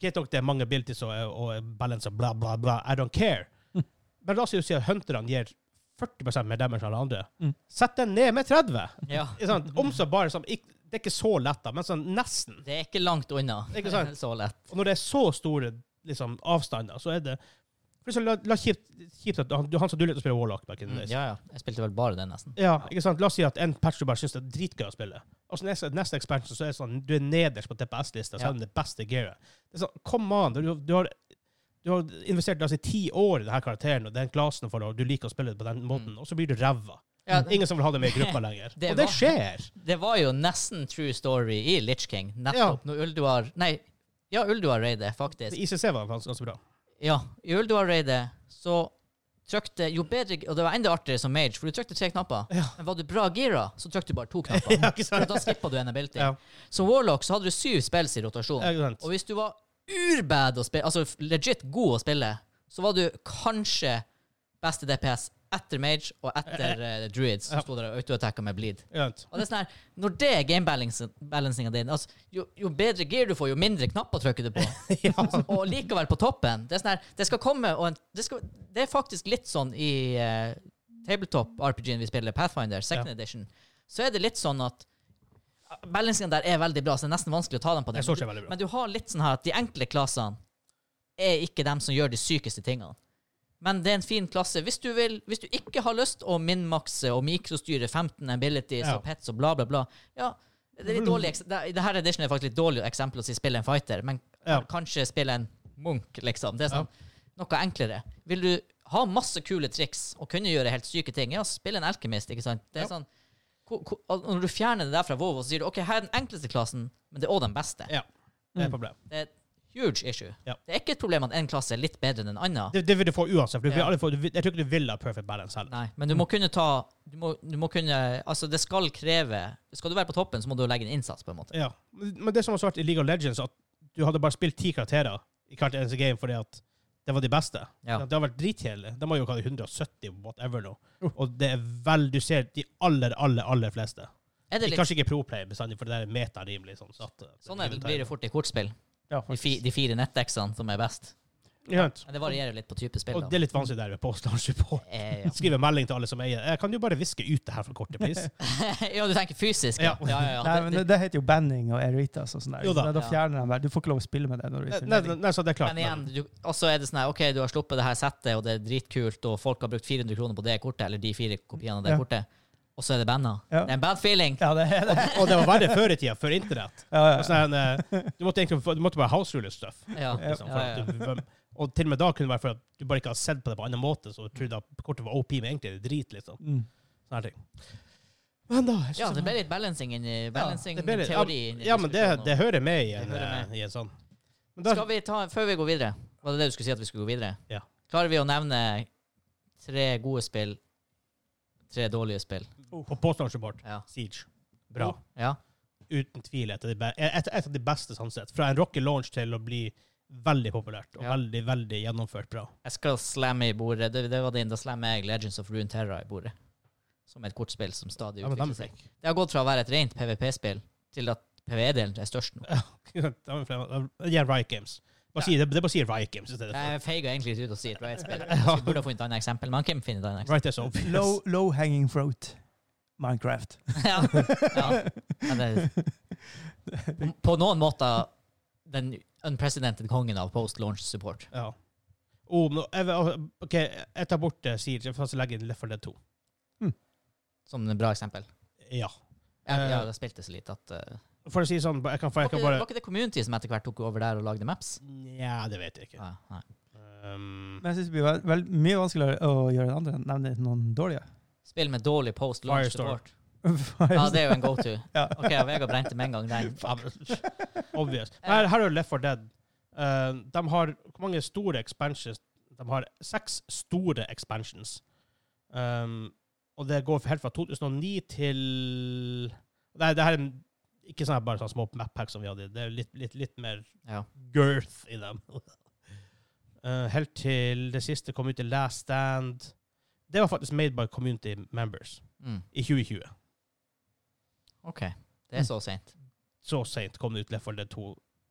[SPEAKER 1] Greit nok det er mange abilities og, og balance og bla, bla, bla. I don't care.
[SPEAKER 3] Mm.
[SPEAKER 1] Men la oss jo si at hunterne gir 40 mer damage enn alle andre.
[SPEAKER 3] Mm.
[SPEAKER 1] Sett den ned med 30!
[SPEAKER 2] Ja.
[SPEAKER 1] Ikke sant? Om så bare som ikk- Det er ikke så lett, da, men sånn nesten.
[SPEAKER 2] Det er ikke langt unna.
[SPEAKER 1] Det er ikke sant.
[SPEAKER 2] Så lett.
[SPEAKER 1] Og når det er så store liksom, avstander, så er det for eksempel, la, la kjipt, kjipt at han, du- han som du likte å spille Warlock back in the
[SPEAKER 2] Mm,
[SPEAKER 1] days.
[SPEAKER 2] ja, ja. Jeg spilte vel bare den, nesten.
[SPEAKER 1] Ja, ikke sant? La oss si at en patch du bare syns er dritgøy å spille. Og så neste, neste expansion så er det sånn, du er nederst på DPS-lista,
[SPEAKER 2] Ja.
[SPEAKER 1] selv om det beste gearet. Det er sånn, Come on! Du, du, har, du har investert la oss si, ti år i denne karakteren og den klassen, for, og du liker å spille det på den måten, og så blir du ræva.
[SPEAKER 2] Mm. Ja,
[SPEAKER 1] Ingen som vil ha deg med i gruppa lenger.
[SPEAKER 2] Det
[SPEAKER 1] og det
[SPEAKER 2] var-
[SPEAKER 1] skjer!
[SPEAKER 2] det var jo nesten true story i Litch King, nettopp når Ulduar Nei, ja, Ulduar raidet, faktisk.
[SPEAKER 1] ICC var faktisk ganske bra.
[SPEAKER 2] Ja, i Ulduar-raidet så trykte Jo bedre Og det var enda artigere som mage, for du trykte tre knapper.
[SPEAKER 1] Ja.
[SPEAKER 2] Men var du bra gira, så trykte du bare to knapper.
[SPEAKER 1] Ja, ikke
[SPEAKER 2] For
[SPEAKER 1] sant?
[SPEAKER 2] da skippa du en ability.
[SPEAKER 1] Ja.
[SPEAKER 2] Som warlock så hadde du syv spills i rotasjon.
[SPEAKER 1] Ja, ikke sant?
[SPEAKER 2] Og hvis du var urbad å spille, altså f- legit god å spille, så var du kanskje beste DPS etter mage og etter eh, druids, som
[SPEAKER 1] Ja.
[SPEAKER 2] sto der og autoattacka med bleed.
[SPEAKER 1] Ikke sant?
[SPEAKER 2] Og det er sånn her, Når det er gamebalancinga din altså, jo, jo bedre gear du får, jo mindre knapper trykker du på. Altså, og likevel på toppen. Det er sånn her, det skal komme og en, det, skal, det er faktisk litt sånn i eh, tabletop-RPG-en vi spiller, Pathfinder, second edition, så er det litt sånn at balansinga der er veldig bra, så det er nesten vanskelig å ta dem på den.
[SPEAKER 1] Jeg så ikke veldig bra.
[SPEAKER 2] Men du har litt sånn her at de enkle klassene er ikke dem som gjør de sykeste tingene. Men det er en fin klasse. Hvis du, vil, hvis du ikke har lyst å minmakse og mikrostyre 15 abilities
[SPEAKER 1] Ja. Mm.
[SPEAKER 2] og pets og bla, bla, bla Ja, det er litt dårlig ekse- det, I dette edition er det faktisk litt dårlig eksempel å si spille en fighter, men
[SPEAKER 1] Ja.
[SPEAKER 2] kanskje spille en munk, liksom. Det er sånn noe enklere. Vil du ha masse kule triks og kunne gjøre helt syke ting, ja, spille en alkymist, ikke sant? Det er
[SPEAKER 1] Ja.
[SPEAKER 2] sånn ko- ko- og Når du fjerner det der fra WoW, så sier du OK, her er den enkleste klassen, men det er òg den beste.
[SPEAKER 1] Ja.
[SPEAKER 2] Mm.
[SPEAKER 1] Det er et problem.
[SPEAKER 2] Det er et huge issue.
[SPEAKER 1] Ja.
[SPEAKER 2] Det er ikke et problem at en klasse er litt bedre enn en annen.
[SPEAKER 1] Det, det vil du få uansett. For du vil
[SPEAKER 2] Ja.
[SPEAKER 1] aldri få, du, vil- jeg tror ikke du vil ha perfect balance heller.
[SPEAKER 2] Nei, men du må kunne ta du må, du må kunne Altså, det skal kreve Skal du være på toppen, så må du legge en innsats, på en måte.
[SPEAKER 1] Ja. Men det som var så artig i League of Legends, at du hadde bare spilt ti karakterer i hvert eneste game fordi at det var de beste.
[SPEAKER 2] Ja.
[SPEAKER 1] Det har vært dritkjedelig. De har jo hatt 170 whatever nå. Og det er vel du ser de aller, aller, aller fleste.
[SPEAKER 2] Er det litt
[SPEAKER 1] Kanskje ikke pro-play bestandig, for det der er meta rimelig sånn. Så at,
[SPEAKER 2] Sånn er det, blir det fort i kortspill.
[SPEAKER 3] Ja,
[SPEAKER 2] De, fi,
[SPEAKER 3] faktisk.
[SPEAKER 2] de fire nettdeksene som er best.
[SPEAKER 1] Ikke sant?
[SPEAKER 2] Men det varierer litt på type spill.
[SPEAKER 1] Og
[SPEAKER 2] da.
[SPEAKER 1] det er litt vanskelig der ved Postal Support.
[SPEAKER 2] Eh, ja.
[SPEAKER 1] Skrive melding til alle som eier. Eh, Kan du bare viske ut det her for kortet, please?
[SPEAKER 2] ja, du tenker fysisk? Ja,
[SPEAKER 1] Ja.
[SPEAKER 2] ja, ja. ja.
[SPEAKER 3] Nei,
[SPEAKER 2] Det-
[SPEAKER 3] men det heter jo banning og Eritas og sånn der.
[SPEAKER 1] Jo da.
[SPEAKER 3] Men da
[SPEAKER 2] Ja.
[SPEAKER 3] fjerner de bare. Du får ikke lov å spille med det når du
[SPEAKER 1] Nei,
[SPEAKER 3] er i
[SPEAKER 1] nei,
[SPEAKER 3] turnering.
[SPEAKER 1] nei, så det er klart.
[SPEAKER 2] Men igjen, du, og så er det sånn her, OK, du har sluppet det her settet, og det er dritkult, og folk har brukt 400 kroner på det kortet, eller de fire kopiene av det
[SPEAKER 3] Ja.
[SPEAKER 2] kortet, og så er det banna.
[SPEAKER 3] Ja.
[SPEAKER 2] Det er en bad feeling.
[SPEAKER 3] Ja, det er det.
[SPEAKER 1] Og det var verre før i tida, før internett.
[SPEAKER 3] Ja, ja,
[SPEAKER 1] Og sånn, eh, du måtte egentlig få- du måtte bare house-rule stuff.
[SPEAKER 2] Ja. Ja,
[SPEAKER 1] Liksom, for
[SPEAKER 2] ja,
[SPEAKER 1] at du, og til og med da kunne det være for at du bare ikke har sett på det på annen måte, så du trodde at kortet var OP, men egentlig er det drit, liksom.
[SPEAKER 3] Mm.
[SPEAKER 1] Sånne her ting. Men da jeg synes
[SPEAKER 2] Ja, det
[SPEAKER 1] det
[SPEAKER 2] ble litt balancing inn i balancing
[SPEAKER 1] det ble litt-
[SPEAKER 2] teori. inn i
[SPEAKER 1] Ja, men det,
[SPEAKER 2] diskusjonen.
[SPEAKER 1] det hører med i en,
[SPEAKER 2] Det hører med.
[SPEAKER 1] eh, i en sånn Men da,
[SPEAKER 2] Skal vi ta, før vi går videre, var det det du skulle si at vi skulle gå videre?
[SPEAKER 1] Ja.
[SPEAKER 2] Klarer vi å nevne tre gode spill, tre dårlige spill?
[SPEAKER 1] På påstandsrapport,
[SPEAKER 2] Ja. Oh.
[SPEAKER 1] Siege. Bra.
[SPEAKER 2] Ja.
[SPEAKER 1] Uten tvil et av de, be et, et av de beste, sånn sett. Fra en rocker launch til å bli veldig populært, og
[SPEAKER 2] Ja.
[SPEAKER 1] veldig, veldig gjennomført bra.
[SPEAKER 2] Jeg skal slamme i bordet. Det, det var din, da slammer jeg Legends of Rune Terra i bordet. Som er et kortspill som stadig
[SPEAKER 1] Ja, men
[SPEAKER 2] utvikler
[SPEAKER 1] dem-
[SPEAKER 2] seg. Det har gått fra å være et rent PVP-spill til at PVE-delen er størst nå.
[SPEAKER 1] dem er flere- Ja, Riot Games. Bare si, det, det er bare å si Riot Games i stedet. for-
[SPEAKER 2] Jeg feiga egentlig ut å si et Riot-spill. Jeg burde ha funnet et annet eksempel, men han kan finne et annet
[SPEAKER 1] Right, that's obvious.
[SPEAKER 3] Low, low hanging fruit. Minecraft.
[SPEAKER 2] eksempel. Ja. Ja. Men det, på noen måter den unprecedented kongen av post-launch support.
[SPEAKER 1] Ja. Oh, men, jeg, vil- ok, jeg tar bort det, sier jeg, for å legge inn Left 4 Dead 2.
[SPEAKER 2] Som et bra eksempel.
[SPEAKER 1] Ja.
[SPEAKER 2] Jeg,
[SPEAKER 1] Eh.
[SPEAKER 2] ja, det spilte så lite at eh,
[SPEAKER 1] For å si det sånn, jeg kan, for jeg
[SPEAKER 2] var, ikke,
[SPEAKER 1] kan
[SPEAKER 2] det-
[SPEAKER 1] bare
[SPEAKER 2] var ikke det community som etter hvert tok over der og lagde maps?
[SPEAKER 1] Nja, det vet jeg ikke.
[SPEAKER 2] Ja, nei.
[SPEAKER 1] Um,
[SPEAKER 3] Men jeg synes det blir vel, vel, mye vanskeligere å gjøre det andre enn nevne noen dårlige.
[SPEAKER 2] Spill med dårlig post-launch
[SPEAKER 1] Firestorm.
[SPEAKER 2] support. Ja, det er jo en go-to.
[SPEAKER 3] Ja.
[SPEAKER 2] Ok, og Vegard brente med en gang den.
[SPEAKER 1] ja, men- obvious. Her, her er jo Left 4 Dead. Eh, de har hvor mange store expansions? De har seks store expansions. Um, og det går helt fra 2009 til Nei, det her er ikke sånn her bare sånn små map-pack som vi hadde. Det er litt, litt, litt mer
[SPEAKER 2] Ja.
[SPEAKER 1] girth i dem. Eh, helt til det siste kom ut til Last Stand. Det var faktisk made by community members
[SPEAKER 2] Mm.
[SPEAKER 1] i 2020.
[SPEAKER 2] Ok, det er så sent.
[SPEAKER 1] Så seint kom det ut Left 4 Dead 2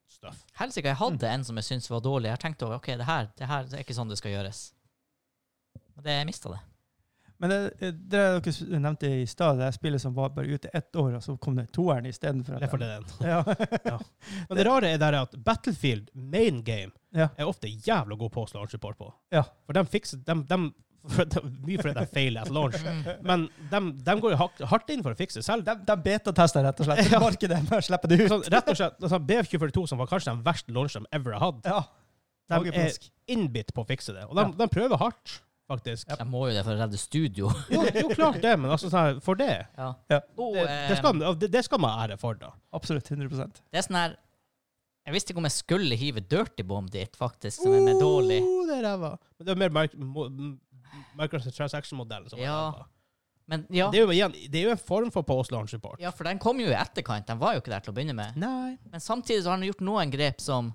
[SPEAKER 1] stuff.
[SPEAKER 2] Helsike, jeg hadde en som jeg syntes var dårlig. Jeg tenkte over ok, det her, det her det er ikke sånn det skal gjøres. Men det, jeg mista det.
[SPEAKER 3] Men det, det dere s- nevnte i stad, det spillet som var bare ute ett år, og så kom det toeren istedenfor.
[SPEAKER 1] Left 4 Dead 1.
[SPEAKER 3] Ja.
[SPEAKER 1] Men det rare er der at Battlefield main game
[SPEAKER 3] Ja.
[SPEAKER 1] er ofte jævla god på å slå launch support på.
[SPEAKER 3] Ja.
[SPEAKER 1] For de fikser dem, dem, for de, Mye fordi de feiler at launch.
[SPEAKER 2] Mm.
[SPEAKER 1] Men de, går jo hak- hardt inn for å fikse det selv.
[SPEAKER 3] De, de betatester rett og slett.
[SPEAKER 1] Ja.
[SPEAKER 3] Markedet bare slipper det ut.
[SPEAKER 1] Sånn, rett og slett, altså, BF242, som var kanskje den verste launchen de ever har hatt,
[SPEAKER 3] Ja.
[SPEAKER 1] De
[SPEAKER 3] Mageplask.
[SPEAKER 1] innbitt på å fikse det. Og de, de prøver hardt, faktisk.
[SPEAKER 2] Jeg må jo det for å redde studio.
[SPEAKER 1] Jo, jo, klart det, men altså, sånn her, for det
[SPEAKER 2] Ja.
[SPEAKER 3] Ja.
[SPEAKER 2] Oh,
[SPEAKER 1] det, det,
[SPEAKER 2] eh,
[SPEAKER 1] skal, det, det skal man ha ære for, da.
[SPEAKER 3] Absolutt. 100
[SPEAKER 2] det er sånn her Jeg visste ikke om jeg skulle hive dirty bomb dit, faktisk, som er dårlig.
[SPEAKER 1] Oh, det er ræva. Men det er mer mic- mo- m- microtransaction-modellen som er
[SPEAKER 2] Ja.
[SPEAKER 1] ræva.
[SPEAKER 2] Men ja,
[SPEAKER 1] Det er jo igjen, det er jo en form for post-launch support.
[SPEAKER 2] ja, for den kom jo i etterkant. Den var jo ikke der til å begynne med.
[SPEAKER 1] Nei.
[SPEAKER 2] Men samtidig så har han gjort noen grep som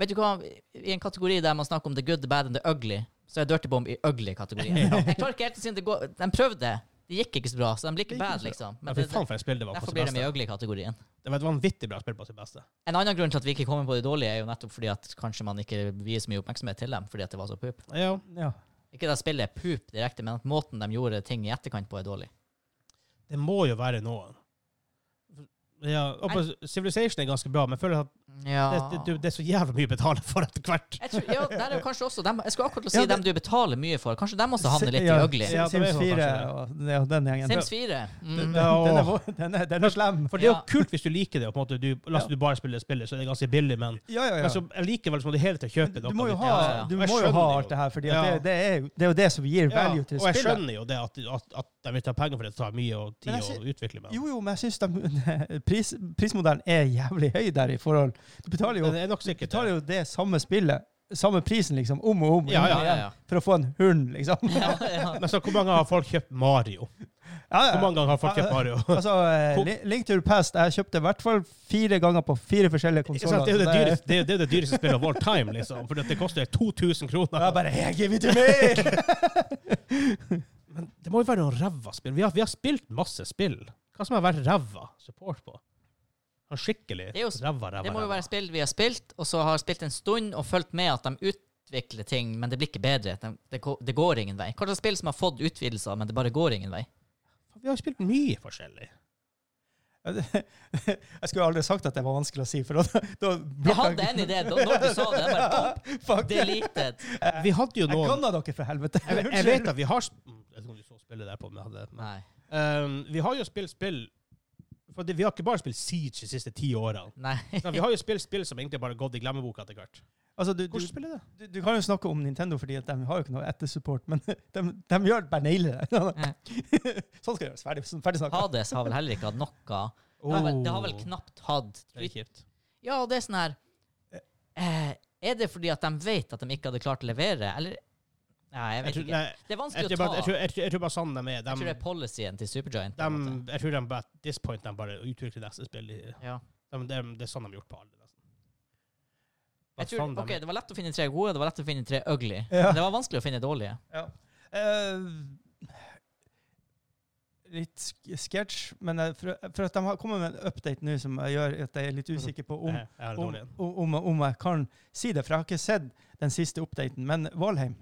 [SPEAKER 2] Vet du hva, i en kategori der man snakker om the good, the bad and the ugly, så er Dirty Bomb i ugly-kategorien. Jeg klarer ikke helt å si om det går De prøvde, det gikk ikke så bra, så de blir ikke
[SPEAKER 1] Det gikk
[SPEAKER 2] bad,
[SPEAKER 1] ikke
[SPEAKER 2] liksom.
[SPEAKER 1] Ja,
[SPEAKER 2] Men
[SPEAKER 1] fy
[SPEAKER 2] det,
[SPEAKER 1] faen for et spill det var på
[SPEAKER 2] derfor
[SPEAKER 1] sitt
[SPEAKER 2] blir de i
[SPEAKER 1] beste.
[SPEAKER 2] ugly-kategorien.
[SPEAKER 1] Det var et vanvittig bra spill på sitt beste.
[SPEAKER 2] En annen grunn til at vi ikke kommer på de dårlige, er jo nettopp fordi at kanskje man ikke vier så mye oppmerksomhet til dem fordi at det var så pup.
[SPEAKER 1] Ja.
[SPEAKER 3] Ja.
[SPEAKER 2] Ikke at spillet er pup direkte, men at måten de gjorde ting i etterkant på, er dårlig.
[SPEAKER 1] Det må jo være noen. Ja, og på Civilization er ganske bra, men jeg føler at
[SPEAKER 2] Ja
[SPEAKER 1] det, det, det, det er så jævlig mye å betale for etter hvert.
[SPEAKER 2] jeg tror, ja, der er jo kanskje også dem, Jeg skulle akkurat til å si
[SPEAKER 3] Ja, det-
[SPEAKER 2] dem du betaler mye for. Kanskje dem også havner litt
[SPEAKER 3] ja,
[SPEAKER 2] i ugly.
[SPEAKER 1] Ja, det
[SPEAKER 3] Sims
[SPEAKER 1] er jo
[SPEAKER 3] 4
[SPEAKER 1] kanskje
[SPEAKER 3] og ja, den gjengen.
[SPEAKER 2] Sims 4. Mm.
[SPEAKER 3] Den, den,
[SPEAKER 1] Ja,
[SPEAKER 3] den, er,
[SPEAKER 1] åh.
[SPEAKER 3] vo- den, er, den er slem.
[SPEAKER 1] For det er jo
[SPEAKER 2] Ja.
[SPEAKER 1] kult hvis du liker det, og på en måte du, la oss
[SPEAKER 3] Ja.
[SPEAKER 1] du bare spiller spillet, så er det ganske billig, men,
[SPEAKER 3] Ja, ja, ja.
[SPEAKER 1] men så likevel så må du hele tiden kjøpe
[SPEAKER 3] Du
[SPEAKER 1] noe.
[SPEAKER 3] må jo
[SPEAKER 1] litt.
[SPEAKER 3] ha,
[SPEAKER 2] Ja, ja, ja.
[SPEAKER 3] du
[SPEAKER 1] Jeg
[SPEAKER 3] må jo ha
[SPEAKER 1] skjønner
[SPEAKER 3] alt
[SPEAKER 1] jo.
[SPEAKER 3] det her, for det,
[SPEAKER 1] Ja.
[SPEAKER 3] det, er jo- det er jo det som gir
[SPEAKER 1] Ja,
[SPEAKER 3] value til
[SPEAKER 1] og jeg
[SPEAKER 3] spillet.
[SPEAKER 1] skjønner jo det at, at, at de vil ta penger for det, det tar mye og tid
[SPEAKER 3] Men jeg
[SPEAKER 1] å utvikle. Men.
[SPEAKER 3] Jo, jo, men jeg syns pris, prismodellen er jævlig høy der i forhold Du betaler jo,
[SPEAKER 1] Men det er nok
[SPEAKER 3] du
[SPEAKER 1] sikkert det.
[SPEAKER 3] betaler jo det samme spillet, samme prisen, liksom, om og om,
[SPEAKER 1] Ja, ja,
[SPEAKER 2] ja, ja.
[SPEAKER 3] for å få en hund, liksom.
[SPEAKER 2] ja, ja.
[SPEAKER 1] Men så hvor mange har folk kjøpt Mario?
[SPEAKER 3] Ja, ja.
[SPEAKER 1] Hvor mange ganger har folk kjøpt
[SPEAKER 3] Ja,
[SPEAKER 1] Mario?
[SPEAKER 3] Altså, eh,
[SPEAKER 1] Hvor-
[SPEAKER 3] Li- Link to the Past, jeg kjøpte i hvert fall fire ganger på fire forskjellige
[SPEAKER 1] Ikke sant? Det er jo
[SPEAKER 3] konsoller.
[SPEAKER 1] det dyreste, det er, jo- det er jo det dyreste spillet of all time, liksom. For det koster 2000 kroner.
[SPEAKER 3] Jeg bare hey, give it to me!
[SPEAKER 1] Men det må jo være noen ræva spill. Vi har, vi har spilt masse spill. Hva som har vært ræva support på? Han skikkelig
[SPEAKER 2] Det er jo-
[SPEAKER 1] ræva, ræva,
[SPEAKER 2] Det må jo
[SPEAKER 1] ræva.
[SPEAKER 2] være spill vi har spilt, og så har spilt en stund og fulgt med at de ut, utvikle ting, men det blir ikke bedre. Det, det, gå- det går ingen vei. Hva slags spill som har fått utvidelser, men det bare går ingen vei?
[SPEAKER 1] Vi har jo spilt mye forskjellig.
[SPEAKER 3] Jeg skulle aldri sagt at det var vanskelig å si, for da, da
[SPEAKER 2] Jeg hadde en idé da når du sa det. Jeg bare pop,
[SPEAKER 3] Fuck.
[SPEAKER 2] deleted.
[SPEAKER 1] Eh, Vi hadde jo
[SPEAKER 3] Jeg
[SPEAKER 1] noen
[SPEAKER 3] ganna dere, for helvete.
[SPEAKER 1] Jeg, jeg vet at vi har sp- Mm, Jeg vet ikke om du så spillet der på, men jeg hadde men-
[SPEAKER 2] Nei.
[SPEAKER 1] Um, Vi har jo spilt spill For det, vi har ikke bare spilt Siege de siste ti årene.
[SPEAKER 2] Nei.
[SPEAKER 1] Sånn, vi har jo spilt spill som egentlig bare har gått i glemmeboka etter hvert.
[SPEAKER 3] Altså, du,
[SPEAKER 1] Hvordan
[SPEAKER 3] du,
[SPEAKER 1] spiller det?
[SPEAKER 3] du, du kan jo snakke om Nintendo, fordi at de har jo ikke noe ettersupport, men de, de gjør bare nailer det. sånn skal det gjøres. Ferdig, ferdig snakka.
[SPEAKER 2] Hades har vel heller ikke hatt noe. Det har vel, det har vel knapt hatt
[SPEAKER 1] Oh. Det er kjipt.
[SPEAKER 2] Ja, og det er sånn her eh, Er det fordi at de vet at de ikke hadde klart å levere, eller Nei, jeg
[SPEAKER 1] Jeg
[SPEAKER 2] vet
[SPEAKER 1] tror,
[SPEAKER 2] ikke.
[SPEAKER 1] nei,
[SPEAKER 2] Det er
[SPEAKER 1] jeg,
[SPEAKER 2] vanskelig
[SPEAKER 1] tror
[SPEAKER 2] å ta.
[SPEAKER 1] bare, jeg, tror, jeg, tror, jeg tror bare sånn de er.
[SPEAKER 2] Jeg tror det
[SPEAKER 1] De,
[SPEAKER 2] er policyen til Supergiant. på en
[SPEAKER 1] de,
[SPEAKER 2] måte.
[SPEAKER 1] jeg tror de bare at this point de bare utvikler neste spill. i-
[SPEAKER 2] Ja.
[SPEAKER 1] De, de, det er sånn de har gjort på alle. nesten. Hva
[SPEAKER 2] Jeg tror,
[SPEAKER 1] faen de
[SPEAKER 2] ok,
[SPEAKER 1] er.
[SPEAKER 2] Det var lett å finne tre gode, det var lett å finne tre ugly.
[SPEAKER 3] Ja.
[SPEAKER 2] Men det var vanskelig å finne dårlige.
[SPEAKER 3] Ja. Eh, litt sk- sketsj, men jeg- for, for at de har kommet med en update nå som jeg gjør at jeg er litt usikker på om,
[SPEAKER 1] Nei, jeg har en
[SPEAKER 3] om,
[SPEAKER 1] dårlig en.
[SPEAKER 3] om, om, om jeg kan si det, for jeg har ikke sett den siste updaten. Men Valheim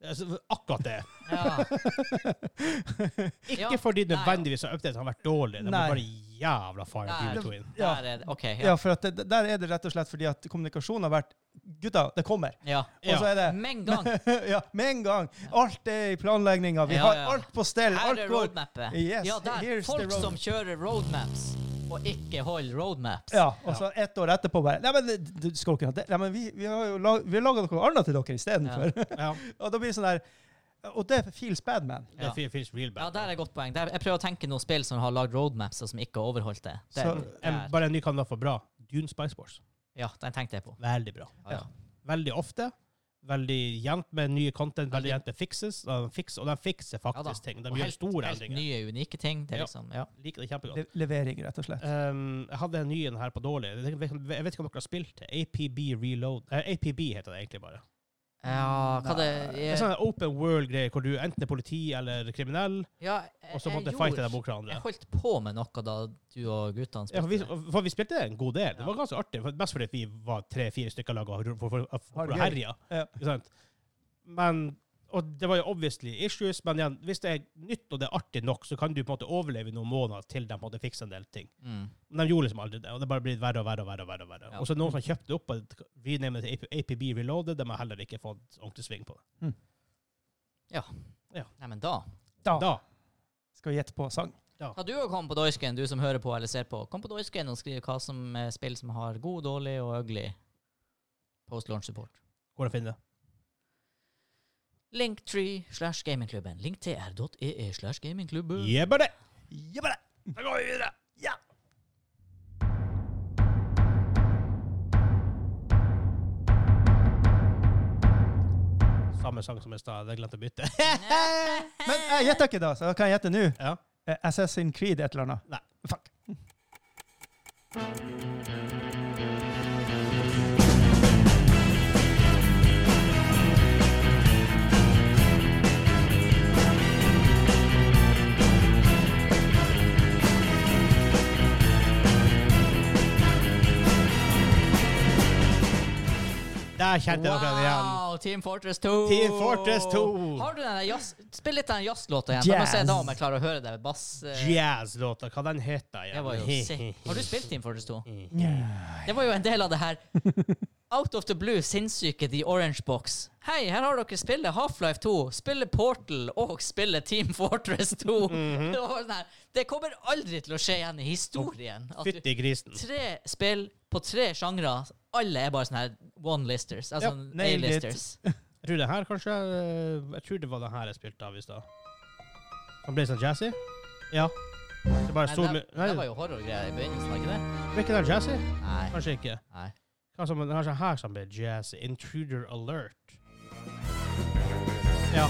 [SPEAKER 1] Altså, akkurat det.
[SPEAKER 2] Ja.
[SPEAKER 1] Ikke
[SPEAKER 2] Ja,
[SPEAKER 1] fordi
[SPEAKER 2] nei.
[SPEAKER 1] nødvendigvis har updaten har vært dårlig. De
[SPEAKER 3] Nei.
[SPEAKER 1] er bare jævla fire
[SPEAKER 2] Nei.
[SPEAKER 1] people to win.
[SPEAKER 3] Ja.
[SPEAKER 2] Der er det. OK.
[SPEAKER 3] ja.
[SPEAKER 2] Ja.
[SPEAKER 3] for at det, Der er det rett og slett fordi at kommunikasjonen har vært Gutta, det kommer!
[SPEAKER 2] ja.
[SPEAKER 3] Og så er det
[SPEAKER 2] Med en gang.
[SPEAKER 3] ja, med en gang. Alt er i planlegginga. Vi
[SPEAKER 2] Ja,
[SPEAKER 3] har
[SPEAKER 2] ja.
[SPEAKER 3] alt på stell.
[SPEAKER 2] Her
[SPEAKER 3] Alt
[SPEAKER 2] er
[SPEAKER 3] går.
[SPEAKER 2] roadmapet.
[SPEAKER 3] Yes,
[SPEAKER 2] ja, der.
[SPEAKER 3] here's the
[SPEAKER 2] Folk
[SPEAKER 3] road.
[SPEAKER 2] som kjører roadmaps, og ikke holder roadmaps.
[SPEAKER 3] Ja, og så ett år etterpå bare Nei, men det- du skal ikke ha det. Nei, men vi, vi har jo lag, vi har laga noe annet til dere istedenfor.
[SPEAKER 1] Ja,
[SPEAKER 3] Og da blir det sånn der Og det feels bad, man.
[SPEAKER 1] det
[SPEAKER 2] Ja.
[SPEAKER 1] fe- feels real bad.
[SPEAKER 2] Ja, der er et godt poeng. Der, jeg prøver å tenke noen spill som har lagd roadmaps, og som ikke har overholdt det. det
[SPEAKER 3] Så,
[SPEAKER 1] En,
[SPEAKER 2] der.
[SPEAKER 1] bare en ny kandidat for bra. Dune Spice Wars.
[SPEAKER 2] Ja, den tenkte jeg på.
[SPEAKER 1] Veldig bra.
[SPEAKER 2] Ja, ja.
[SPEAKER 1] Veldig ofte. Veldig jevnt med nye content.
[SPEAKER 2] Veldig.
[SPEAKER 1] Veldig jevnt med fixes. Og de fikser, og de fikser
[SPEAKER 2] Ja da.
[SPEAKER 1] faktisk ting. De
[SPEAKER 2] Og
[SPEAKER 1] gjør
[SPEAKER 2] helt-
[SPEAKER 1] store
[SPEAKER 2] helt
[SPEAKER 1] endringer.
[SPEAKER 2] nye, unike ting. Det er
[SPEAKER 1] Ja.
[SPEAKER 2] liksom, ja.
[SPEAKER 1] Liker det kjempegodt.
[SPEAKER 3] Le levering, rett og slett.
[SPEAKER 1] Um, jeg hadde en ny en her på dårlig. Jeg vet ikke- jeg vet ikke om dere har spilt det. APB Reload. Eh, APB heter det egentlig bare.
[SPEAKER 2] ja, hva
[SPEAKER 1] Det er
[SPEAKER 2] det
[SPEAKER 1] sånn en open world-greie hvor du enten er politi eller kriminell,
[SPEAKER 2] ja,
[SPEAKER 1] og så
[SPEAKER 2] Eh, jeg-
[SPEAKER 1] måtte
[SPEAKER 2] jeg
[SPEAKER 1] du fighte
[SPEAKER 2] gjorde-
[SPEAKER 1] deg mot hverandre.
[SPEAKER 2] Jeg holdt på med noe da du og guttene
[SPEAKER 1] Ja, for, vi,
[SPEAKER 2] spilte. det.
[SPEAKER 1] for vi spilte en god del.
[SPEAKER 2] Ja.
[SPEAKER 1] Det var ganske artig. For, mest fordi at vi var tre-fire stykker lag og for, for, for,
[SPEAKER 3] Har
[SPEAKER 1] for
[SPEAKER 3] det gøy.
[SPEAKER 1] herja.
[SPEAKER 3] Ja.
[SPEAKER 1] Ikke sant? Men, og det var jo obviously issues, men igjen, hvis det er nytt og det er artig nok, så kan du på en måte overleve i noen måneder til de på en måte fikser en del ting.
[SPEAKER 2] Mm.
[SPEAKER 1] Men de gjorde liksom aldri det, og det bare blir verre og verre. Og verre, og verre, og verre.
[SPEAKER 2] Ja.
[SPEAKER 1] Og så noen som kjøpte opp og renamet til AP- APB Reloaded, de har heller ikke fått ordentlig sving på det.
[SPEAKER 2] Nei, men da
[SPEAKER 3] Da
[SPEAKER 1] Da,
[SPEAKER 3] skal vi gjette på sang.
[SPEAKER 2] Kan du òg komme på Doisken, du som hører på eller ser på. Kom på Doisken og skriv hva som er spill som har god, dårlig og ugly post launch support.
[SPEAKER 1] går det å finne det.
[SPEAKER 2] Linktree slash gamingklubben. Linktr.ee e slash gamingklubben.
[SPEAKER 1] Jebber det!
[SPEAKER 3] Jebbe det! Mm. Da går vi videre. Ja!
[SPEAKER 1] Samme sang som i stad, jeg glemte å bytte.
[SPEAKER 3] Men jeg gjetta ikke da, så da kan jeg gjette nå.
[SPEAKER 1] Ja.
[SPEAKER 3] Eh, Assassin's Creed et eller annet.
[SPEAKER 1] Nei.
[SPEAKER 3] Fuck.
[SPEAKER 1] Der kjente jeg dere igjen.
[SPEAKER 2] Wow, Team Fortress 2!
[SPEAKER 1] Team Fortress 2.
[SPEAKER 2] Har du den der jazz... Spill litt av den jazzlåta igjen. Jeg må
[SPEAKER 3] Jazz.
[SPEAKER 2] se da om jeg klarer å høre det. Bass eh,
[SPEAKER 1] Jazz-låta, hva den heter
[SPEAKER 2] Det var jo sick. Har du spilt Team Fortress 2? Det var jo en del av det her Out of the Blue, sinnssyke The Orange Box. Hei, her har dere spillet Half-Life 2, spillet Portal og spillet Team Fortress 2.
[SPEAKER 1] Mhm.
[SPEAKER 2] det, var sånn her, det kommer aldri til å skje igjen i historien. At du,
[SPEAKER 1] Fytti grisen.
[SPEAKER 2] tre spill på tre sjangre, alle er bare sånne her one-listers. Altså
[SPEAKER 3] Ja, nailed it.
[SPEAKER 2] A-listers.
[SPEAKER 1] Jeg tror det her kanskje eh, Jeg tror det var den her jeg spilte av i stad. Som ble sånn jazzy? Ja. Det bare
[SPEAKER 2] Nei,
[SPEAKER 1] sto
[SPEAKER 2] det,
[SPEAKER 1] med
[SPEAKER 2] det var
[SPEAKER 1] Nei,
[SPEAKER 2] jo horrorgreier i begynnelsen, var ikke det?
[SPEAKER 1] ble ikke den jazzy?
[SPEAKER 2] Nei.
[SPEAKER 1] Kanskje ikke.
[SPEAKER 2] Nei.
[SPEAKER 1] Hva som, det er sånn her som ble jazzy. Intruder alert. Ja.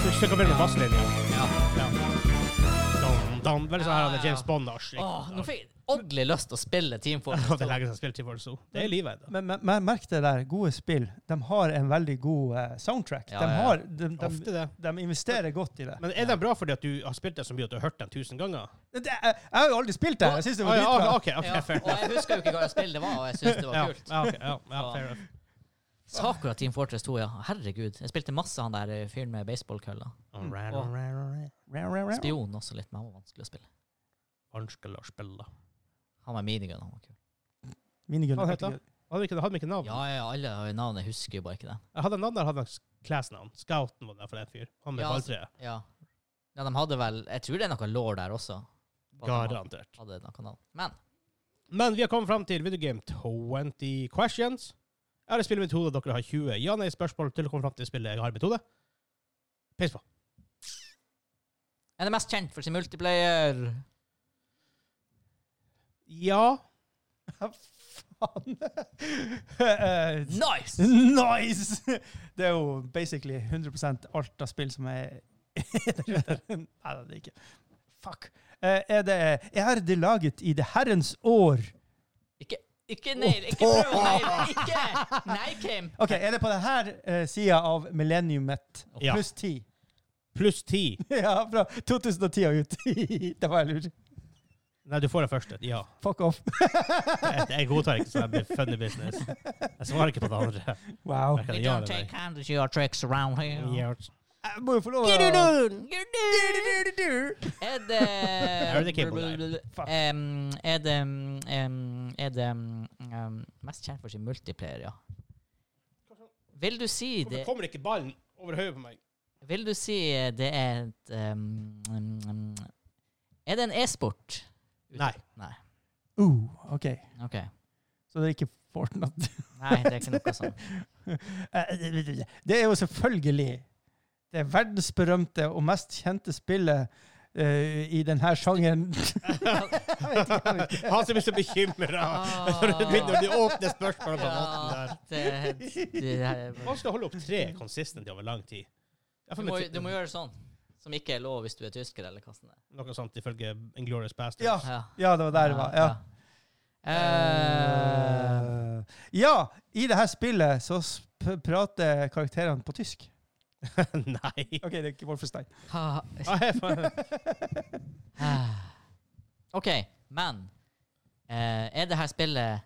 [SPEAKER 1] Du skal begynne med basslinja.
[SPEAKER 2] Ja.
[SPEAKER 1] Ja. Dum, han, veldig sånn her han
[SPEAKER 2] Ja,
[SPEAKER 1] er
[SPEAKER 2] ja.
[SPEAKER 1] James Bond-asj.
[SPEAKER 2] Åh, nå fikk jeg ordentlig lyst til å spille Team Fortress 2.
[SPEAKER 1] Liksom. Det er livet ennå.
[SPEAKER 3] Men, men, men merk det der, gode spill. De har en veldig god eh, soundtrack.
[SPEAKER 2] Ja,
[SPEAKER 3] de,
[SPEAKER 2] ja, ja.
[SPEAKER 3] har, de, de,
[SPEAKER 1] Ofte det.
[SPEAKER 3] de investerer godt i det.
[SPEAKER 1] Men er det bra fordi at du har spilt det så mye at du har hørt den tusen ganger?
[SPEAKER 3] det jeg, jeg har jo aldri spilt det! her. Jeg syns det
[SPEAKER 1] Ah,
[SPEAKER 3] var
[SPEAKER 1] ja,
[SPEAKER 3] dritbra.
[SPEAKER 1] ok, ok,
[SPEAKER 2] Ja,
[SPEAKER 1] fair.
[SPEAKER 2] og jeg husker jo ikke hva spillet var, og jeg syntes det
[SPEAKER 1] Ja,
[SPEAKER 2] var kult.
[SPEAKER 1] ja, ok, ja, ja, fair enough.
[SPEAKER 2] Sakura Team Fortress 2, ja. Herregud. Jeg spilte masse han der eh, fyren med baseballkølla.
[SPEAKER 1] Alright,
[SPEAKER 2] Og-
[SPEAKER 1] alright, alright.
[SPEAKER 3] Rau, rau, rau.
[SPEAKER 2] Spion også litt, men han var vanskelig å spille.
[SPEAKER 1] Vanskelig å spille.
[SPEAKER 2] Han med minigun, han var kul.
[SPEAKER 3] Minigun.
[SPEAKER 1] Hva het det? Hadde vi ikke, hadde vi ikke navn?
[SPEAKER 2] Ja, ja, alle har jo navnet, jeg husker jo bare ikke det.
[SPEAKER 1] Jeg hadde en navn der, hadde jeg class-navn. Scouten var der for en fyr. Han med
[SPEAKER 2] Ja,
[SPEAKER 1] balltreet.
[SPEAKER 2] Ja. ja, de hadde vel Jeg tror det er noe law der også. Bare at de
[SPEAKER 1] Garantert.
[SPEAKER 2] Hadde noe navn. Men
[SPEAKER 1] Men vi har kommet fram til videogame 20 questions. Er det spillet mitt hode dere har 20? Ja, nei, spørsmål til å komme fram til spillet jeg har i mitt hode. Peis på.
[SPEAKER 2] er det mest kjent for sin multiplayer?
[SPEAKER 1] Ja.
[SPEAKER 3] Faen! Eh,
[SPEAKER 2] Nice!
[SPEAKER 3] nice! Det er jo basically 100 alt av spill som er Nei, det er det ikke. Fuck. Eh, er det Er det laget i det herrens år?
[SPEAKER 2] Ikke, ikke nail, ikke prøv å naile. Ikke! Nei, Kim.
[SPEAKER 3] OK, er det på denne uh, sida av millenniumet?
[SPEAKER 1] Ja.
[SPEAKER 3] Pluss 10.
[SPEAKER 1] Pluss ti.
[SPEAKER 3] Ja, fra 2010 og ut. det var jeg lur.
[SPEAKER 1] Nei, du får det første. Ja.
[SPEAKER 3] Fuck off.
[SPEAKER 1] Jeg, jeg godtar ikke sånn her funny business. Jeg svarer ikke på det andre.
[SPEAKER 3] Wow.
[SPEAKER 1] Jeg
[SPEAKER 2] We
[SPEAKER 1] kan ja
[SPEAKER 2] don't
[SPEAKER 1] eller
[SPEAKER 2] take
[SPEAKER 1] nei.
[SPEAKER 2] hand with your tricks around here.
[SPEAKER 1] Ja.
[SPEAKER 3] Jeg må jo få lov
[SPEAKER 2] Gududun, gududun.
[SPEAKER 3] Du-du-du-du-du.
[SPEAKER 2] Er det
[SPEAKER 1] Er det Kim på der?
[SPEAKER 3] Fuck.
[SPEAKER 2] Em, Er det em, Er det em, mest kjent for sin multiplayer, ja. Vil du si det
[SPEAKER 1] Hvorfor kommer ikke ballen over hodet på meg?
[SPEAKER 2] Vil du si det er et um, um, um, Er det en e-sport?
[SPEAKER 1] Nei.
[SPEAKER 2] Nei.
[SPEAKER 3] Uh, OK.
[SPEAKER 2] OK.
[SPEAKER 3] Så det er ikke Fortnite.
[SPEAKER 2] Nei, det er ikke noe sånt.
[SPEAKER 3] Eh, Det er jo selvfølgelig det verdensberømte og mest kjente spillet eh, i denne sjangeren.
[SPEAKER 1] Han som blir så bekymra
[SPEAKER 2] Ah.
[SPEAKER 1] når du begynner å åpne spørsmål på den måten der.
[SPEAKER 2] Ja, det, det er,
[SPEAKER 1] Man skal holde opp tre consistent over lang tid. Jeg
[SPEAKER 2] du,
[SPEAKER 1] får
[SPEAKER 2] må,
[SPEAKER 1] med-
[SPEAKER 2] du må gjøre sånn, som ikke er lov hvis du er tysker, eller hva som det er.
[SPEAKER 1] Noe sånt ifølge Inglorious Bastards.
[SPEAKER 3] Ja.
[SPEAKER 2] Ja.
[SPEAKER 3] Ja, det var der det var. Ah, Ja.
[SPEAKER 2] Eh,
[SPEAKER 3] Eh, ja, i det her spillet så sp prater karakterene på tysk.
[SPEAKER 1] Nei.
[SPEAKER 3] OK, det er ikke Wolfenstein.
[SPEAKER 2] ha- ah.
[SPEAKER 1] Ah, jeg får-
[SPEAKER 2] OK, men eh, er det her spillet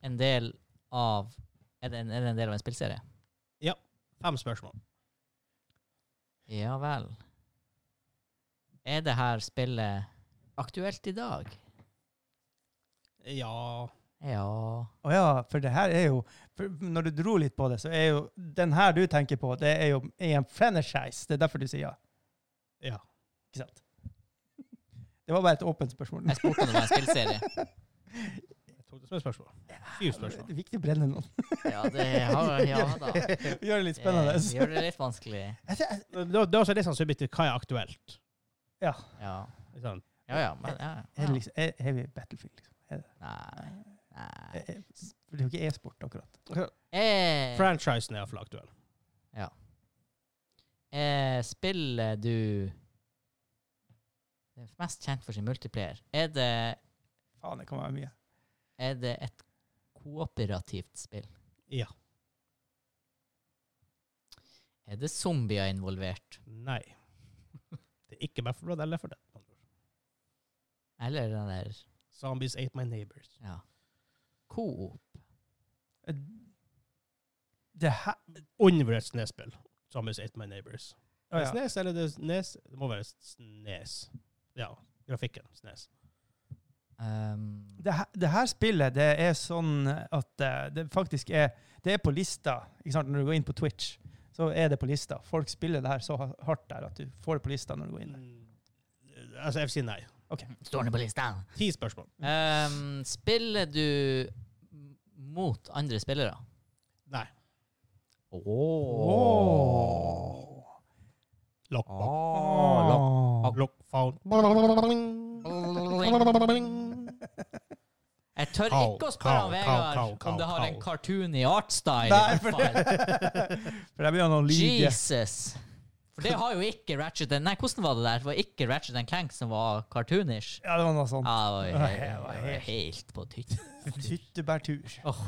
[SPEAKER 2] en del av Er det en, er det en del av en spillserie?
[SPEAKER 1] Fem spørsmål.
[SPEAKER 2] Ja vel. Er det her spillet aktuelt i dag?
[SPEAKER 1] Ja
[SPEAKER 2] Ja
[SPEAKER 3] Å ja, for det her er jo for Når du dro litt på det, så er jo den her du tenker på, det er jo er en franchise. Det er derfor du sier ja.
[SPEAKER 1] Ja.
[SPEAKER 3] Ikke sant? Det var bare et åpent spørsmål.
[SPEAKER 2] Jeg spurte om det var en spillserie.
[SPEAKER 1] Jeg tok det som et spørsmål. Syv spørsmål.
[SPEAKER 3] Det er viktig å brenne noen.
[SPEAKER 2] Ja, det har, ja da.
[SPEAKER 3] Gjør det litt spennende.
[SPEAKER 2] Eh, gjør det litt vanskelig.
[SPEAKER 3] Jeg ser- jeg-
[SPEAKER 1] Da, da også er det sånn subjektivt hva er aktuelt.
[SPEAKER 3] Ja.
[SPEAKER 2] Ja,
[SPEAKER 1] Ikke sant?
[SPEAKER 2] ja. ja, men, ja,
[SPEAKER 3] Er det
[SPEAKER 2] ja.
[SPEAKER 3] liksom, er, er vi Battlefield, liksom? Er det,
[SPEAKER 2] Nei. Nei.
[SPEAKER 3] er, er, for det er jo ikke e-sport, akkurat.
[SPEAKER 2] Eh,
[SPEAKER 1] Franchisen er iallfall aktuell.
[SPEAKER 2] Eh, spiller du Det er mest kjent for sin multiplayer. Er det,
[SPEAKER 3] Faen, det kan være mye.
[SPEAKER 2] er det et kooperativt spill?
[SPEAKER 1] Ja.
[SPEAKER 2] Er det zombier involvert?
[SPEAKER 1] Nei. Det er ikke Baffleblad eller for det.
[SPEAKER 2] Eller den der
[SPEAKER 1] Zombies ate my neighbors.
[SPEAKER 2] Ja. Coop.
[SPEAKER 3] Eh, Det her
[SPEAKER 1] Undervurdert snespill. Zombies ate my neighbors.
[SPEAKER 3] Å ja.
[SPEAKER 1] Snes eller det er Snes? Det må være Snes. Ja. Grafikken. Snes.
[SPEAKER 2] Um,
[SPEAKER 3] det, her, det her spillet, det er sånn at eh, det faktisk er Det er på lista. Ikke sant? Når du går inn på Twitch, så er det på lista. Folk spiller det her så ha- hardt der at du får det på lista når du går inn der.
[SPEAKER 1] Mm, Altså, jeg vil si nei.
[SPEAKER 2] Står det på lista?
[SPEAKER 1] Ti spørsmål.
[SPEAKER 2] Um, spiller du m- mot andre spillere?
[SPEAKER 1] Nei.
[SPEAKER 2] Ååå.
[SPEAKER 1] Lock, lock, lock, found.
[SPEAKER 2] Jeg tør
[SPEAKER 1] Kau,
[SPEAKER 2] ikke å spørre
[SPEAKER 1] kau, kau,
[SPEAKER 2] om Vegard
[SPEAKER 1] kau,
[SPEAKER 2] om det har
[SPEAKER 1] kau.
[SPEAKER 2] en cartoon i artstyle.
[SPEAKER 3] Nei,
[SPEAKER 2] i hvert fall.
[SPEAKER 3] For der begynner han å lyve.
[SPEAKER 2] Jesus. For det har jo ikke Ratchet and- Nei, hvordan var det der? Det var ikke Ratchet and Clank som var cartoonish.
[SPEAKER 3] Ja, det var noe sånt.
[SPEAKER 2] Ja, det var helt,
[SPEAKER 3] Ja, det var
[SPEAKER 2] det var helt på tytt.
[SPEAKER 3] Hyttebærtur.
[SPEAKER 2] Åh.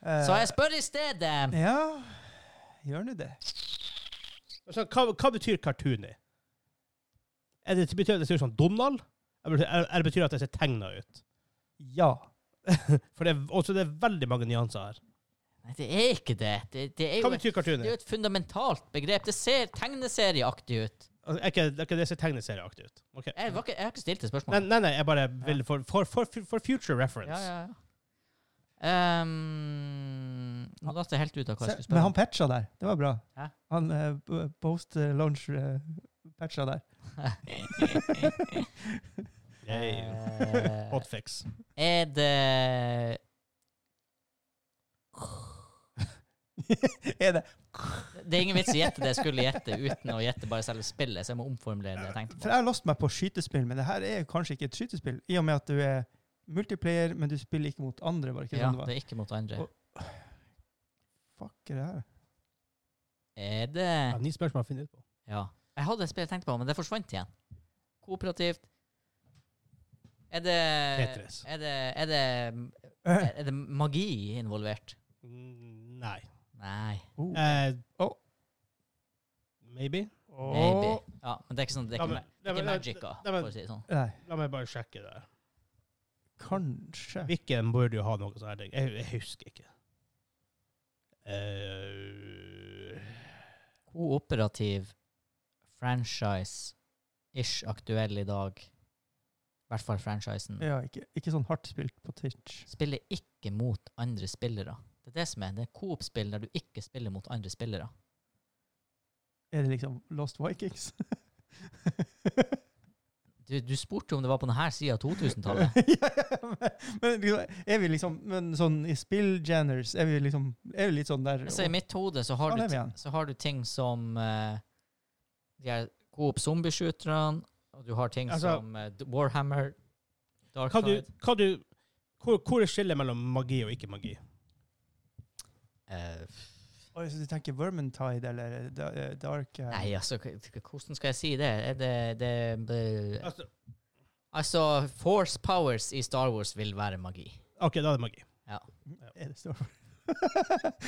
[SPEAKER 3] Eh,
[SPEAKER 2] Så jeg spør i stedet.
[SPEAKER 3] Ja, gjør nå det.
[SPEAKER 1] Altså, hva, hva betyr cartoony? Er det, betyr det at det ser ut som Donald? Eller eller- eller betyr det at det ser tegna ut?
[SPEAKER 3] Ja.
[SPEAKER 1] For det er, også, det er veldig mange nyanser her.
[SPEAKER 2] Nei, det er ikke det. Det, det er
[SPEAKER 1] Hva
[SPEAKER 2] jo et,
[SPEAKER 1] betyr
[SPEAKER 2] det er
[SPEAKER 1] cartoony?
[SPEAKER 2] jo et fundamentalt begrep. Det ser tegneserieaktig ut.
[SPEAKER 1] Altså, er ikke, er ikke det ser tegneserieaktig ut? Ok.
[SPEAKER 2] Jeg, var ikke, jeg har ikke stilt det
[SPEAKER 1] Nei,
[SPEAKER 2] spørsmålet.
[SPEAKER 1] nei, nei, jeg bare vil for, for, for, for future reference.
[SPEAKER 2] Ja, ja, ja. Ehm, nå datt jeg helt ut av hva
[SPEAKER 3] Se,
[SPEAKER 2] jeg skulle
[SPEAKER 3] men
[SPEAKER 2] spørre
[SPEAKER 3] han patcha der. Det var bra.
[SPEAKER 2] Hæ?
[SPEAKER 3] Han eh, post launch eh, patcha der.
[SPEAKER 2] om.
[SPEAKER 1] Yay.
[SPEAKER 2] Eh,
[SPEAKER 1] Hotfix.
[SPEAKER 2] er det
[SPEAKER 3] er det?
[SPEAKER 2] Det er ingen vits i å gjette det jeg skulle gjette, uten å gjette bare selve spillet. Så jeg må omformulere det jeg tenkte
[SPEAKER 3] For
[SPEAKER 2] på.
[SPEAKER 3] jeg har låst meg på skytespill, men det her er kanskje ikke et skytespill, i og med at du er multiplayer, men du spiller ikke mot andre, var det ikke
[SPEAKER 2] Ja,
[SPEAKER 3] sånn det var?
[SPEAKER 2] det er ikke mot andre.
[SPEAKER 3] Fuck er det her?
[SPEAKER 2] Er det
[SPEAKER 1] Ja, ni spørsmål å finne ut på.
[SPEAKER 2] Ja. Jeg hadde et spill jeg tenkte på, men det forsvant igjen. Kooperativt. Er det
[SPEAKER 1] Tetris.
[SPEAKER 2] Er det, er det,
[SPEAKER 3] Eh,
[SPEAKER 2] er det magi involvert?
[SPEAKER 1] Mm, Nei.
[SPEAKER 2] Nei.
[SPEAKER 3] oh.
[SPEAKER 1] Eh,
[SPEAKER 3] Oh.
[SPEAKER 1] Maybe.
[SPEAKER 2] Maybe.
[SPEAKER 3] Åh.
[SPEAKER 2] Ja, men det er ikke sånn Det er
[SPEAKER 1] Ja,
[SPEAKER 2] ikke,
[SPEAKER 1] men-
[SPEAKER 2] ma- det
[SPEAKER 1] ja,
[SPEAKER 2] er ikke
[SPEAKER 1] men-
[SPEAKER 2] magica,
[SPEAKER 1] ja, men-
[SPEAKER 2] for å si det sånn.
[SPEAKER 3] Nei,
[SPEAKER 1] La meg bare sjekke det. her.
[SPEAKER 3] kanskje.
[SPEAKER 1] Hvilken burde jo ha noe sånt? her? Jeg, jeg husker ikke. Eh,
[SPEAKER 2] Kooperativ franchise-ish aktuell i dag. I hvert fall franchisen.
[SPEAKER 3] Ja, ikke, ikke sånn hardt spilt på Twitch.
[SPEAKER 2] Spiller ikke mot andre spillere. Det er det som er. Det er Coop-spill der du ikke spiller mot andre spillere.
[SPEAKER 3] Er det liksom Lost Vikings?
[SPEAKER 2] Du, du spurte jo om det var på denne sida av 2000-tallet.
[SPEAKER 3] ja, ja, men, men liksom, er vi liksom Men sånn i spill-geners, er vi liksom Er vi litt sånn der
[SPEAKER 2] Så I mitt hode så har,
[SPEAKER 3] Ja,
[SPEAKER 2] du,
[SPEAKER 3] det er vi igjen.
[SPEAKER 2] ti- så har du ting som eh, De her Coop zombieskyterne, og du har ting
[SPEAKER 1] Altså-
[SPEAKER 2] som eh, Warhammer, Dark
[SPEAKER 1] hva du,
[SPEAKER 2] Tide
[SPEAKER 1] hva du, hvor, hvor er skillet mellom magi og ikke magi?
[SPEAKER 2] Eh,
[SPEAKER 3] Oi, så du tenker Vermintide eller da- eh, Dark eh,
[SPEAKER 2] Nei, altså, k- k- hvordan skal jeg si det? Er det, det b-
[SPEAKER 1] Altså,
[SPEAKER 2] Altså, force powers i Star Wars vil være magi.
[SPEAKER 1] OK, da er det magi.
[SPEAKER 3] Er det Star Wars?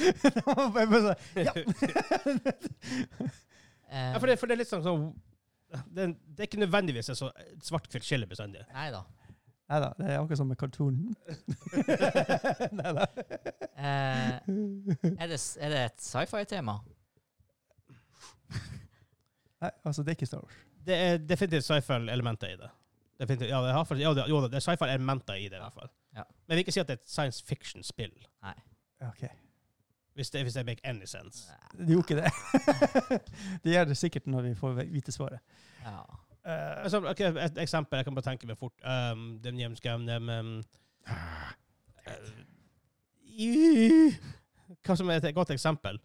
[SPEAKER 3] Det var bare- bare sånn, ja.
[SPEAKER 2] Eh,
[SPEAKER 1] Ja, for, det, for det er litt sånn sånn det, er- det er ikke nødvendigvis et så et svart-hvitt skille bestandig.
[SPEAKER 2] Nei da.
[SPEAKER 3] Nei da, det er akkurat som med cartoonen. Nei da.
[SPEAKER 2] Eh, er, det, s- er det et sci-fi-tema?
[SPEAKER 3] Nei, altså, det er ikke Star Wars.
[SPEAKER 1] Det er definitivt sci-fi-elementer i det. Definitivt, ja, det, har, faktisk- ja, det, jo, da, det er sci-fi-elementer i det, i hvert fall.
[SPEAKER 2] Ja.
[SPEAKER 1] Men jeg vil ikke si at det er et science fiction-spill,
[SPEAKER 3] Ja, OK.
[SPEAKER 1] hvis det, hvis det make any sense.
[SPEAKER 3] Det gjorde ikke det. det gjør det sikkert når vi får vite svaret.
[SPEAKER 2] Ja.
[SPEAKER 3] Eh,
[SPEAKER 1] Altså, ok, et eksempel jeg kan bare tenke meg fort. Um, dem hjemskam, dem um, eh, Hva som er et godt eksempel?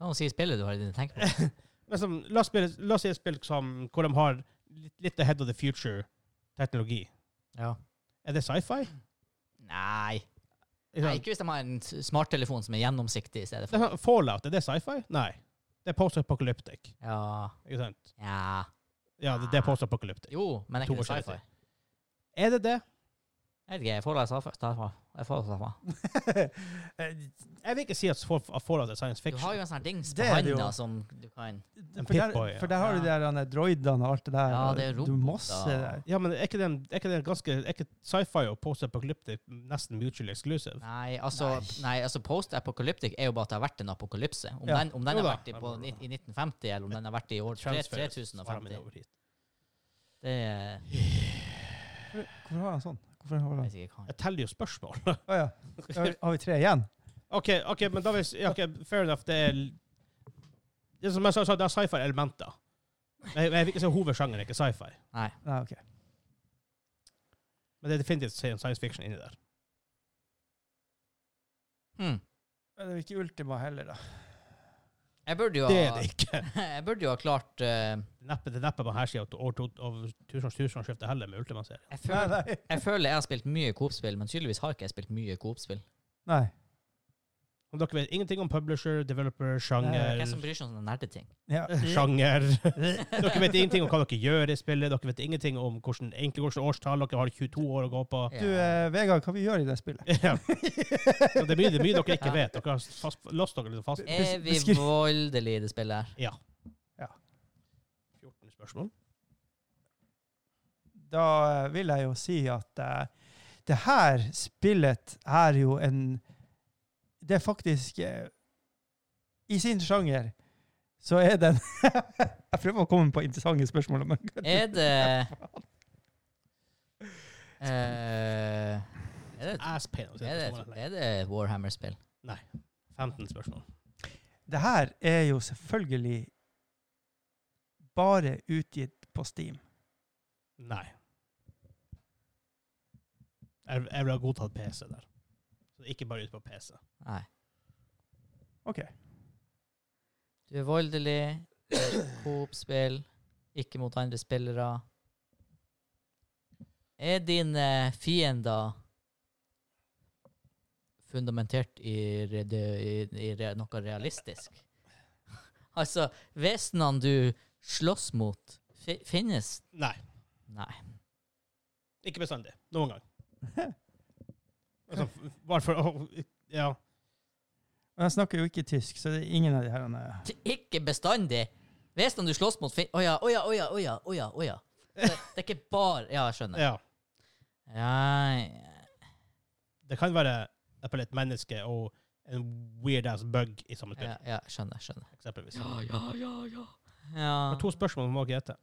[SPEAKER 2] Ta og Si spillet du har i dine tenker på.
[SPEAKER 1] Men som, Liksom, la, oss spille, la oss si et spill som, hvor de har litt, litt ahead of the future-teknologi.
[SPEAKER 2] Ja.
[SPEAKER 1] Er det sci-fi?
[SPEAKER 2] Nei.
[SPEAKER 1] Ikke
[SPEAKER 2] Nei,
[SPEAKER 1] sant?
[SPEAKER 2] ikke hvis de har en s- smarttelefon som er gjennomsiktig i stedet
[SPEAKER 1] Det er
[SPEAKER 2] for
[SPEAKER 1] sånn, Fallout, er det sci-fi? Nei. Det er post-apocalyptic.
[SPEAKER 2] Ja.
[SPEAKER 1] Ikke sant?
[SPEAKER 2] ja.
[SPEAKER 1] Ja, det, det er post-apocalyptic.
[SPEAKER 2] Jo, men er
[SPEAKER 1] To
[SPEAKER 2] ikke det
[SPEAKER 1] forskjellige
[SPEAKER 2] sci-fi?
[SPEAKER 1] Er det det?
[SPEAKER 2] Jeg vet ikke, jeg får det sci-fi. sci-fi. Jeg får det sci-fi.
[SPEAKER 1] Jeg vil ikke si at Fall- at Fallout er science
[SPEAKER 2] Du
[SPEAKER 1] fiction.
[SPEAKER 2] har jo en sånn her dings på
[SPEAKER 3] Det er det jo.
[SPEAKER 2] handa som du kan
[SPEAKER 1] En
[SPEAKER 3] for, der,
[SPEAKER 1] Pip-Boy, ja.
[SPEAKER 3] for der har du de der denne droidene og alt det der.
[SPEAKER 2] Ja, det er
[SPEAKER 3] og du
[SPEAKER 2] roboter.
[SPEAKER 3] masse der.
[SPEAKER 1] Ja, men er ikke, den, er ikke det ganske Er ikke sci-fi og post-apocalyptic nesten mutually exclusive?
[SPEAKER 2] Nei, altså, nei, altså post-apocalyptic er jo bare at det har vært en apokalypse. Om
[SPEAKER 3] Ja.
[SPEAKER 2] den, om den
[SPEAKER 1] Jo
[SPEAKER 2] har
[SPEAKER 1] da.
[SPEAKER 2] vært i, på, ni- i 1950, eller om den har vært i år tre-
[SPEAKER 1] Transfer svarer min
[SPEAKER 2] 3050
[SPEAKER 1] over hit.
[SPEAKER 2] Det er
[SPEAKER 3] Hvor- Hvorfor har han sånn? Hvorfor har
[SPEAKER 2] Jeg
[SPEAKER 3] han?
[SPEAKER 2] vet ikke hva.
[SPEAKER 1] Jeg teller jo spørsmål.
[SPEAKER 3] Å ja. Har vi- Har vi tre igjen?
[SPEAKER 1] OK, ok, men da vil jeg si- ja, ok, fair enough. Det er det er som jeg sa, sa, det er sci-fi-elementer. Men jeg, jeg vil ikke si hovedsjangeren er ikke sci-fi.
[SPEAKER 2] Nei.
[SPEAKER 3] Nei, OK.
[SPEAKER 1] Men det er definitivt science fiction inni der.
[SPEAKER 2] Hm.
[SPEAKER 3] Men Det er ikke Ultima heller, da.
[SPEAKER 2] Jeg burde jo
[SPEAKER 1] Det er
[SPEAKER 2] ha,
[SPEAKER 1] det ikke.
[SPEAKER 2] jeg burde jo ha klart eh,
[SPEAKER 1] Neppe, det er neppe på her siden av år to- av tusenårs- tusenårsskiftet heller med Ultima-serien.
[SPEAKER 2] jeg,
[SPEAKER 3] Nei,
[SPEAKER 2] føler,
[SPEAKER 3] nei.
[SPEAKER 2] jeg føler jeg har spilt mye Coop-spill, men tydeligvis har ikke jeg spilt mye Coop-spill.
[SPEAKER 3] nei.
[SPEAKER 1] Om dere vet ingenting om publisher, developer, sjanger
[SPEAKER 2] Hvem som bryr seg om sånne nerdeting?
[SPEAKER 3] Ja.
[SPEAKER 2] Mm.
[SPEAKER 1] Sjanger. Dere vet ingenting om hva dere gjør i spillet. Dere vet ingenting om hvordan, egentlig hvordan årstall dere har 22 år å gå på.
[SPEAKER 2] Ja.
[SPEAKER 3] Du, eh, Vegard, hva vi gjør i det spillet?
[SPEAKER 1] Ja. Så det er mye, det er mye dere ikke vet. Dere har fast, låst dere litt fast.
[SPEAKER 2] Er vi
[SPEAKER 3] beskriv-
[SPEAKER 2] voldelig i det spillet her?
[SPEAKER 1] Ja.
[SPEAKER 3] Ja.
[SPEAKER 1] 14 spørsmål.
[SPEAKER 3] Da eh, vil jeg jo si at eh, det her spillet er jo en Det er faktisk eh, I sin sjanger så er den Jeg prøver å komme på interessante spørsmål. Men
[SPEAKER 2] Er det Eh, er, det,
[SPEAKER 1] Ass pain.
[SPEAKER 2] er, det, er det Warhammer-spill?
[SPEAKER 1] 15 Sånn, spørsmål.
[SPEAKER 3] det her er jo selvfølgelig bare utgitt på Steam.
[SPEAKER 1] Nei. Jeg, jeg vil ha godtatt PC der. Så ikke bare ut på PC.
[SPEAKER 2] Nei.
[SPEAKER 3] OK.
[SPEAKER 2] Du er voldelig, det er et Coop-spill, ikke mot andre spillere. Er dine fiender fundamentert i, re- det- i, i re- noe realistisk? altså, vesenene du slåss mot, fi- finnes
[SPEAKER 1] Nei.
[SPEAKER 2] Nei.
[SPEAKER 1] Ikke bestandig. Noen gang. Altså, f- bare for å Ja.
[SPEAKER 3] Men jeg snakker jo ikke tysk, så det er ingen av de her eh,
[SPEAKER 2] T- Ikke bestandig! Vesenene du slåss mot, finnes Å ja, å ja, å ja, å ja, å ja, å ja. Det, det er ikke bare Ja, jeg skjønner.
[SPEAKER 1] ja.
[SPEAKER 2] Ja,
[SPEAKER 1] Det kan være eksempel, et menneske og en weird ass bug i samme spill,
[SPEAKER 2] ja, ja skjønner, skjønner.
[SPEAKER 1] eksempelvis.
[SPEAKER 2] Ja, ja, ja, ja.
[SPEAKER 1] Det er
[SPEAKER 2] Ja.
[SPEAKER 1] to spørsmål man må ikke gjette.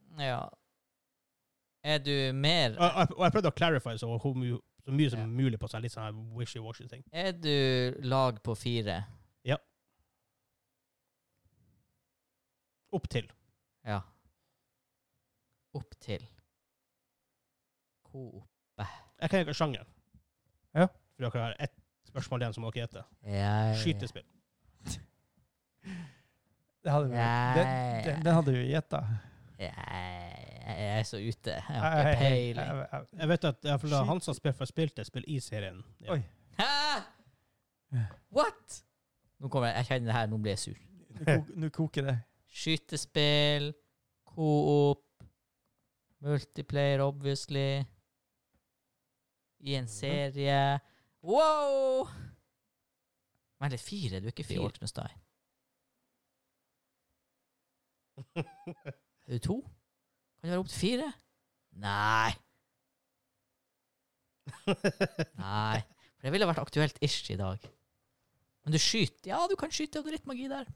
[SPEAKER 2] Er du mer
[SPEAKER 1] Og, og, og jeg prøvde å clarify så, hvor mye- så mye som
[SPEAKER 2] Ja.
[SPEAKER 1] mulig på sånn litt sånn her wishy-washy-ting.
[SPEAKER 2] Er du lag på fire?
[SPEAKER 1] Opp til.
[SPEAKER 2] Ja. Opp til Coop.
[SPEAKER 1] Jeg kan ikke sjangeren.
[SPEAKER 3] Ja.
[SPEAKER 1] For dere har ett spørsmål igjen som dere heter.
[SPEAKER 2] Ja,
[SPEAKER 1] Skytespill.
[SPEAKER 3] det hadde vi,
[SPEAKER 2] Ja,
[SPEAKER 3] den, den, den hadde vi gjetta.
[SPEAKER 2] Ja, jeg er så ute. Jeg har
[SPEAKER 3] Jeg-
[SPEAKER 2] ikke
[SPEAKER 3] jeg-
[SPEAKER 2] peiling.
[SPEAKER 3] jeg- jeg-
[SPEAKER 1] Jeg vet at jeg, for han som spil, for spilte spill i serien ja.
[SPEAKER 3] Oi.
[SPEAKER 2] Hæ? What?! Nå kommer jeg, jeg kjenner det her, nå blir jeg sur.
[SPEAKER 3] nå kok- Nå koker det.
[SPEAKER 2] Skytespill, coop, multiplayer, obviously. I en serie. Wow! Vent litt, fire? Du er ikke fire,
[SPEAKER 1] Fire.
[SPEAKER 2] Knustad? Er du to? Kan det være opp til fire? Nei. Nei. For det ville vært aktuelt ish i dag. Men du skyter. Ja, du kan skyte, og det er litt magi der.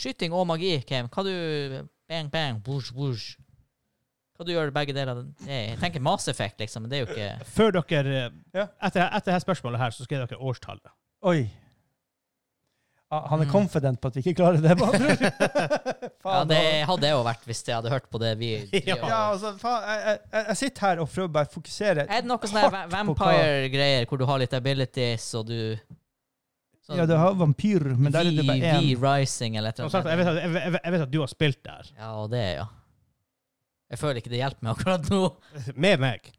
[SPEAKER 2] Skyting og magi, Kim. Hva du Bang, bang, woosh, woosh. Hva du gjør begge deler? Det er- Jeg tenker Mass Effect, liksom, men det er jo ikke
[SPEAKER 1] Før dere eh,
[SPEAKER 3] Ja.
[SPEAKER 1] etter, etter dette spørsmålet her, så skrev dere årstallet.
[SPEAKER 2] Sånn.
[SPEAKER 3] Oi. Ah, han er
[SPEAKER 2] Mm.
[SPEAKER 3] confident på at vi ikke klarer det. bare.
[SPEAKER 2] Ja,
[SPEAKER 3] faen,
[SPEAKER 2] det hadde jeg jo vært hvis jeg hadde hørt på det vi
[SPEAKER 1] Ja.
[SPEAKER 3] ja, altså, faen, jeg, jeg, jeg- jeg sitter her og prøver bare å fokusere.
[SPEAKER 2] Er det noe sånn
[SPEAKER 3] Hardt på
[SPEAKER 2] vampire-greier hvor du har litt abilities, og du sånn
[SPEAKER 3] Ja, du har vampyr, men der er det bare
[SPEAKER 2] V-
[SPEAKER 3] én.
[SPEAKER 2] V-rising eller et
[SPEAKER 1] Som sagt, jeg vet, at, jeg, jeg, jeg vet at du har spilt der.
[SPEAKER 2] Ja, og det, ja. Jeg føler ikke det hjelper meg akkurat nå.
[SPEAKER 1] Med meg.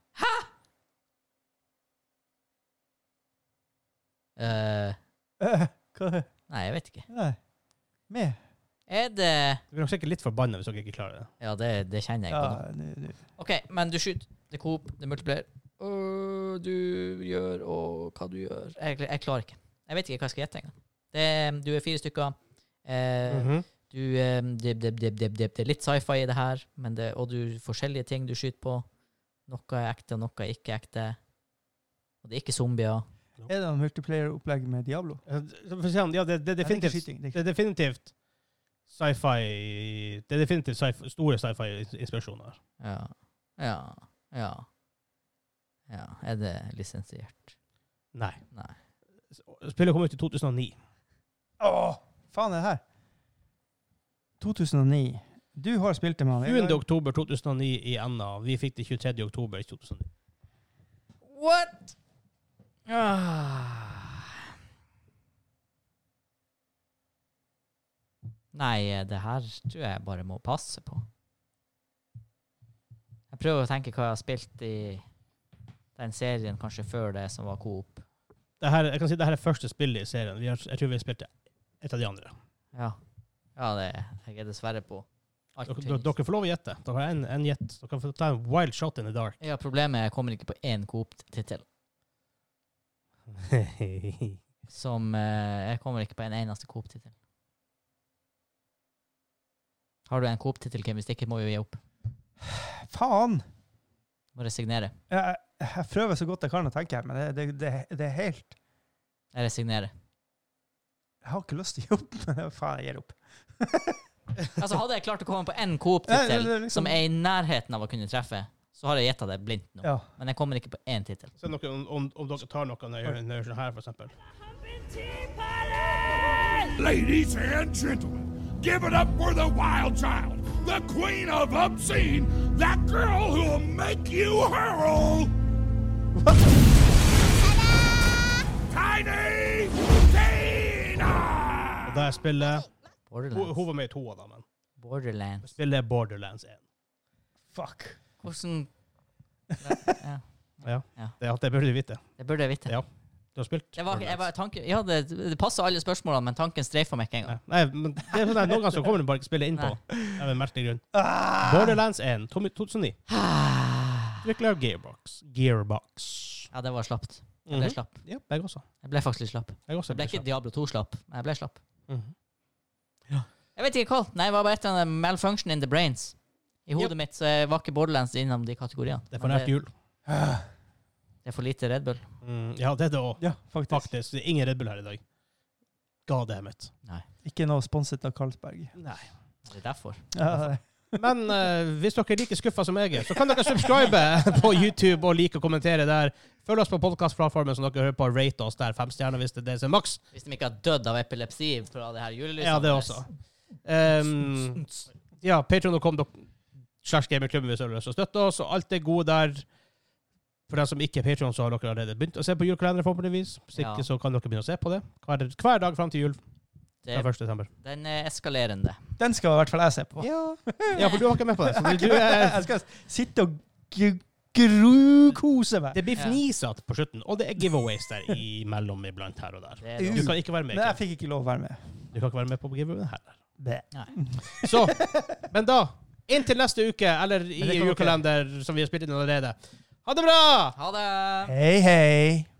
[SPEAKER 2] Eh,
[SPEAKER 3] Eh, hva-
[SPEAKER 2] nei, jeg vet ikke.
[SPEAKER 3] Nei. Med.
[SPEAKER 2] Er det
[SPEAKER 1] Du blir sikkert litt forbanna hvis dere ikke klarer det.
[SPEAKER 2] Ja, det, det kjenner jeg på nå.
[SPEAKER 3] Ja, nu- nu.
[SPEAKER 2] OK, men du skyter. Det er coop, det er multiplier. Øh, du gjør og hva du gjør jeg, jeg klarer ikke. Jeg vet ikke hva jeg skal gjette engang. Det- Du er fire stykker. Eh,
[SPEAKER 1] Mhm.
[SPEAKER 3] Mhm.
[SPEAKER 2] Du, eh, det, det, det, det, det, det er litt sci-fi i det her, men det, og du forskjellige ting du skyter på. Noe er ekte, og noe er ikke ekte. Og det er ikke zombier.
[SPEAKER 3] Er det noe multiplayer-opplegg med Diablo?
[SPEAKER 1] Så får vi se om- Ja, det, det, er
[SPEAKER 3] Nei, det er ikke
[SPEAKER 1] definitivt,
[SPEAKER 3] skyting, det er
[SPEAKER 1] det er definitivt sci-fi Det er definitivt sci store sci-fi-inspirasjoner. her.
[SPEAKER 2] Ja. Ja. Ja. ja. Er det lisensiert?
[SPEAKER 1] Nei.
[SPEAKER 2] Nei.
[SPEAKER 1] Spillet kom ut i 2009.
[SPEAKER 3] ikke- Åh, faen er det her? 2009. Du har spilt det med han.
[SPEAKER 1] 20. oktober 2009 i NA. Vi fikk det 23. oktober i 2009.
[SPEAKER 2] What?! Ah. Nei, eh, det her tror jeg bare må passe på. Jeg prøver å tenke hva jeg har spilt i den serien kanskje før det som var Coop.
[SPEAKER 1] det her, jeg kan si det her er første spillet i serien. Vi har, jeg tror vi har spilt et av de andre.
[SPEAKER 2] Ja, ja det er jeg er dessverre på. alt
[SPEAKER 1] Dere,
[SPEAKER 2] tynt.
[SPEAKER 1] dere får lov å gjette. Dere har en, en gjett. Dere kan få ta en wild shot in the dark.
[SPEAKER 2] Ja, problemet er jeg kommer ikke på én Coop-tittel. Som eh, Jeg kommer ikke på en eneste Coop-tittel. Har du en Coop-tittel, Kim? Hvis ikke må vi jo gi opp.
[SPEAKER 3] Faen!
[SPEAKER 2] Må resignere.
[SPEAKER 3] Jeg, jeg prøver så godt jeg kan å tenke, men det, det, det, det er helt
[SPEAKER 2] Jeg resignerer.
[SPEAKER 3] Jeg har ikke lyst til å gi opp, men faen, jeg gir opp.
[SPEAKER 2] Altså, hadde jeg klart å komme på én
[SPEAKER 3] Ja, det
[SPEAKER 2] Coop-tittel
[SPEAKER 3] er liksom-
[SPEAKER 2] som er i nærheten av å kunne treffe, så har jeg gjetta det blindt nå.
[SPEAKER 3] Ja.
[SPEAKER 2] Men jeg kommer ikke på én tittel.
[SPEAKER 1] Se noe, om, om, om dere tar noe når jeg gjør- når jeg gjør sånn her, for eksempel.
[SPEAKER 4] Ladies and gentlemen, give it up for the wild child, the queen of obscene, that girl who'll make you hurl. Tiny Tina!
[SPEAKER 1] Og der spiller hun, hun
[SPEAKER 2] Borderlands.
[SPEAKER 1] var med i to av dem, men
[SPEAKER 2] Borderlands.
[SPEAKER 1] spiller Borderlands 1.
[SPEAKER 3] Fuck.
[SPEAKER 2] Hvordan ja.
[SPEAKER 1] Det, det burde du vite.
[SPEAKER 2] Det burde jeg vite.
[SPEAKER 1] Ja. Du har spilt
[SPEAKER 2] Det var, jeg
[SPEAKER 1] Borderlands.
[SPEAKER 2] bare, tanken, ja, det, det passer alle spørsmålene, men tanken streifa meg ikke engang.
[SPEAKER 1] Ja. Nei, men det er sånn at noen ganger så kommer du bare ikke spille inn på. Av en merkelig grunn. Borderlands 1, 2009. Utvikler av Gearbox. Gearbox.
[SPEAKER 2] Ah. Ja, det var slapt. Jeg ble
[SPEAKER 1] Mhm.
[SPEAKER 2] slapp.
[SPEAKER 1] Ja, jeg også.
[SPEAKER 2] Jeg ble faktisk litt slapp.
[SPEAKER 1] Jeg også
[SPEAKER 2] Jeg ble ikke Diablo 2-slapp, men jeg ble slapp.
[SPEAKER 1] Mhm.
[SPEAKER 2] Jeg vet ikke hva. Nei, det var bare et eller annet malfunction in the brains. I hodet mitt så var ikke Borderlands innom de kategoriene.
[SPEAKER 1] Det er for
[SPEAKER 2] Men
[SPEAKER 1] nært jul.
[SPEAKER 2] Det er for lite Red Bull.
[SPEAKER 1] Mm, ja, det er det òg.
[SPEAKER 3] Ja, faktisk.
[SPEAKER 1] Faktisk. Det er ingen Red Bull her i dag. God damn it.
[SPEAKER 3] Ikke noe sponset av Carlsberg.
[SPEAKER 1] Nei.
[SPEAKER 2] Det er derfor.
[SPEAKER 3] Ja,
[SPEAKER 1] Men eh, hvis dere er like skuffa som jeg er, så kan dere subscribe på YouTube og like og kommentere der. Følg oss på podkastplattformen som dere hører på. Rate oss der. Fem stjerner hvis det er det som er maks.
[SPEAKER 2] Hvis de ikke har dødd av epilepsi fra det her julelyset.
[SPEAKER 1] Ja, det også. Um, ja, patreon.com slash gamingklubben hvis dere har lyst til å støtte oss, og alt er gode der. For dem som ikke er Patreon, så har dere allerede begynt å se på julekalenderen, forhåpentligvis. Hvis ikke,
[SPEAKER 2] Ja.
[SPEAKER 1] så kan dere begynne å se på det hver, hver dag fram til jul.
[SPEAKER 2] Det,
[SPEAKER 1] Fra 1. desember.
[SPEAKER 2] den er eskalerende.
[SPEAKER 3] Den skal i hvert fall jeg se på.
[SPEAKER 1] Ja. for du var ikke med på det. Så du, du er,
[SPEAKER 3] Jeg skal sitte og gru- grukose meg.
[SPEAKER 1] det blir fnisete på slutten, og det er giveaways der imellom iblant her og der.
[SPEAKER 2] Det er
[SPEAKER 1] Du kan ikke være med.
[SPEAKER 3] Men jeg
[SPEAKER 1] Kim.
[SPEAKER 3] fikk ikke lov å være med.
[SPEAKER 1] Du kan ikke være med på giveawayen her.
[SPEAKER 3] Bæ.
[SPEAKER 1] Så, men da, inntil neste uke, eller i
[SPEAKER 3] det kan dere-
[SPEAKER 1] julekalender, som vi har spilt inn allerede. Ha det bra!
[SPEAKER 2] Ha det!
[SPEAKER 3] Hei, hei.